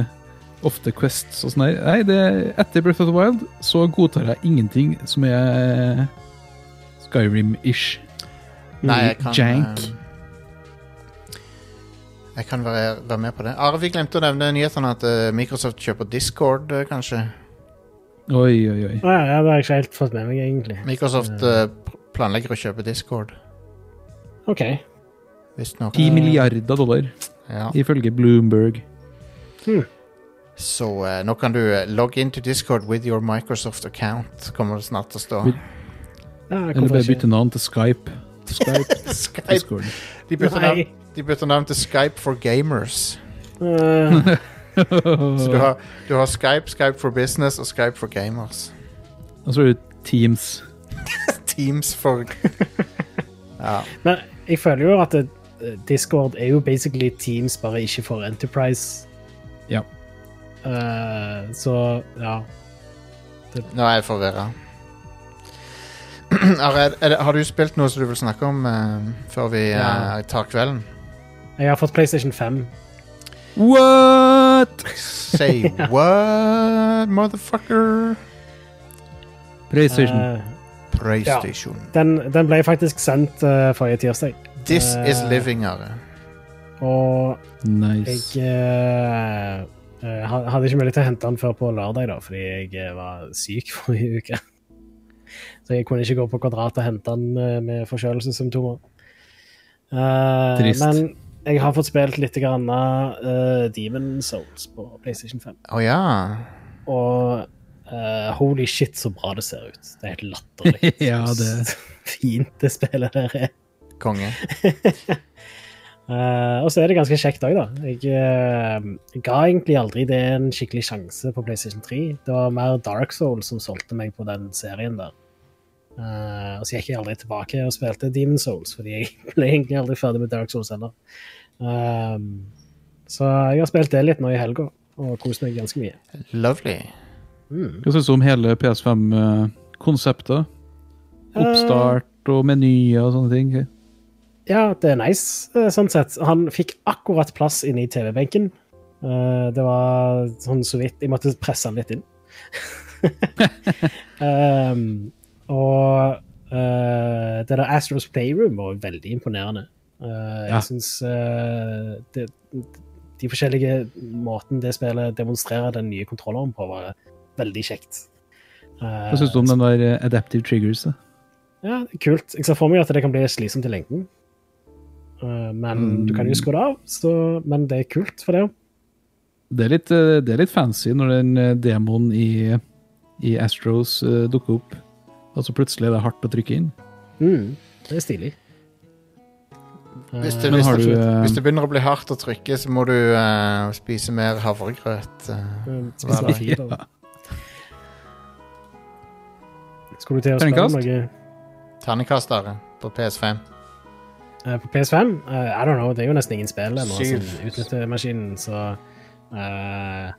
[SPEAKER 8] ofte quests og sånn der. Nei, det, etter Breath of the Wild så godtar jeg ingenting som er eh, Skyrim-ish.
[SPEAKER 6] eh, nei, jeg kan
[SPEAKER 8] Jank.
[SPEAKER 6] eh, Jeg kan være, være med på det. Are, vi glemte å nevne nyhetene at eh, Microsoft kjøper Discord, eh, kanskje.
[SPEAKER 8] Oi, oi, oi.
[SPEAKER 7] Å ja, ja, det har jeg ikke helt fått med meg, egentlig.
[SPEAKER 6] Microsoft eh, p- planlegger å kjøpe Discord,
[SPEAKER 7] OK.
[SPEAKER 6] visstnok.
[SPEAKER 8] 10 milliarder dollar,
[SPEAKER 6] Eh, Ja.
[SPEAKER 8] ifølge Bloomberg.
[SPEAKER 6] Så eh, nå kan du eh, logge inn til Discord with your Microsoft account, kommer det snart til å stå.
[SPEAKER 8] With-
[SPEAKER 7] Ja,
[SPEAKER 8] Eller
[SPEAKER 7] hvorfor
[SPEAKER 8] bare
[SPEAKER 7] ikke?
[SPEAKER 8] bytte navn til Skype. Skype,
[SPEAKER 6] Skype.
[SPEAKER 8] Discord.
[SPEAKER 6] De bytter
[SPEAKER 7] Nei.
[SPEAKER 6] navn, de bytter navn til Skype for gamers.
[SPEAKER 7] Eh,
[SPEAKER 6] Så du har, du har Skype, Skype for business og Skype for gamers.
[SPEAKER 8] Og så er det Teams.
[SPEAKER 6] Teams for Ja.
[SPEAKER 7] men jeg føler jo at det, Discord er jo basically Teams, bare ikke for Enterprise.
[SPEAKER 8] Ja.
[SPEAKER 7] Eh, så ja.
[SPEAKER 6] Nå er jeg forvirra. Are, er, er, det- har du spilt noe som du vil snakke om eh, før vi eh,
[SPEAKER 7] Ja.
[SPEAKER 6] tar kvelden?
[SPEAKER 7] Jeg har fått PlayStation 5.
[SPEAKER 8] What?!
[SPEAKER 6] Say what, motherfucker?
[SPEAKER 8] PlayStation.
[SPEAKER 7] Eh,
[SPEAKER 6] PlayStation.
[SPEAKER 7] den, den ble faktisk sendt eh, forrige tirsdag.
[SPEAKER 6] This is
[SPEAKER 7] Eh.
[SPEAKER 6] living, Are.
[SPEAKER 7] Og
[SPEAKER 8] Nice.
[SPEAKER 7] jeg eh, eh, ha- hadde ikke mulighet til å hente den før på lørdag, da, fordi jeg eh, var syk forrige uke. Så jeg kunne ikke gå på Kvadrat og hente den eh, med forkjølelsessymptomer. Eh,
[SPEAKER 8] Trist.
[SPEAKER 7] Men jeg har fått spilt litt grann, uh, Demon Souls på PlayStation 5.
[SPEAKER 6] Å ja.
[SPEAKER 7] Og eh, holy shit, så bra det ser ut. Det er helt latterlig.
[SPEAKER 8] Ja, det-
[SPEAKER 7] Fint det spillet der er.
[SPEAKER 6] Konge.
[SPEAKER 7] Eh, og så er det ganske kjekt òg, da. Jeg eh, ga egentlig aldri det en skikkelig sjanse på PlayStation 3. Det var mer Dark Soul som solgte meg på den serien der. Eh, og så gikk jeg aldri tilbake og spilte Demon Souls, fordi jeg ble egentlig aldri ferdig med Dark Souls heller. Ehm, så jeg har spilt det litt nå i helga, og kost meg ganske mye.
[SPEAKER 6] Lovely.
[SPEAKER 8] Hva syns du om hele PS5-konseptet?
[SPEAKER 7] Eh,
[SPEAKER 8] Oppstart og menyer og sånne ting.
[SPEAKER 7] Ja, det er nice, eh, sånn sett. Han fikk akkurat plass inne i TV-benken. Eh, Det var sånn så vidt Jeg måtte presse han litt inn. Ehm, og eh, det der Astros Playroom var veldig imponerende. Eh,
[SPEAKER 8] Ja.
[SPEAKER 7] Jeg syns eh, det de forskjellige måten det spillet demonstrerer den nye kontrolleren på, var veldig kjekt. Eh,
[SPEAKER 8] Hva syns du om den der eh, Adaptive Triggers? da?
[SPEAKER 7] ja, det er kult. Jeg ser for meg at det kan bli slitsomt i lengden. Eh, men
[SPEAKER 6] Mm.
[SPEAKER 7] du kan jo skru det av, så, men det er kult for det.
[SPEAKER 8] Det er litt, eh, det er litt fancy når den eh, demoen i, i Astros eh, dukker opp. Og så plutselig er det hardt å trykke
[SPEAKER 7] Mm.
[SPEAKER 8] inn.
[SPEAKER 6] Mm.
[SPEAKER 7] Det er stilig.
[SPEAKER 6] Hvis det,
[SPEAKER 8] Men
[SPEAKER 6] hvis,
[SPEAKER 8] har
[SPEAKER 6] det,
[SPEAKER 8] du, eh,
[SPEAKER 6] hvis det begynner å bli hardt å trykke, så må du eh, spise mer havregrøt. eh.
[SPEAKER 7] Eh,
[SPEAKER 6] Hva
[SPEAKER 7] spise
[SPEAKER 6] er det?
[SPEAKER 7] fiber. Skulle du til å spørre
[SPEAKER 8] Terningkast?
[SPEAKER 7] om noe
[SPEAKER 6] Terningkast, Are, på PS5.
[SPEAKER 7] eh, på PS5? Eh, I don't know, det er jo nesten ingen spill ennå
[SPEAKER 6] Syv.
[SPEAKER 7] som utnytter maskinen, så eh,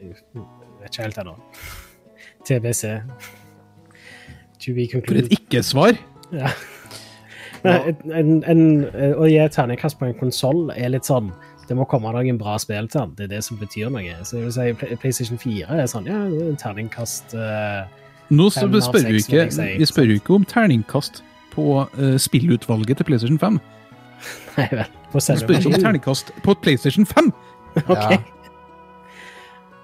[SPEAKER 7] Jeg vet ikke helt ennå. TBC. To be
[SPEAKER 8] For
[SPEAKER 7] concluded.
[SPEAKER 8] et ikke-svar!
[SPEAKER 7] Ja. Nei, en, en, eh, en, å gi et terningkast på en konsoll er litt sånn Det må komme noen bra spill til den. Det er det som betyr noe. Så jeg vil si Play- PlayStation 4 er sånn Ja, det er en terningkast eh,
[SPEAKER 8] Nå så
[SPEAKER 7] Fem av
[SPEAKER 8] spør vi,
[SPEAKER 7] seks,
[SPEAKER 8] ikke,
[SPEAKER 7] vil jeg si.
[SPEAKER 8] vi spør jo ikke om terningkast på eh, spillutvalget til PlayStation 5.
[SPEAKER 7] Nei vel. På
[SPEAKER 8] Vi
[SPEAKER 7] selve
[SPEAKER 8] spør ikke om
[SPEAKER 7] maskinen.
[SPEAKER 8] terningkast på PlayStation 5!
[SPEAKER 6] Ja.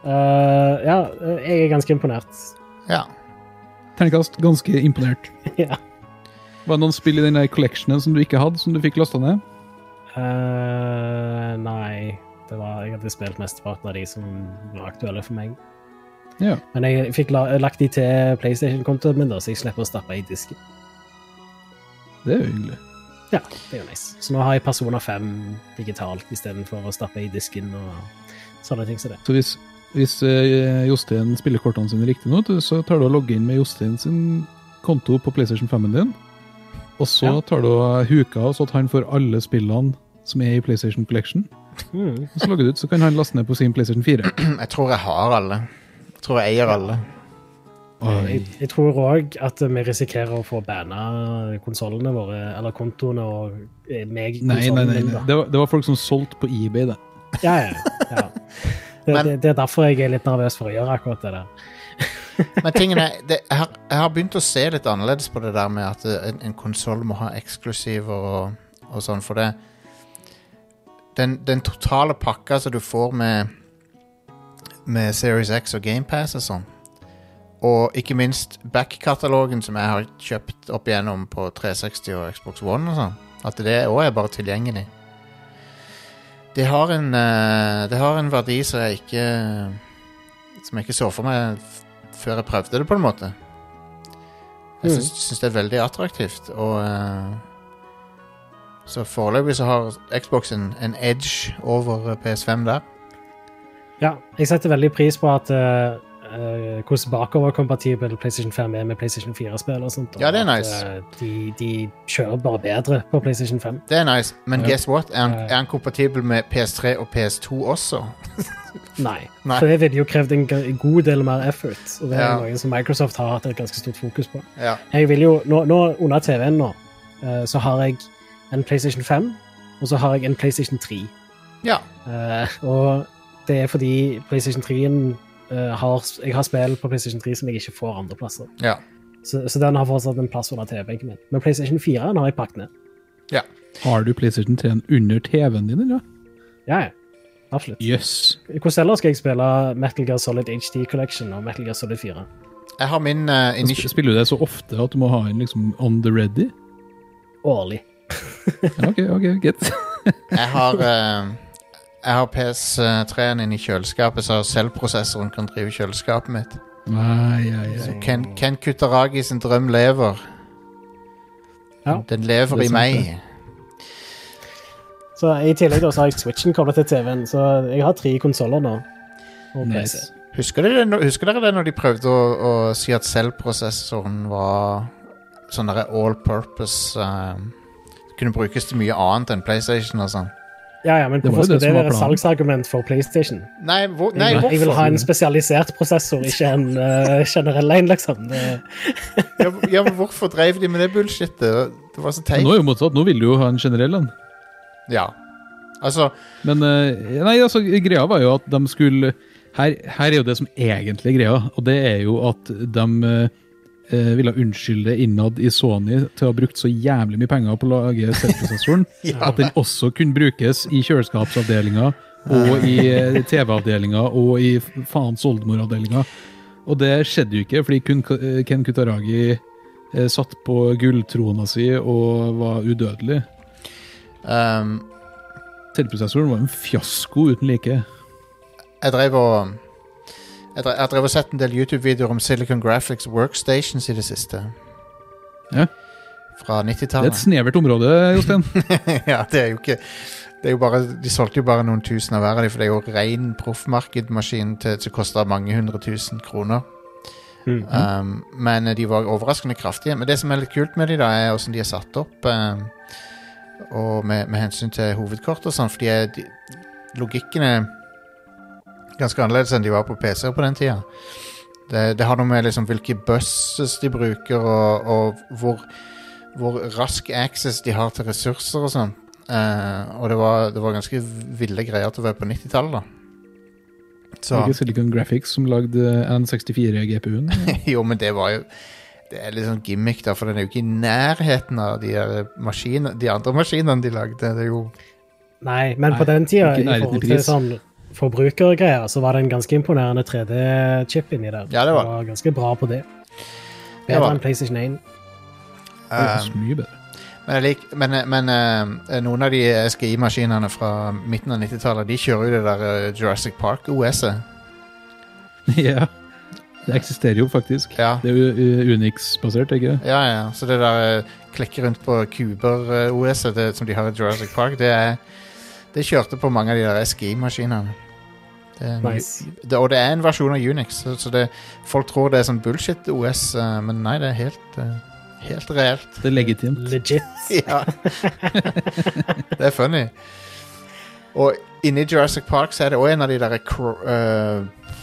[SPEAKER 7] Eh, ja, jeg er ganske imponert.
[SPEAKER 6] ja.
[SPEAKER 8] Terningkast ganske imponert.
[SPEAKER 7] ja.
[SPEAKER 8] Var det noen spill i den der collectionen som du ikke hadde, som du fikk lasta ned?
[SPEAKER 7] Eh, nei det var, Jeg hadde spilt mesteparten av de som var aktuelle for meg.
[SPEAKER 8] Ja.
[SPEAKER 7] Men jeg fikk la, lagt de til PlayStation-kontoen min, da, så jeg slipper å stappe i disken.
[SPEAKER 8] Det er jo hyggelig.
[SPEAKER 7] Ja, det er jo nice. Så nå har jeg Persona 5 digitalt istedenfor å stappe i disken og sånne ting som det.
[SPEAKER 8] Så hvis, hvis eh, Jostein spiller kortene sine riktig nå, du- så tar du og logger inn med Jostein sin konto på PlayStation 5-en din. Og så
[SPEAKER 7] Ja.
[SPEAKER 8] tar du og huker av så at han får alle spillene som er i PlayStation Collection.
[SPEAKER 7] Mm.
[SPEAKER 8] Og så logger du ut, så kan han laste ned på sin PlayStation 4.
[SPEAKER 6] Jeg tror jeg har alle. Jeg tror jeg eier alle.
[SPEAKER 7] Jeg, jeg tror òg at vi risikerer å få banna konsollene våre, eller kontoene og eh, meg
[SPEAKER 8] Nei, nei, nei.
[SPEAKER 7] konsollen min,
[SPEAKER 8] nei.
[SPEAKER 7] da.
[SPEAKER 8] Det, var, det var folk som solgte på eBay, det.
[SPEAKER 7] Ja, ja, ja. Det,
[SPEAKER 6] Men-
[SPEAKER 7] det, det er derfor jeg er litt nervøs for å gjøre akkurat det der.
[SPEAKER 6] Men tingen er, det, jeg, har, jeg har begynt å se litt annerledes på det der med at eh, en, en konsoll må ha eksklusiver og, og sånn, for det den, den totale pakka som du får med Med Series X og GamePass og sånn, og ikke minst back-katalogen som jeg har kjøpt opp igjennom på 360 og Xbox One og sånn, at det òg er bare tilgjengelig. Det har en eh, Det har en verdi som jeg ikke Som jeg ikke så for meg f- før jeg prøvde det, på en måte.
[SPEAKER 7] Mm.
[SPEAKER 6] Jeg syns, syns det er veldig attraktivt, og eh, Så foreløpig så har Xbox en, en edge over eh, PS5 der.
[SPEAKER 7] Ja, jeg setter veldig pris på at eh, eh, hvordan bakoverkompatibel PlayStation 5 er med PlayStation 4-spill og sånt. og
[SPEAKER 6] Ja, det er
[SPEAKER 7] at,
[SPEAKER 6] nice.
[SPEAKER 7] eh, de, de kjører bare bedre på PlayStation 5.
[SPEAKER 6] Det er nice, men
[SPEAKER 7] Ja.
[SPEAKER 6] guess what? Er han,
[SPEAKER 7] Ja.
[SPEAKER 6] er han kompatibel med PS3 og PS2 også?
[SPEAKER 7] Nei.
[SPEAKER 6] Nei.
[SPEAKER 7] For det ville jo krevd en g- god del mer effort, og det er
[SPEAKER 6] Ja.
[SPEAKER 7] noe som Microsoft har hatt et ganske stort fokus på.
[SPEAKER 6] Ja.
[SPEAKER 7] Jeg vil jo, nå, nå under TV-en nå, eh, så har jeg en PlayStation 5, og så har jeg en PlayStation 3.
[SPEAKER 6] ja.
[SPEAKER 7] Eh, og det er fordi PlayStation 3-en har, jeg har spill på PlayStation 3 som jeg ikke får andre plasser.
[SPEAKER 6] Ja.
[SPEAKER 7] Så, så den har fortsatt en plass under TV-benken min. Men PlayStation 4 den har jeg pakket ned.
[SPEAKER 8] Har du PlayStation 3 under TV-en din, eller?
[SPEAKER 7] Ja, ja. Absolutt.
[SPEAKER 8] Jøss.
[SPEAKER 7] Hvordan ellers skal jeg spille Metal Gear Solid HD Collection og Metal Gear Solid 4?
[SPEAKER 6] Jeg har min uh,
[SPEAKER 8] Yes. Sp- Spiller du det så ofte at du må ha en liksom on the ready?
[SPEAKER 7] Årlig.
[SPEAKER 8] Ja, ok, ok, greit.
[SPEAKER 6] Jeg har, eh, jeg har PS3-en inne i kjøleskapet, så selvprosessoren kan drive kjøleskapet mitt.
[SPEAKER 8] Nei, ja, ja.
[SPEAKER 6] Så Ken, Ken Kutaragi sin drøm lever.
[SPEAKER 7] Ja.
[SPEAKER 6] Den lever
[SPEAKER 8] Det er
[SPEAKER 6] i
[SPEAKER 8] sant,
[SPEAKER 6] meg.
[SPEAKER 7] Så I tillegg da, så har jeg Switchen koblet til TV-en, så jeg har tre konsoller nå. Og PC.
[SPEAKER 8] Nice.
[SPEAKER 6] Husker dere, det nå- husker dere det når de prøvde å, å si at selvprosessoren var sånn derre all purpose eh, Kunne brukes til mye annet enn PlayStation og sånn.
[SPEAKER 7] Ja, ja, men
[SPEAKER 8] Det var
[SPEAKER 7] hvorfor
[SPEAKER 8] jo
[SPEAKER 7] skal
[SPEAKER 8] det
[SPEAKER 7] det
[SPEAKER 8] som var
[SPEAKER 7] være et
[SPEAKER 8] planen.
[SPEAKER 7] salgsargument for PlayStation?
[SPEAKER 6] Nei, hvor, nei
[SPEAKER 7] jeg, jeg vil ha
[SPEAKER 6] hvorfor?
[SPEAKER 7] en spesialisert prosessor, ikke en eh, generell en, liksom. Det,
[SPEAKER 6] Ja, hvor- ja, men hvorfor drev de med det bullshitet? Det var så
[SPEAKER 8] Men Nå
[SPEAKER 6] teit.
[SPEAKER 8] er jo motsatt. Nå vil du jo ha en generell en.
[SPEAKER 6] Ja. Altså,
[SPEAKER 8] Men eh, nei, altså, greia var jo at de skulle her, her er jo det som egentlig er greia, og det er jo at de eh, eh, ville unnskylde innad i Sony til å ha brukt så jævlig mye penger på å lage selvprosessoren, at den også kunne brukes i kjøleskapsavdelinga og i eh, TV-avdelinga og i f- faens oldemoravdelinga. Og det skjedde jo ikke, fordi kun K- Ken Kutaragi eh, satt på gulltrona si og var udødelig.
[SPEAKER 6] um,
[SPEAKER 8] Selvprosessoren var en fiasko uten like.
[SPEAKER 6] Jeg drev og jeg drev, jeg drev og sett en del YouTube-videoer om Silicon Graphics Workstations i det siste.
[SPEAKER 8] Ja.
[SPEAKER 6] Fra
[SPEAKER 8] Det er et
[SPEAKER 6] 90-tallet.
[SPEAKER 8] snevert område, Jostein.
[SPEAKER 6] ja, det er jo ikke det er jo bare, De solgte jo bare noen tusen av hver av dem, for det er jo ren proffmarkedmaskin til- som koster mange hundre tusen kroner. Um, men eh, de var overraskende kraftige. Men det som er litt kult med de da, er hvordan de er satt opp. Um, og med, med hensyn til hovedkort og sånn, for de er, de, logikken er ganske annerledes enn de var på PC-er på den tida. Det, det har noe med liksom hvilke buses de bruker, og, og hvor, hvor rask access de har til ressurser og sånn. Eh, og det var, det var ganske ville greier til å være på 90-tallet, da.
[SPEAKER 8] Det er ikke Silicon Graphics som lagde N64-GPU-en.
[SPEAKER 6] Jo, men det var jo Det er litt sånn gimmick, da, for den er jo ikke i nærheten av de, der maskiner, de andre maskinene de lagde. Det er jo
[SPEAKER 7] nei, men på
[SPEAKER 8] Nei,
[SPEAKER 7] den tida,
[SPEAKER 8] ikke
[SPEAKER 7] i
[SPEAKER 8] nærheten i
[SPEAKER 7] forhold til
[SPEAKER 8] pris.
[SPEAKER 7] sånn forbrukergreier, så var det en ganske imponerende 3D-chip inni der.
[SPEAKER 6] Ja, det var-
[SPEAKER 7] det var ganske bra på det.
[SPEAKER 6] Det var
[SPEAKER 7] Bedre
[SPEAKER 6] det.
[SPEAKER 7] enn PlayStation 1.
[SPEAKER 8] Det er
[SPEAKER 6] Eh.
[SPEAKER 8] så mye bedre.
[SPEAKER 6] Men, jeg lik, men, men eh, noen av de SGI-maskinene fra midten av 90-tallet, de kjører jo det der eh, Jurassic Park-OS-et.
[SPEAKER 8] Ja. Det eksisterer jo faktisk.
[SPEAKER 6] Ja.
[SPEAKER 8] Det er jo u- Unix-basert, ikke
[SPEAKER 6] Ja, ja. Så det der eh, klikke rundt på kuber-OS-et det som de har i Jurassic Park, det er Det kjørte på mange av de der SGI-maskinene. Det er en-
[SPEAKER 7] Nice.
[SPEAKER 6] det, og det er en versjon av Unix, så, så det, folk tror det er sånn bullshit-OS, eh, men nei, det er helt, eh, helt reelt.
[SPEAKER 8] Det er legitimt.
[SPEAKER 7] Legit.
[SPEAKER 6] Ja. det er funny. Og inni Jurassic Park så er det òg en av de derre cr- eh,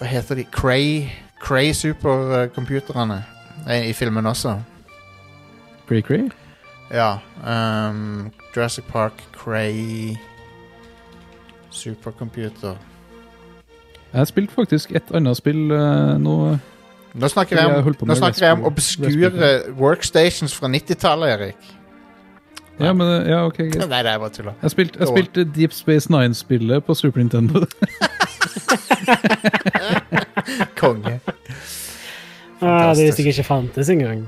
[SPEAKER 6] Hva heter de? Cray Cray supercomputerne eh, i filmen også.
[SPEAKER 8] Cray Cray.
[SPEAKER 6] Ja. ehm, Jurassic Park Cray supercomputer.
[SPEAKER 8] Jeg spilte faktisk et annet spill eh, nå.
[SPEAKER 6] Nå snakker
[SPEAKER 8] Jeg
[SPEAKER 6] jeg
[SPEAKER 8] holdt på
[SPEAKER 6] om,
[SPEAKER 8] med
[SPEAKER 6] nå snakker jeg om
[SPEAKER 8] Raspberry-
[SPEAKER 6] obskure workstations fra 90-tallet, Erik.
[SPEAKER 8] Ja, men, eh, ja, ok, greit.
[SPEAKER 6] Nei, det er bare tulla.
[SPEAKER 8] Jeg spilte, jeg spilte Deep Space Nine-spillet på Super Nintendo.
[SPEAKER 6] Konge.
[SPEAKER 7] Ah, det visste jeg ikke fantes engang.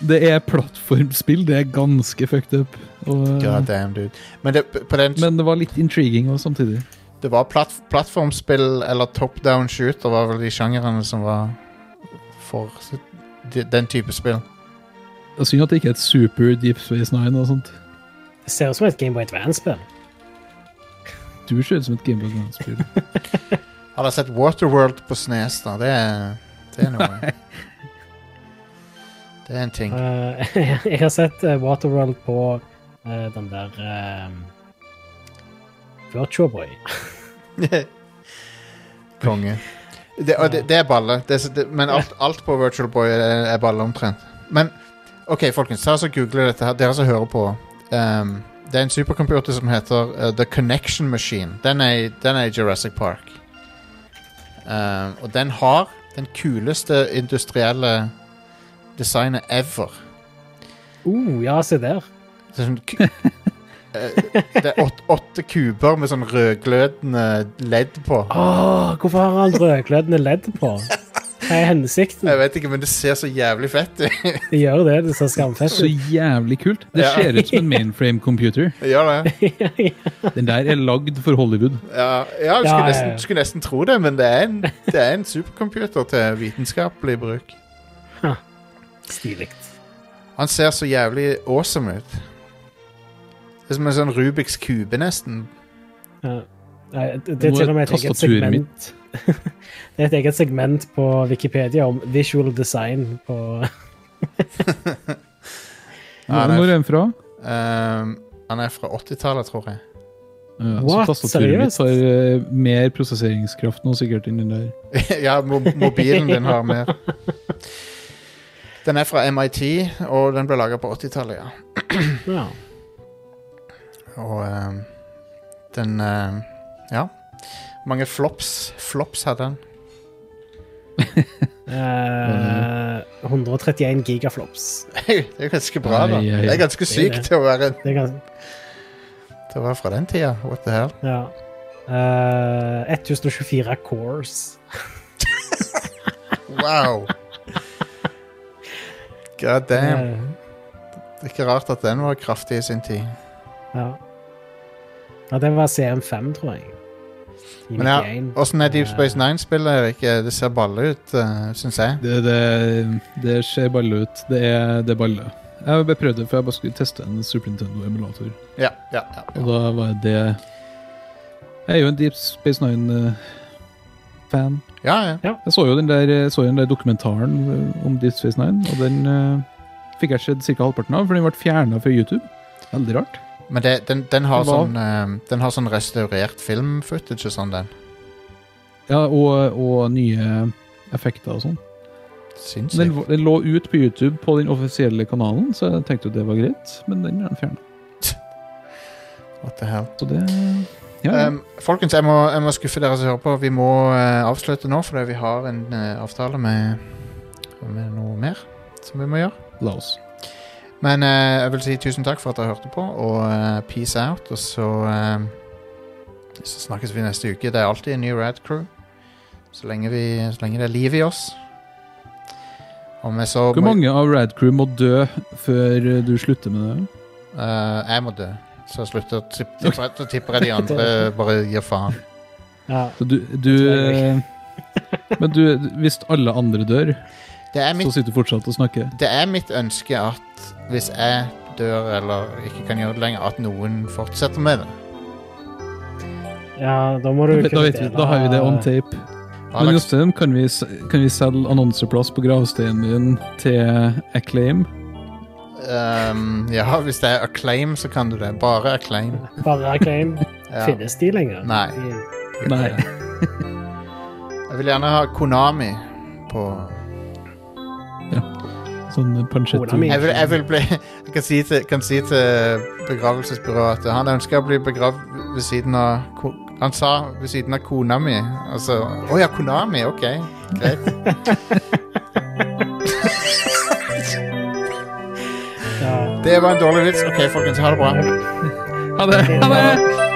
[SPEAKER 8] Det er plattformspill. Det er ganske fucked up. Og, eh,
[SPEAKER 6] God damn, dude. Men det, på den,
[SPEAKER 8] Mm. men det var litt intriguing også samtidig.
[SPEAKER 6] det var platt, plattformspill eller top down shooter var vel de sjangerene som var for de- den type spill.
[SPEAKER 8] Det er Synd at det ikke er et super Deep Space Nine. og sånt.
[SPEAKER 7] Det ser ut som et Gameboy Advance-spill.
[SPEAKER 8] Du ser ut som et Game Boy Advance-spill.
[SPEAKER 6] Har dere sett Waterworld på Snes, da? Det er, det er noe. Det er en ting.
[SPEAKER 7] Eh, jeg har sett eh, Waterworld på eh, den der uh, Virtua Boy.
[SPEAKER 6] Konge. Det, og det, det er balle. Det, er så- det, men alt, alt på Virtual Boy er, er balle omtrent. Men OK, folkens, ta oss og google dette her, dere som hører på. Ehm, det er en supercomputer som heter eh, The Connection Machine. Den er, i- den er i Jurassic Park. Ehm, og den har den kuleste industrielle designet ever.
[SPEAKER 7] Uh, ja, se der.
[SPEAKER 6] Det er, sånn, ku- eh, det er åtte, åtte kuber med sånn rødglødende ledd på.
[SPEAKER 7] Åh, hvorfor har han rødglødende ledd på? Hva er hensikten?
[SPEAKER 6] Jeg vet ikke, men det ser så jævlig fett ut.
[SPEAKER 7] De gjør det, det ser
[SPEAKER 8] Så
[SPEAKER 7] skamfett ut.
[SPEAKER 8] jævlig kult. Det
[SPEAKER 6] Ja.
[SPEAKER 8] ser ut som en mainframe-computer.
[SPEAKER 6] Det Gjør det.
[SPEAKER 8] Den der er lagd for Hollywood.
[SPEAKER 6] Ja, ja, du, skulle
[SPEAKER 7] Ja, ja,
[SPEAKER 6] nesten,
[SPEAKER 7] ja.
[SPEAKER 6] du skulle nesten tro det, men det er en, det er en supercomputer til vitenskapelig bruk.
[SPEAKER 7] Stilig.
[SPEAKER 6] Han ser så jævlig awesome ut. Det er som en sånn Rubiks kube, nesten.
[SPEAKER 7] Ja. Nei, Det det
[SPEAKER 8] Det
[SPEAKER 7] er til og med et eget
[SPEAKER 8] tastaturet
[SPEAKER 7] segment
[SPEAKER 8] mitt.
[SPEAKER 7] Det er et eget segment på Wikipedia om visual design på
[SPEAKER 6] Ja,
[SPEAKER 8] Hvor
[SPEAKER 6] det
[SPEAKER 8] er den fra?
[SPEAKER 6] Ehm, han er fra 80-tallet, tror jeg.
[SPEAKER 8] Ja,
[SPEAKER 7] What?
[SPEAKER 8] så tastaturet mitt
[SPEAKER 7] Seriøst?
[SPEAKER 8] har eh, mer prosesseringskraft nå, sikkert, enn den der.
[SPEAKER 6] ja, mo mobilen din har mer. Den er fra MIT, og den ble laga på 80-tallet, ja.
[SPEAKER 7] ja.
[SPEAKER 6] Og ehm, den ehm, Ja. Mange flops. Flops hadde den.
[SPEAKER 7] Eh, 131 gigaflops.
[SPEAKER 6] det er ganske bra, da.
[SPEAKER 8] Ai, ai, ai.
[SPEAKER 6] Det er ganske sykt til å være en
[SPEAKER 7] Det er ganske
[SPEAKER 6] Det var fra den tida. What the hell?
[SPEAKER 7] Ja. Eh, 1024 cores.
[SPEAKER 6] Wow! God damn.
[SPEAKER 7] Eh,
[SPEAKER 6] Det er ikke rart at den var kraftig i sin tid.
[SPEAKER 7] ja. ja, den var CM5, tror jeg. I
[SPEAKER 6] Men ja,
[SPEAKER 7] 91.
[SPEAKER 6] åssen er Deep Space Nine-spillet, Erik? Det ser balle ut, uh, syns jeg.
[SPEAKER 8] Det, det, det ser balle ut. Det er, det er balle. Jeg har bare prøvd det, for jeg bare skulle teste en Super Nintendo-emulator.
[SPEAKER 6] Ja, ja,
[SPEAKER 8] Og
[SPEAKER 6] ja.
[SPEAKER 8] da var det Jeg er jo en Deep Space eh, Nine-fan.
[SPEAKER 6] ja, ja.
[SPEAKER 8] Jeg så jo den der, jeg så jo den der dokumentaren eh, om Deep Space Nine, og den eh, fikk jeg sett ca. halvparten av, for den ble fjerna fra YouTube. Veldig rart.
[SPEAKER 6] Men det, den, den, har
[SPEAKER 8] Det var-
[SPEAKER 6] sånn, eh, den har sånn restaurert film-footage og sånn, den.
[SPEAKER 8] Ja, og, og nye effekter og sånn. Den,
[SPEAKER 6] Sinnssykt.
[SPEAKER 8] var- den lå ut på YouTube på den offisielle kanalen, så jeg tenkte jo det var greit, men den er fjerna.
[SPEAKER 6] What the hell.
[SPEAKER 8] Så det Ja. ja.
[SPEAKER 6] Um, folkens, jeg må, jeg må skuffe dere som hører på. Vi må eh, avslutte nå, fordi vi har en eh, avtale med, med noe mer som vi må gjøre.
[SPEAKER 8] La oss.
[SPEAKER 6] Men eh, jeg vil si tusen takk for at dere hørte på, og eh, peace out. Og så, eh, så snakkes vi neste uke. Det er alltid en ny Rad Crew. Så lenge, vi, så lenge det er liv i oss. Om jeg så
[SPEAKER 8] Hvor
[SPEAKER 6] må-
[SPEAKER 8] mange av Rad Crew må dø før eh, du slutter med det?
[SPEAKER 6] Eh, jeg må dø. Så jeg slutter å tippe, tipper jeg- så tipper jeg de andre bare gir faen.
[SPEAKER 7] ja.
[SPEAKER 8] Så du, du eh, Men du, hvis alle andre dør,
[SPEAKER 6] Det er,
[SPEAKER 8] så
[SPEAKER 6] mitt,
[SPEAKER 8] sitter du fortsatt og snakker?
[SPEAKER 6] det er mitt ønske at hvis jeg dør eller ikke kan gjøre det lenger, at noen fortsetter med det.
[SPEAKER 7] ja, da må du
[SPEAKER 8] Da, vet
[SPEAKER 7] kunne
[SPEAKER 8] vi,
[SPEAKER 7] dele-
[SPEAKER 8] da har vi det on
[SPEAKER 7] Ah.
[SPEAKER 8] tape. Men
[SPEAKER 6] Alex,
[SPEAKER 8] Jostein, kan, vi s- kan vi selge annonseplass på gravsteinen din til Acclaim?
[SPEAKER 6] ehm, ja, hvis det er acclaim, så kan du det. Bare acclaim.
[SPEAKER 7] Bare acclaim.
[SPEAKER 6] Ja.
[SPEAKER 7] Finnes de lenger?
[SPEAKER 6] Nei.
[SPEAKER 7] De-
[SPEAKER 8] Nei.
[SPEAKER 6] Jeg vil gjerne ha Konami på
[SPEAKER 8] Sånn pancetto.
[SPEAKER 7] Konami.
[SPEAKER 6] Jeg vil, jeg vil bli Jeg kan si til, kan si til begravelsesbyrået at han ønsker å bli begravd ved siden av ko- Han sa ved siden av kona mi. Altså Å ja, Konami. Ok, greit.
[SPEAKER 7] Ja.
[SPEAKER 6] Det var en dårlig vits. OK, folkens. Ha det bra.
[SPEAKER 8] Ha det! Ha det!